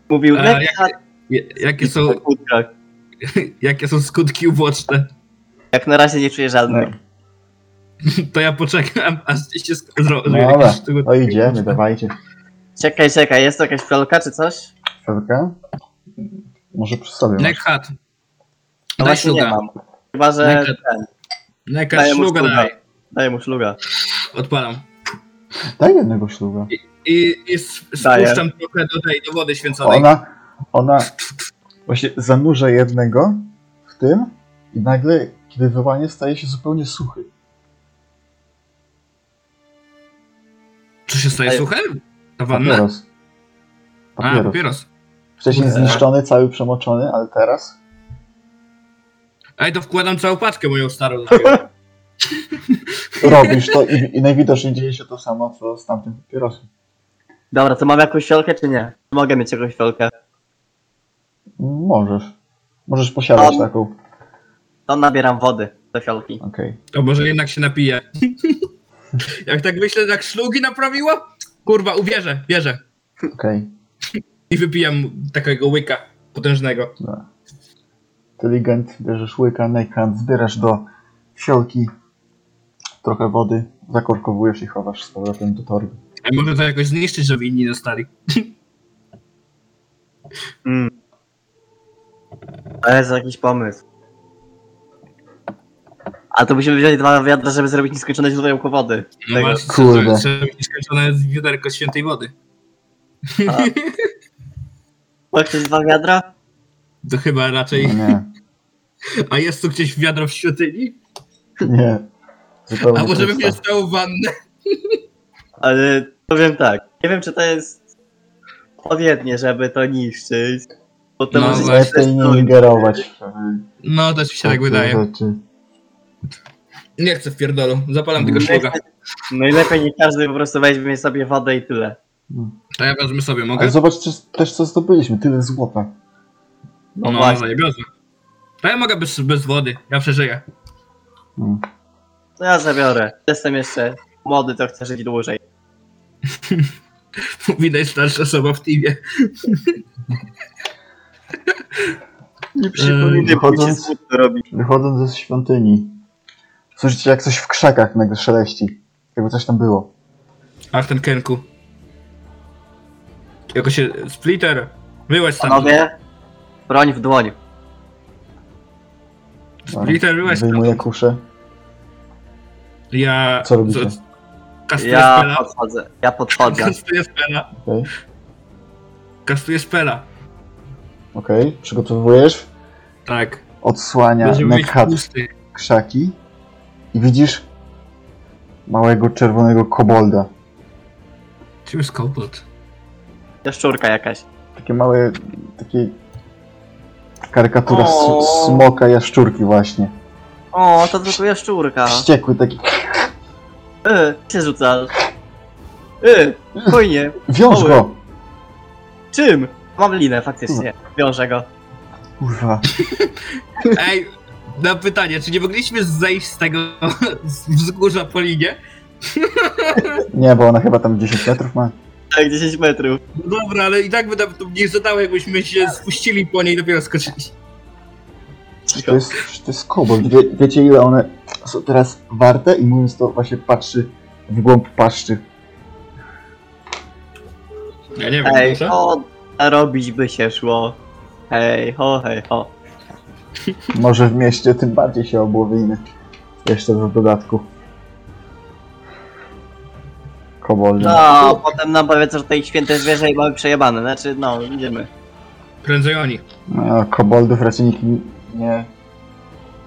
[SPEAKER 3] Mówił
[SPEAKER 2] A
[SPEAKER 3] Nekat
[SPEAKER 2] Je- E, Jakie są, [laughs] jakie są skutki uboczne?
[SPEAKER 3] Jak na razie nie czuję żadnych.
[SPEAKER 2] No. To ja poczekam, aż się sk- zro-
[SPEAKER 1] No
[SPEAKER 2] zrobię
[SPEAKER 1] dobra,
[SPEAKER 2] jakieś tego-
[SPEAKER 1] to idziemy, dawajcie.
[SPEAKER 3] Czekaj, czekaj, jest jakaś prolka czy coś?
[SPEAKER 1] Felka? Może przy sobie masz.
[SPEAKER 2] Black Hat.
[SPEAKER 3] No
[SPEAKER 2] Daj
[SPEAKER 3] właśnie nie
[SPEAKER 2] śluga.
[SPEAKER 3] mam. Chyba, że
[SPEAKER 2] Nekat.
[SPEAKER 3] ten,
[SPEAKER 2] Black Hat,
[SPEAKER 3] daję mu
[SPEAKER 2] śluga
[SPEAKER 3] śluga.
[SPEAKER 2] daj.
[SPEAKER 3] Daję mu śluga.
[SPEAKER 2] Odpalam.
[SPEAKER 1] Daj jednego śluga.
[SPEAKER 2] I, i s-
[SPEAKER 3] Daję.
[SPEAKER 2] spuszczam trochę do tej, do wody święconej.
[SPEAKER 1] Ona, ona właśnie zanurza jednego w tym i nagle, kiedy wyłanie, staje się zupełnie suchy.
[SPEAKER 2] Czy się staje
[SPEAKER 3] Daję.
[SPEAKER 2] suchem? Ta wanna?
[SPEAKER 1] Papieros.
[SPEAKER 2] A,
[SPEAKER 1] Papieros.
[SPEAKER 2] papieros.
[SPEAKER 1] Wcześniej zniszczony, cały przemoczony, ale teraz...
[SPEAKER 2] Ej, to wkładam całą paczkę moją starą. do tego.
[SPEAKER 1] Robisz to i, i najwidoczniej dzieje się to samo, co z tamtym papierosem.
[SPEAKER 3] Dobra, to mam jakąś fiolkę czy nie? Czy Mogę mieć jakąś fiolkę.
[SPEAKER 1] Możesz. Możesz posiadać
[SPEAKER 3] Mam.
[SPEAKER 1] taką.
[SPEAKER 3] To nabieram wody do fiolki.
[SPEAKER 1] Okej.
[SPEAKER 2] To może jednak się napije. Jak tak myślę, jak szlugi naprawiła? Kurwa, uwierzę, wierzę.
[SPEAKER 1] Okej.
[SPEAKER 2] I wypijam takiego łyka potężnego.
[SPEAKER 1] Inteligent, bierzesz łyka, nekrant, zbierasz do fiolki trochę wody, zakorkowujesz i chowasz z powrotem do torby.
[SPEAKER 2] A może to jakoś zniszczyć, żeby inni dostali.
[SPEAKER 3] Mm. To jest jakiś pomysł. A to musimy wziąć dwa wiadra, żeby zrobić nieskończone źródełko wody.
[SPEAKER 2] No
[SPEAKER 3] Tego.
[SPEAKER 2] właśnie,
[SPEAKER 1] Kurde.
[SPEAKER 2] Kurde. trzeba mieć skończone wiaderko świętej wody.
[SPEAKER 3] Ma ktoś Tak, dwa wiadra?
[SPEAKER 2] To chyba raczej...
[SPEAKER 1] No nie,
[SPEAKER 2] A jest tu gdzieś wiadro w świątyni?
[SPEAKER 1] nie. Zupełnie tak.
[SPEAKER 2] A może bym
[SPEAKER 1] pusta.
[SPEAKER 2] mieć całą wannę?
[SPEAKER 3] Ale powiem tak. Nie wiem, czy to jest odpowiednie, żeby to niszczyć. Bo to
[SPEAKER 2] No
[SPEAKER 3] może się
[SPEAKER 1] Lepiej nie
[SPEAKER 3] testować.
[SPEAKER 1] ingerować w
[SPEAKER 2] No, też mi się tak
[SPEAKER 1] takie
[SPEAKER 2] wydaje.
[SPEAKER 1] rzeczy.
[SPEAKER 2] Nie chcę w pierdolu, zapalam tego
[SPEAKER 1] Mm.
[SPEAKER 2] szluga.
[SPEAKER 3] No i lepiej nie każdy po prostu weźmie sobie wodę i tyle.
[SPEAKER 2] To ja wezmę sobie,
[SPEAKER 1] Ale
[SPEAKER 2] mogę?
[SPEAKER 1] zobacz też, też co zdobyliśmy, tyle złota.
[SPEAKER 3] No,
[SPEAKER 2] No, no
[SPEAKER 3] właśnie.
[SPEAKER 2] zajebiozę. To ja mogę bez, bez wody, ja przeżyję. [laughs]
[SPEAKER 1] Mm.
[SPEAKER 3] To ja zabiorę. Jestem jeszcze młody, to chcę żyć dłużej.
[SPEAKER 2] Mówi najstarsza osoba w teamie.
[SPEAKER 3] Nie
[SPEAKER 1] bo
[SPEAKER 2] przypominaj,
[SPEAKER 1] mi się Wychodząc-
[SPEAKER 3] smutno robi.
[SPEAKER 1] Wychodząc ze świątyni, słyszycie jak coś w krzakach nagle szeleści. Jakby coś tam było.
[SPEAKER 2] Ach, ten Kenku. Jako się... Splitter! Wyłaź tam.
[SPEAKER 3] Panowie, broń w dłoń.
[SPEAKER 2] Splitter byłeś
[SPEAKER 1] Wyjmuję
[SPEAKER 2] tam.
[SPEAKER 1] kuszę.
[SPEAKER 2] Ja...
[SPEAKER 1] Co robicie?
[SPEAKER 2] Kastuję
[SPEAKER 3] Ja
[SPEAKER 2] spela.
[SPEAKER 3] podchodzę, ja
[SPEAKER 1] [laughs]
[SPEAKER 3] podchodzę.
[SPEAKER 2] Kastuję spela.
[SPEAKER 1] Okej,
[SPEAKER 2] Kastuję spela.
[SPEAKER 1] okej. Przygotowujesz.
[SPEAKER 2] Tak.
[SPEAKER 1] Odsłania
[SPEAKER 2] Będziemy mieć
[SPEAKER 1] Nekhat
[SPEAKER 2] pusty.
[SPEAKER 1] krzaki i widzisz małego czerwonego kobolda.
[SPEAKER 2] Czym jest kołpot?
[SPEAKER 3] Jaszczurka jakaś.
[SPEAKER 1] Takie małe, takie karykatura s-
[SPEAKER 3] O.
[SPEAKER 1] smoka jaszczurki właśnie.
[SPEAKER 3] O, to tylko jaszczurka.
[SPEAKER 1] Wściekły taki,
[SPEAKER 3] Y, się rzucasz. Y, fajnie.
[SPEAKER 1] wiąż
[SPEAKER 3] Mały.
[SPEAKER 1] go!
[SPEAKER 3] Czym? Mam linę, faktycznie. Wiążę go.
[SPEAKER 1] Kurwa,
[SPEAKER 2] Ej, na pytanie, czy nie mogliśmy zejść z tego [laughs] z wzgórza po linie?
[SPEAKER 1] nie, bo ona chyba tam 10 metrów ma.
[SPEAKER 3] Tak, 10 metrów.
[SPEAKER 2] No Dobra, ale i tak by nam to nie zadało, jakbyśmy się spuścili po niej i dopiero skoczyli.
[SPEAKER 1] To jest, to jest kobold. Wie, wiecie ile one są teraz warte? I mówiąc to właśnie patrzy w głąb paszczy.
[SPEAKER 2] Ja nie wiem,
[SPEAKER 3] Ej,
[SPEAKER 2] może?
[SPEAKER 3] o, robić by się szło. Hej, ho, hej, ho.
[SPEAKER 1] Może w mieście tym bardziej się obłowimy. Jeszcze w dodatku. Kobold.
[SPEAKER 3] No, potem nam powiedz, że tej święte zwierzę i mamy przejebane. Znaczy, no, idziemy.
[SPEAKER 2] Prędzej oni.
[SPEAKER 1] No, koboldów raczej nikt n- nie,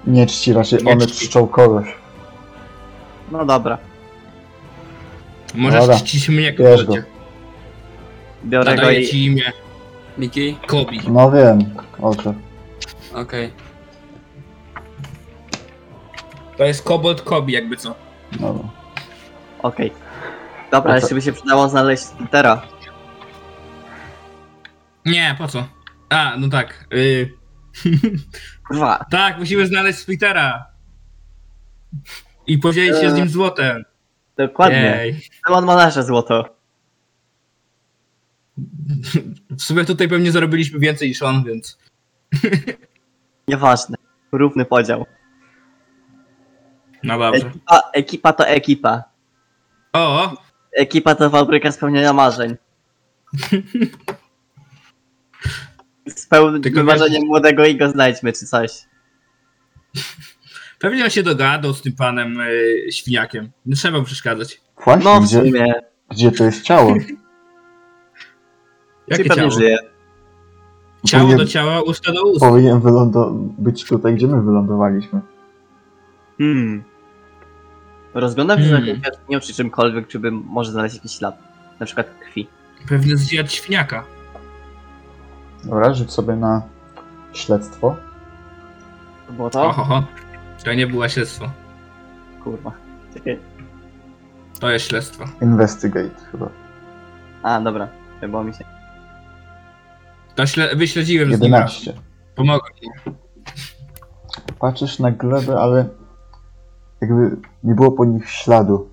[SPEAKER 1] nie czci, raczej
[SPEAKER 2] Nie
[SPEAKER 1] one
[SPEAKER 2] czci.
[SPEAKER 1] czczą kogoś.
[SPEAKER 3] No dobra,
[SPEAKER 2] Możesz
[SPEAKER 1] Dobra.
[SPEAKER 2] czcić mnie,
[SPEAKER 1] Bierz
[SPEAKER 2] kogodzie.
[SPEAKER 3] biorę go
[SPEAKER 2] Nadaję
[SPEAKER 3] i...
[SPEAKER 2] ci imię
[SPEAKER 4] Miki?
[SPEAKER 2] Kobi.
[SPEAKER 1] No wiem, oczy.
[SPEAKER 4] Okej.
[SPEAKER 2] To jest kobold Kobi, jakby co.
[SPEAKER 1] Dobra.
[SPEAKER 3] Okej. Dobra,
[SPEAKER 1] No to-
[SPEAKER 3] jeszcze by się przydało znaleźć Tera.
[SPEAKER 2] Nie, po co? A, no tak. y,
[SPEAKER 3] Kurwa.
[SPEAKER 2] tak, musimy znaleźć Splittera. I podzielić się z nim złotem.
[SPEAKER 3] Dokładnie.
[SPEAKER 2] Jej.
[SPEAKER 3] Demon ma nasze złoto.
[SPEAKER 2] W sumie tutaj pewnie zarobiliśmy więcej niż on, więc...
[SPEAKER 3] Nieważne. Równy podział.
[SPEAKER 2] No dobrze.
[SPEAKER 3] Ekipa, ekipa to ekipa.
[SPEAKER 2] O, o,
[SPEAKER 3] Ekipa to fabryka spełniania
[SPEAKER 2] [laughs]
[SPEAKER 3] marzeń.
[SPEAKER 2] Tylko
[SPEAKER 3] Spełnienie marzenie
[SPEAKER 2] wiesz-
[SPEAKER 3] młodego i go znajdźmy, czy coś.
[SPEAKER 2] pewnie on się dogadał z tym panem y, świniakiem. Nie trzeba mu przeszkadzać.
[SPEAKER 1] Właśnie,
[SPEAKER 3] No w
[SPEAKER 1] gdzie,
[SPEAKER 3] sumie.
[SPEAKER 1] gdzie to jest ciało?
[SPEAKER 2] Jakie
[SPEAKER 3] Czy pewnie
[SPEAKER 2] ciało?
[SPEAKER 3] żyje.
[SPEAKER 2] Ciało do
[SPEAKER 1] Powinien-
[SPEAKER 2] ciała, usta do ust.
[SPEAKER 1] Powinien wylądo- być tutaj, gdzie my wylądowaliśmy.
[SPEAKER 3] Hmm. Rozglądam się
[SPEAKER 2] Hmm.
[SPEAKER 3] hmm. za nie przy czymkolwiek, czy bym może znaleźć jakiś ślad. Na przykład krwi.
[SPEAKER 2] Pewnie zjadł świniaka.
[SPEAKER 1] Dobra, rzuć sobie na śledztwo.
[SPEAKER 3] To było to?
[SPEAKER 2] Ohoho. To nie było śledztwo.
[SPEAKER 3] Kurwa. Czekaj.
[SPEAKER 2] To jest śledztwo.
[SPEAKER 1] Investigate chyba.
[SPEAKER 3] A, dobra. Chyba mi się.
[SPEAKER 2] To śle- wyśledziłem z nim. raz.
[SPEAKER 1] 11.
[SPEAKER 2] Pomogłem.
[SPEAKER 1] Patrzysz na glebę, ale jakby nie było po nich śladu.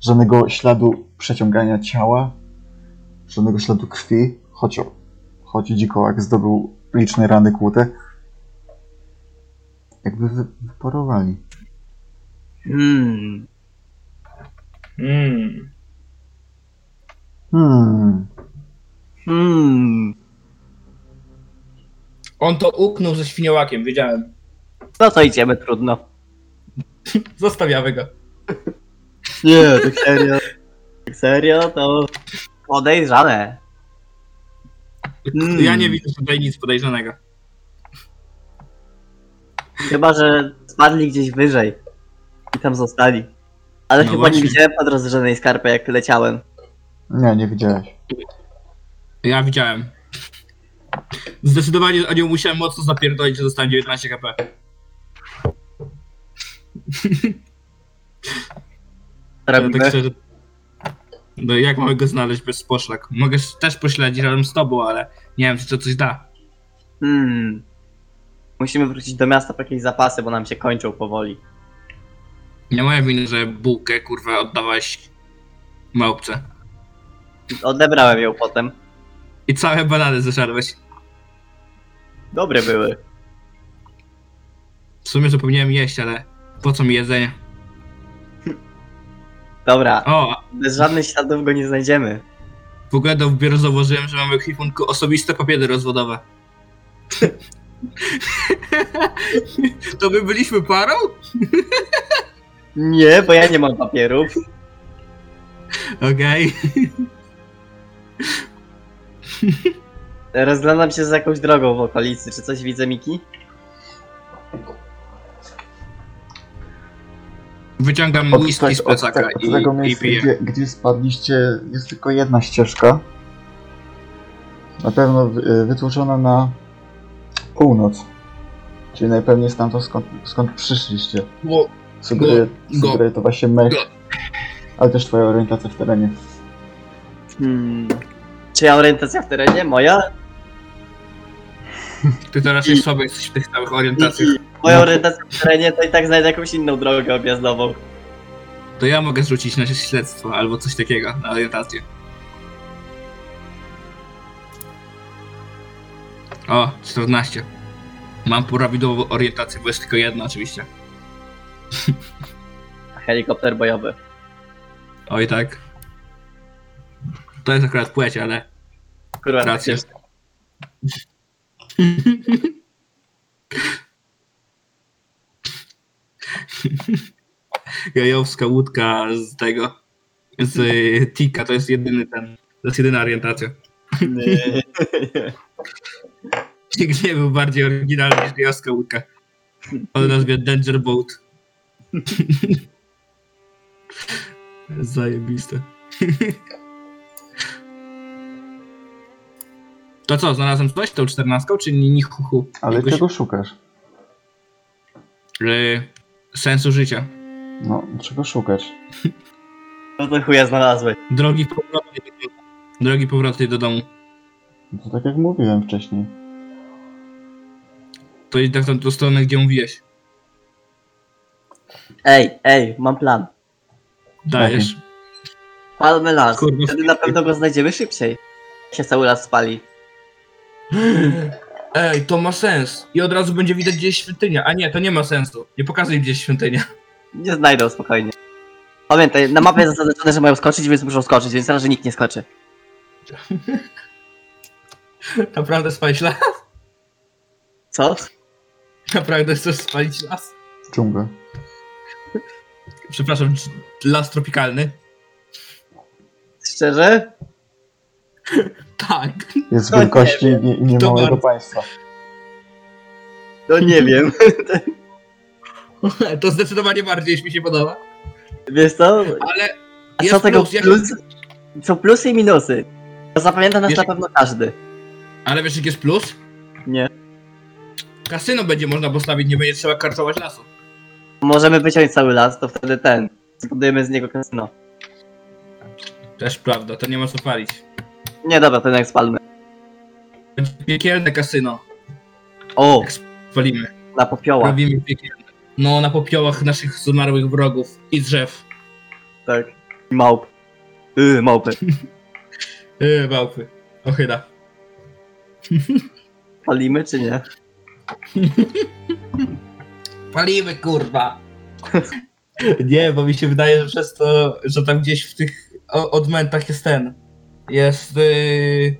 [SPEAKER 1] Żadnego śladu przeciągania ciała, żadnego śladu krwi, choć, choć dzikołak zdobył liczne rany kłute. Jakby wy, wyparowali.
[SPEAKER 3] Hmm.
[SPEAKER 2] Mm.
[SPEAKER 1] Hmm,
[SPEAKER 3] Hmm.
[SPEAKER 2] On to uknął ze świniołakiem, wiedziałem.
[SPEAKER 3] No to idziemy, trudno.
[SPEAKER 2] Zostawiamy go.
[SPEAKER 3] Nie, tak serio. Tak serio, to podejrzane. Mm.
[SPEAKER 2] Ja nie widzę tutaj nic podejrzanego.
[SPEAKER 3] Chyba, że spadli gdzieś wyżej i tam zostali. Ale
[SPEAKER 2] No
[SPEAKER 3] chyba
[SPEAKER 2] właśnie.
[SPEAKER 3] nie widziałem pod rozrzenej skarpy, jak leciałem.
[SPEAKER 1] nie, nie widziałeś.
[SPEAKER 2] Ja widziałem. Zdecydowanie o nią musiałem mocno zapierdolić, że dostałem 19 HP.
[SPEAKER 3] Robimy.
[SPEAKER 2] tak szczerze... No jak mogę go znaleźć bez poszlak? Mogę s- też pośledzić razem z tobą, ale nie wiem, czy to coś da.
[SPEAKER 3] Hmm. Musimy wrócić do miasta po jakieś zapasy, bo nam się kończą powoli.
[SPEAKER 2] Nie moja wina, że bułkę kurwa oddawałeś małpce.
[SPEAKER 3] Odebrałem ją potem.
[SPEAKER 2] I całe banany zeżarłeś.
[SPEAKER 3] Dobre były.
[SPEAKER 2] W sumie zapomniałem jeść, ale po co mi jedzenie?
[SPEAKER 3] Dobra,
[SPEAKER 2] O,
[SPEAKER 3] bez żadnych śladów go nie znajdziemy.
[SPEAKER 2] w ogóle dopiero zauważyłem, że mamy w ekwipunku osobiste papiery rozwodowe. [laughs] To my byliśmy parą?
[SPEAKER 3] Nie, bo ja nie mam papierów.
[SPEAKER 2] Okej.
[SPEAKER 3] Rozglądam się za jakąś drogą w okolicy. Czy coś widzę, Miki?
[SPEAKER 2] Wyciągam
[SPEAKER 1] Od,
[SPEAKER 2] listki z
[SPEAKER 1] tak, od,
[SPEAKER 2] plecaka
[SPEAKER 1] tak, od tego
[SPEAKER 2] i, i
[SPEAKER 1] miejsca,
[SPEAKER 2] piję.
[SPEAKER 1] gdzie, gdzie spadliście, jest tylko jedna ścieżka. Na pewno wy- wytłoczona na północ. Czyli najpewniej stamtąd, skąd, skąd przyszliście.
[SPEAKER 2] Bo
[SPEAKER 1] Sugeruje,
[SPEAKER 2] Go.
[SPEAKER 1] sugeruje to właśnie mech,
[SPEAKER 2] Go.
[SPEAKER 1] ale też twoja orientacja w terenie.
[SPEAKER 3] Hmm. Czy ja orientacja w terenie? Moja?
[SPEAKER 2] ty to raczej słaby jesteś w tych całych orientacjach.
[SPEAKER 3] Moja
[SPEAKER 1] No.
[SPEAKER 3] orientacja w terenie to i tak znajdę jakąś inną drogę objazdową.
[SPEAKER 2] To ja mogę zrzucić nasze śledztwo albo coś takiego na orientację. O, 14. Mam prawidłową orientację, bo jest tylko jedna oczywiście.
[SPEAKER 3] Helikopter bojowy.
[SPEAKER 2] Oj tak. To jest akurat płeć, ale
[SPEAKER 3] Kurwa, tak
[SPEAKER 2] racja. Jajowska łódka z tego, z y, Tika, to jest jedyny ten, to jest jedyna orientacja.
[SPEAKER 3] Nie.
[SPEAKER 2] Nigdy nie był bardziej oryginalny niż Jajowska łódka. O nazwie Danger Boat. [laughs] Zajebiste. [laughs] To co, znalazłem coś tą czternastką, czy ni, ni hu, hu?
[SPEAKER 1] Ale
[SPEAKER 2] Jakoś,
[SPEAKER 1] czego szukasz?
[SPEAKER 2] y, sensu życia.
[SPEAKER 1] No, czego szukać?
[SPEAKER 3] [laughs] No to chuja znalazłeś.
[SPEAKER 2] Drogi powrotnej, drogi powrotnej do domu.
[SPEAKER 1] No to tak jak mówiłem wcześniej.
[SPEAKER 2] To idź w tą stronę, gdzie mówiłeś.
[SPEAKER 3] Ej, ej, mam plan.
[SPEAKER 2] Dajesz.
[SPEAKER 3] Palmy las.
[SPEAKER 2] Kurwa.
[SPEAKER 3] Wtedy na pewno go znajdziemy szybciej. Się cały las spali.
[SPEAKER 2] Ej, to ma sens. I od razu będzie widać gdzieś świątynia. A nie, to nie ma sensu. Nie pokazuj gdzieś świątynia.
[SPEAKER 3] Nie znajdą spokojnie. Pamiętaj, na mapie jest zaznaczone, że mają skoczyć, więc muszą skoczyć, więc raczej nikt nie skoczy.
[SPEAKER 2] Naprawdę spalić las? [laughs]
[SPEAKER 3] Co?
[SPEAKER 2] Naprawdę chcesz spalić las?
[SPEAKER 1] Dżunglę.
[SPEAKER 2] Przepraszam, czy- las tropikalny?
[SPEAKER 3] Szczerze?
[SPEAKER 2] Tak. [laughs]
[SPEAKER 1] Jest
[SPEAKER 3] No nie
[SPEAKER 1] wielkości nie, nie
[SPEAKER 2] To
[SPEAKER 1] małego
[SPEAKER 2] bardzo-
[SPEAKER 1] państwa. [laughs]
[SPEAKER 3] No nie wiem.
[SPEAKER 2] To zdecydowanie bardziej mi się podoba.
[SPEAKER 3] Wiesz co?
[SPEAKER 2] Ale
[SPEAKER 3] A
[SPEAKER 2] jest
[SPEAKER 3] co tego
[SPEAKER 2] plus, jak-
[SPEAKER 3] plus? Są plusy i minusy. To zapamięta nas
[SPEAKER 2] Wiesz-
[SPEAKER 3] na pewno każdy.
[SPEAKER 2] Ale wiesz, jaki jest plus?
[SPEAKER 3] Nie.
[SPEAKER 2] Kasyno będzie można postawić, nie będzie trzeba karczować lasu.
[SPEAKER 3] Możemy wyciąć cały las, to wtedy ten. Zbudujemy z niego kasyno.
[SPEAKER 2] Też prawda, to nie ma co palić.
[SPEAKER 3] Nie dobra, to jednak spalmy.
[SPEAKER 2] Będzie piekielne kasyno.
[SPEAKER 3] O,
[SPEAKER 2] Palimy.
[SPEAKER 3] na popioła.
[SPEAKER 2] Robimy piekielne. No, na popiołach naszych zmarłych wrogów i drzew.
[SPEAKER 3] Tak. I Małp. Yy, małpy.
[SPEAKER 2] Yy, małpy. Ochyda.
[SPEAKER 3] Palimy czy nie?
[SPEAKER 2] Palimy, kurwa! [laughs] Nie, bo mi się wydaje, że przez to, że tam gdzieś w tych o- odmętach jest ten. Jest. Yy...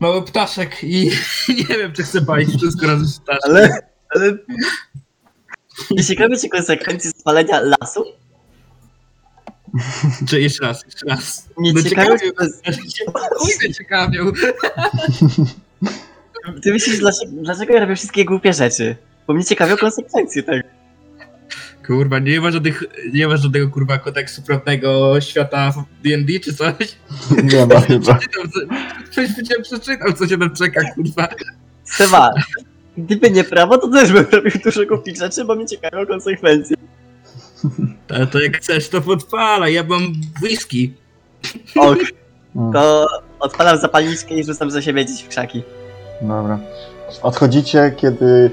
[SPEAKER 2] Mały ptaszek i [laughs] nie wiem, czy chcę palić wszystko razem z ptaszkiem.
[SPEAKER 3] Ale, ale... Jeśli robicie konsekwencje spalenia lasu,
[SPEAKER 2] Czy jeszcze raz, jeszcze raz.
[SPEAKER 3] nie
[SPEAKER 2] No
[SPEAKER 3] ciekawią
[SPEAKER 2] ciekawie,
[SPEAKER 3] was-
[SPEAKER 2] Ujdę ciekawią.
[SPEAKER 3] Ty myślisz, dlaczego, dlaczego ja robię wszystkie głupie rzeczy? Bo mnie ciekawią konsekwencje tego.
[SPEAKER 2] Kurwa, nie ma żadnych, nie ma żadnego kurwa kodeksu prawnego świata w D&D czy coś?
[SPEAKER 1] Nie ma
[SPEAKER 2] [laughs]
[SPEAKER 1] chyba.
[SPEAKER 2] Przeczytam, co- coś widziałem, przeczytał, co się tam czeka, kurwa.
[SPEAKER 3] Seba, gdyby nie prawo, to też bym robił dużo głupich rzeczy, bo mnie ciekawią konsekwencje.
[SPEAKER 2] A to jak chcesz, to podpala, ja mam whisky.
[SPEAKER 3] Ok,
[SPEAKER 1] Mm.
[SPEAKER 3] to odpalam zapalniczkę i rzucam za siebie gdzieś w krzaki.
[SPEAKER 1] Dobra. Odchodzicie, kiedy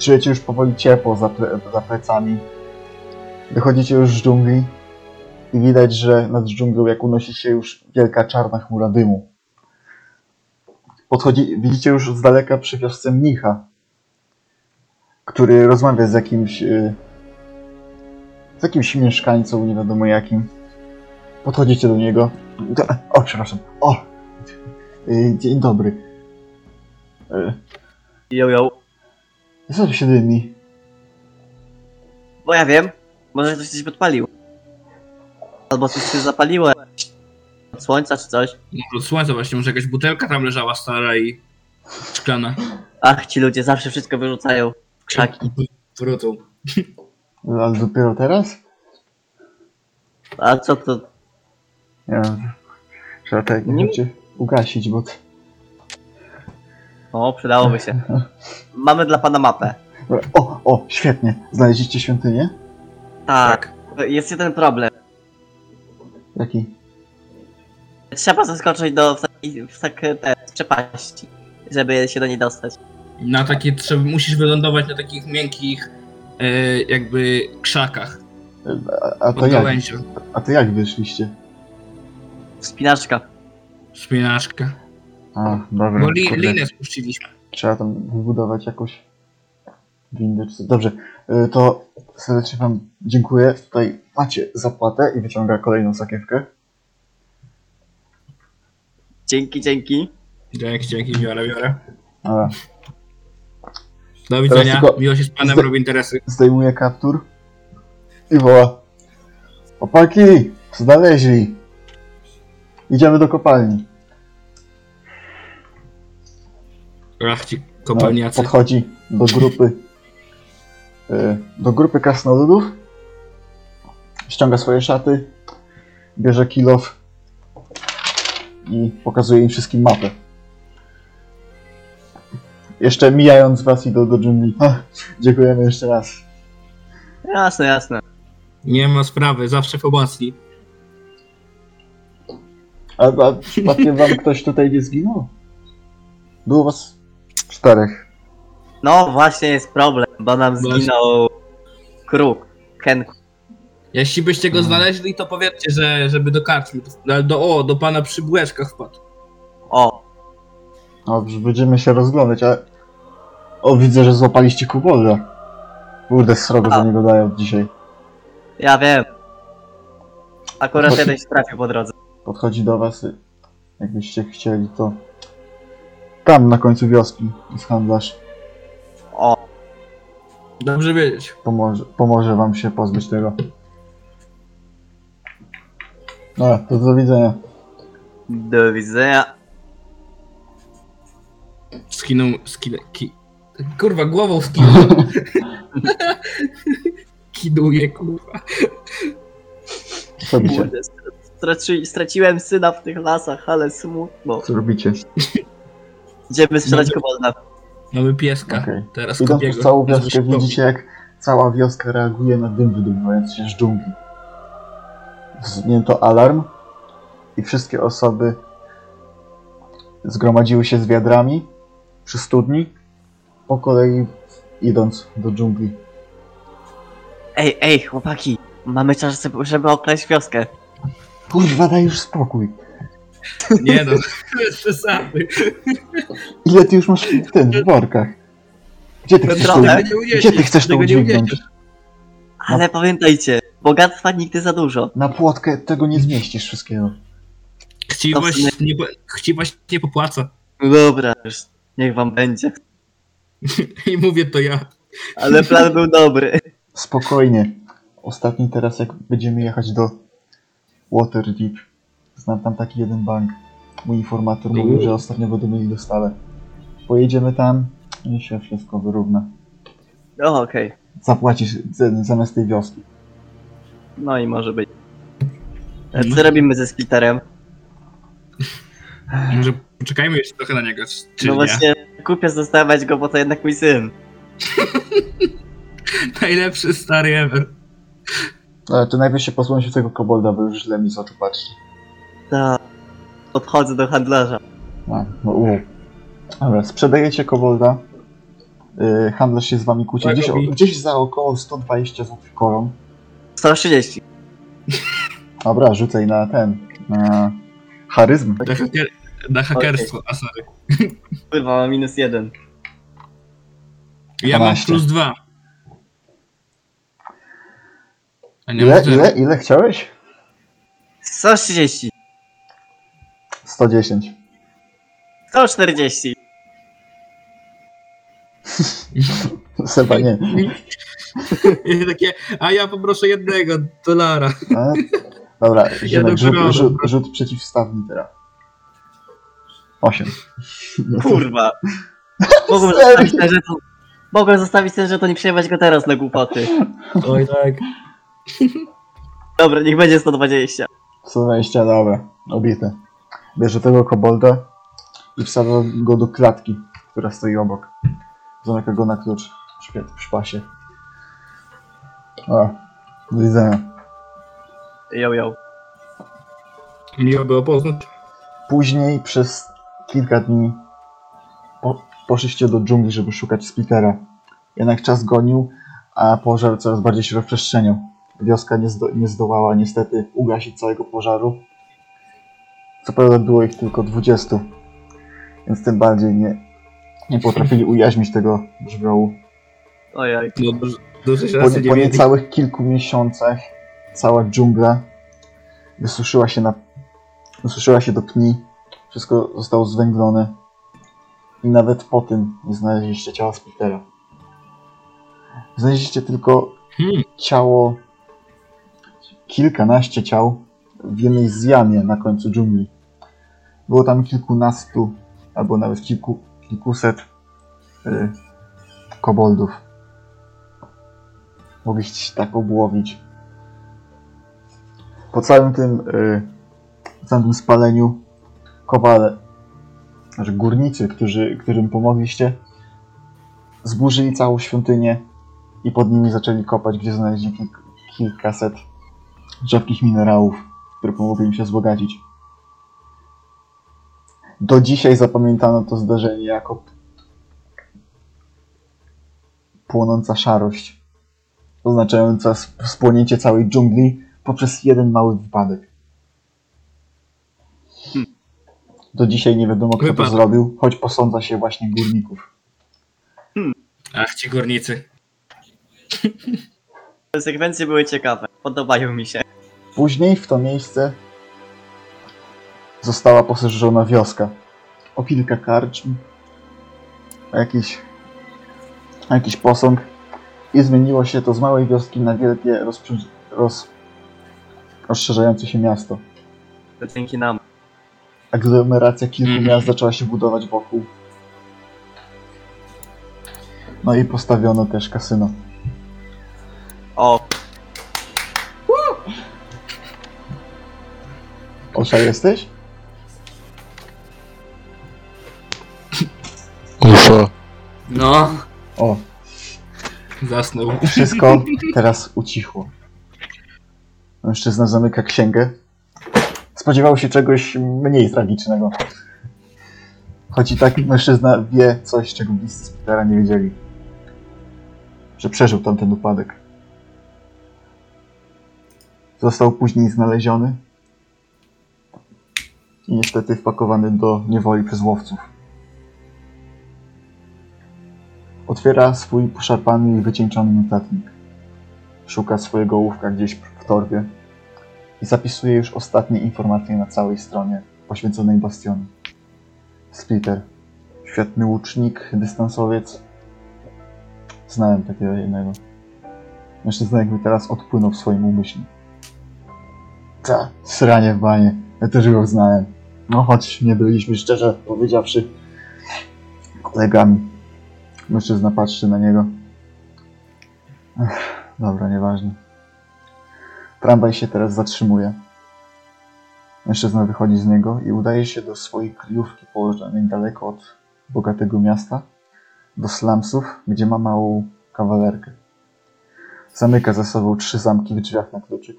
[SPEAKER 1] czujecie już powoli ciepło za, ple za plecami. Wychodzicie już z dżungli i widać, że nad dżunglą jak unosi się już wielka czarna chmura dymu. Podchodzi, widzicie już z daleka przy wiosce mnicha, który rozmawia z jakimś y, z jakimś mieszkańcą, nie wiadomo jakim. Podchodzicie do niego. O, przepraszam. O! Y, Dzień dobry. E,
[SPEAKER 3] Jo, jo.
[SPEAKER 1] Co tu się dymi?
[SPEAKER 3] Bo ja wiem, może ktoś coś podpalił. Albo coś się zapaliło. Od słońca czy coś.
[SPEAKER 2] Może od słońca No, właśnie, może jakaś butelka tam leżała stara i szklana.
[SPEAKER 3] Ach, ci ludzie zawsze wszystko wyrzucają w krzaki.
[SPEAKER 2] Wrócą.
[SPEAKER 1] Ale No, dopiero teraz?
[SPEAKER 3] A co to?
[SPEAKER 1] Nie wiem. Trzeba tak
[SPEAKER 3] Nie-
[SPEAKER 1] cię ugasić, bo...
[SPEAKER 3] O, przydałoby się. Mamy dla pana mapę.
[SPEAKER 1] O, o, świetnie. Znaleźliście świątynię?
[SPEAKER 3] Tak. Jest jeden problem.
[SPEAKER 1] Jaki?
[SPEAKER 3] Trzeba zaskoczyć do w takiej, w tak, te, przepaści, żeby się do niej dostać.
[SPEAKER 2] Na takie, trzeba, musisz wylądować na takich miękkich e, jakby krzakach
[SPEAKER 1] A, a No to
[SPEAKER 2] pod
[SPEAKER 1] jak?
[SPEAKER 2] gałęzią.
[SPEAKER 1] A to jak wyszliście?
[SPEAKER 3] Wspinaczka.
[SPEAKER 2] Wspinaczka.
[SPEAKER 1] A, dobra.
[SPEAKER 2] Bo li,
[SPEAKER 1] No, kurde.
[SPEAKER 2] linę spuściliśmy.
[SPEAKER 1] Trzeba tam wybudować jakoś windę czy coś. Dobrze, y, to serdecznie wam dziękuję. Tutaj macie zapłatę i wyciąga kolejną sakiewkę.
[SPEAKER 3] Dzięki, dzięki.
[SPEAKER 2] Dzięki, dzięki, biorę, biorę.
[SPEAKER 1] A,
[SPEAKER 2] Do widzenia,
[SPEAKER 1] tylko-
[SPEAKER 2] miło się z panem
[SPEAKER 1] z-
[SPEAKER 2] robi interesy.
[SPEAKER 1] zdejmuje kaptur i woła. Opaki, znaleźli. Idziemy do kopalni.
[SPEAKER 2] Ach ci
[SPEAKER 1] No,
[SPEAKER 2] kopalniacy.
[SPEAKER 1] podchodzi do grupy y, do grupy krasnoludów ściąga swoje szaty bierze kilof i pokazuje im wszystkim mapę jeszcze mijając was i do, do dżungli dziękujemy jeszcze raz
[SPEAKER 3] Jasne, jasne.
[SPEAKER 2] Nie ma sprawy, zawsze pomocni.
[SPEAKER 1] a, a przypadkiem wam ktoś tutaj nie zginął? było was czterech
[SPEAKER 3] No właśnie jest problem, bo nam
[SPEAKER 2] Właśnie.
[SPEAKER 3] zginął kruk. Kenku.
[SPEAKER 2] Jeśli byście
[SPEAKER 1] Mm.
[SPEAKER 2] go znaleźli, to powiedzcie, że, żeby do karczmy, do, do, o, do pana przy bułeczkach wpadł.
[SPEAKER 3] O,
[SPEAKER 1] Dobrze, będziemy się rozglądać, a... O, widzę, że złapaliście kubolda. Kurde, srogo za niego dają dzisiaj.
[SPEAKER 3] ja wiem. Akurat
[SPEAKER 1] Właśnie.
[SPEAKER 3] jeden się trafił po drodze.
[SPEAKER 1] Podchodzi do was, y, jakbyście chcieli, to... Tam, na końcu wioski, jest handlarz.
[SPEAKER 3] O,
[SPEAKER 2] Dobrze wiedzieć.
[SPEAKER 1] Pomoże, pomoże wam się pozbyć tego. No, to do widzenia.
[SPEAKER 3] do widzenia.
[SPEAKER 2] Skinął, skinę, ki... Kurwa, głową [laughs] skinął. Kiduje, kurwa.
[SPEAKER 1] Co robicie?
[SPEAKER 3] Kurde, str- straci, straciłem syna w tych lasach, ale smutno.
[SPEAKER 1] Co robicie?
[SPEAKER 3] Idziemy sprzedać
[SPEAKER 2] No.
[SPEAKER 3] kobolda.
[SPEAKER 2] Mamy pieska.
[SPEAKER 1] Okej.
[SPEAKER 2] Teraz
[SPEAKER 1] Idą
[SPEAKER 2] kopię
[SPEAKER 1] przez
[SPEAKER 2] go.
[SPEAKER 1] całą wioskę,
[SPEAKER 2] Zresztą.
[SPEAKER 1] widzicie jak cała wioska reaguje na dym wydumując się z dżungli. Zwinięto alarm i wszystkie osoby zgromadziły się z wiadrami przy studni, po kolei idąc do dżungli.
[SPEAKER 3] Ej, ej, chłopaki. Mamy czas, żeby- żeby okraść wioskę.
[SPEAKER 1] Kurwa, daj już spokój.
[SPEAKER 2] Nie [laughs] no, bez przesady.
[SPEAKER 1] Ile ty już masz w tym, w workach? Gdzie ty
[SPEAKER 3] No
[SPEAKER 1] chcesz to,
[SPEAKER 3] trochę.
[SPEAKER 2] Tego nie
[SPEAKER 1] gdzie ty
[SPEAKER 2] uniesie,
[SPEAKER 1] chcesz to
[SPEAKER 2] tego nie
[SPEAKER 1] udźwignąć?
[SPEAKER 2] uniesie.
[SPEAKER 3] Ale pamiętajcie, bogactwa nigdy za dużo.
[SPEAKER 1] Na płotkę tego nie zmieścisz wszystkiego.
[SPEAKER 2] Chciwość nie, po- chciwość nie popłaca.
[SPEAKER 3] No dobra, już niech wam będzie.
[SPEAKER 2] I mówię to ja.
[SPEAKER 3] Ale plan był dobry.
[SPEAKER 1] Spokojnie. Ostatni teraz, jak będziemy jechać do Waterdeep, znam tam taki jeden bank. Mój informator mówił, że ostatnio będą mieli dostawę. Pojedziemy tam i się wszystko wyrówna.
[SPEAKER 3] No okej,
[SPEAKER 1] Zapłacisz z- zamiast tej wioski.
[SPEAKER 3] no i może być. E, Co robimy ze No splitterem?
[SPEAKER 2] Może poczekajmy jeszcze trochę na niego, czy
[SPEAKER 3] No
[SPEAKER 2] nie.
[SPEAKER 3] właśnie, kupię zostawiać go, bo to jednak mój syn.
[SPEAKER 2] Najlepszy stary ever.
[SPEAKER 1] No, Ale to najpierw się posłuchaj się tego kobolda, bo już źle mi z oczu patrzy.
[SPEAKER 3] To No, podchodzę do handlarza.
[SPEAKER 1] No, no u. Dobra, sprzedajecie kobolda. Yy, handlarz się z wami kłóci.
[SPEAKER 2] Tak,
[SPEAKER 1] Gdzieś,
[SPEAKER 2] robi.
[SPEAKER 1] gdzieś za około 120 zł koron.
[SPEAKER 3] 130.
[SPEAKER 1] Dobra, rzucaj na ten, na charyzmę.
[SPEAKER 2] Na, haker, na hakerstwo, a sorry.
[SPEAKER 3] Kurwa, mam minus jeden.
[SPEAKER 2] Ja mam
[SPEAKER 1] 12.
[SPEAKER 2] plus dwa. A nie
[SPEAKER 1] Ile,
[SPEAKER 2] mam zero.
[SPEAKER 1] ile, ile chciałeś?
[SPEAKER 3] 130.
[SPEAKER 1] [laughs] 110.
[SPEAKER 3] 140.
[SPEAKER 1] Seba nie.
[SPEAKER 2] I [laughs] takie, a ja poproszę jednego dolara.
[SPEAKER 1] A? Dobra, Ziemek, rzut,
[SPEAKER 2] dopiero-
[SPEAKER 1] rzut, rzut przeciwstawny teraz. Osiem.
[SPEAKER 3] Kurwa. Mogłem
[SPEAKER 1] Serio?
[SPEAKER 3] zostawić ten żeton. Mogłem zostawić ten żeton i przejmować go teraz na głupoty.
[SPEAKER 2] Oj tak.
[SPEAKER 3] Dobra, niech będzie 120.
[SPEAKER 1] 120, dobra, obite. Bierze tego kobolda i wsadza go do klatki, która stoi obok. Zamyka go na klucz w szpie- w szpasie. O, do widzenia.
[SPEAKER 3] Jo, jo.
[SPEAKER 2] Miło było poznać.
[SPEAKER 1] Później przez kilka dni po, poszliście do dżungli, żeby szukać speakera. Jednak czas gonił, a pożar coraz bardziej się rozprzestrzeniał. Wioska nie, zdo, nie zdołała niestety ugasić całego pożaru. Co prawda było ich tylko 20, więc tym bardziej nie, nie potrafili ujaźnić tego żywiołu.
[SPEAKER 3] Ojoj.
[SPEAKER 2] No, dużo- dużo
[SPEAKER 1] Po,
[SPEAKER 2] się raczej nie
[SPEAKER 1] po
[SPEAKER 2] mieli.
[SPEAKER 1] niecałych kilku miesiącach cała dżungla wysuszyła się na wysuszyła się do pni. Wszystko zostało zwęglone. I nawet po tym nie znaleźliście ciała Spitera. Znaleźliście tylko
[SPEAKER 2] Hmm.
[SPEAKER 1] ciało kilkanaście ciał w jednej z jamie na końcu dżungli. Było tam kilkunastu albo nawet kilku, kilkuset y, koboldów mogliście się tak obłowić. Po całym tym, y, całym tym spaleniu kowale, znaczy górnicy, którzy, którym pomogliście, zburzyli całą świątynię i pod nimi zaczęli kopać, gdzie znaleźli kilk, kilkaset rzadkich minerałów, które pomogły im się wzbogacić. Do dzisiaj zapamiętano to zdarzenie jako płonąca szarość oznaczająca sp- spłonięcie całej dżungli poprzez jeden mały wypadek. Do dzisiaj nie wiadomo, kto to
[SPEAKER 2] Wypadek.
[SPEAKER 1] zrobił, choć posądza się właśnie górników.
[SPEAKER 2] Ach, ci górnicy.
[SPEAKER 3] Konsekwencje były ciekawe. Podobają mi się.
[SPEAKER 1] Później w to miejsce została poszerzona wioska. O kilka karczm, o jakiś, o jakiś posąg i zmieniło się to z małej wioski na wielkie, rozprzy- roz, rozszerzające się miasto.
[SPEAKER 3] To dzięki nam.
[SPEAKER 1] aglomeracja kilku
[SPEAKER 2] Mhm.
[SPEAKER 1] miast zaczęła się budować wokół. No i postawiono też kasyno.
[SPEAKER 3] O,
[SPEAKER 1] Osza jesteś?
[SPEAKER 7] Ufa.
[SPEAKER 4] No,
[SPEAKER 1] O,
[SPEAKER 2] Zasnął.
[SPEAKER 1] [laughs] wszystko teraz ucichło. Mężczyzna zamyka księgę. Spodziewał się czegoś mniej tragicznego. Choć i tak mężczyzna wie coś, czego bliscy Spitera nie wiedzieli. Że przeżył tamten upadek. Został później znaleziony i niestety wpakowany do niewoli przez łowców. Otwiera swój poszarpany i wycieńczony notatnik. Szuka swojego ołówka gdzieś w torbie i zapisuje już ostatnie informacje na całej stronie poświęconej Bastionu. Splitter. Świetny łucznik, dystansowiec. Znałem takiego jednego. Mężczyzna jakby teraz odpłynął w swoim umyśle. Ta, sranie w banie. Ja też go znałem. No choć nie byliśmy szczerze powiedziawszy kolegami. Mężczyzna patrzy na niego. Ech, dobra, nieważne. Tramwaj się teraz zatrzymuje. Mężczyzna wychodzi z niego i udaje się do swojej kryjówki położonej daleko od bogatego miasta, do slumsów, gdzie ma małą kawalerkę. Zamyka za sobą trzy zamki w drzwiach na kluczyk.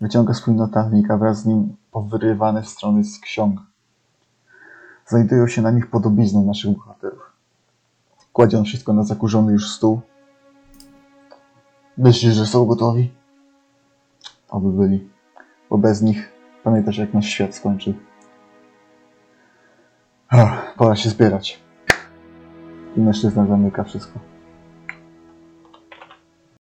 [SPEAKER 1] Wyciąga swój notatnik, a wraz z nim powyrywane strony z ksiąg znajdują się na nich podobizny naszych bohaterów. Kładzie on wszystko na zakurzony już stół. Myślisz, że są gotowi? Oby byli, bo bez nich pamiętasz, jak nasz świat skończył. Ach, Pora się zbierać. I mężczyzna zamyka wszystko.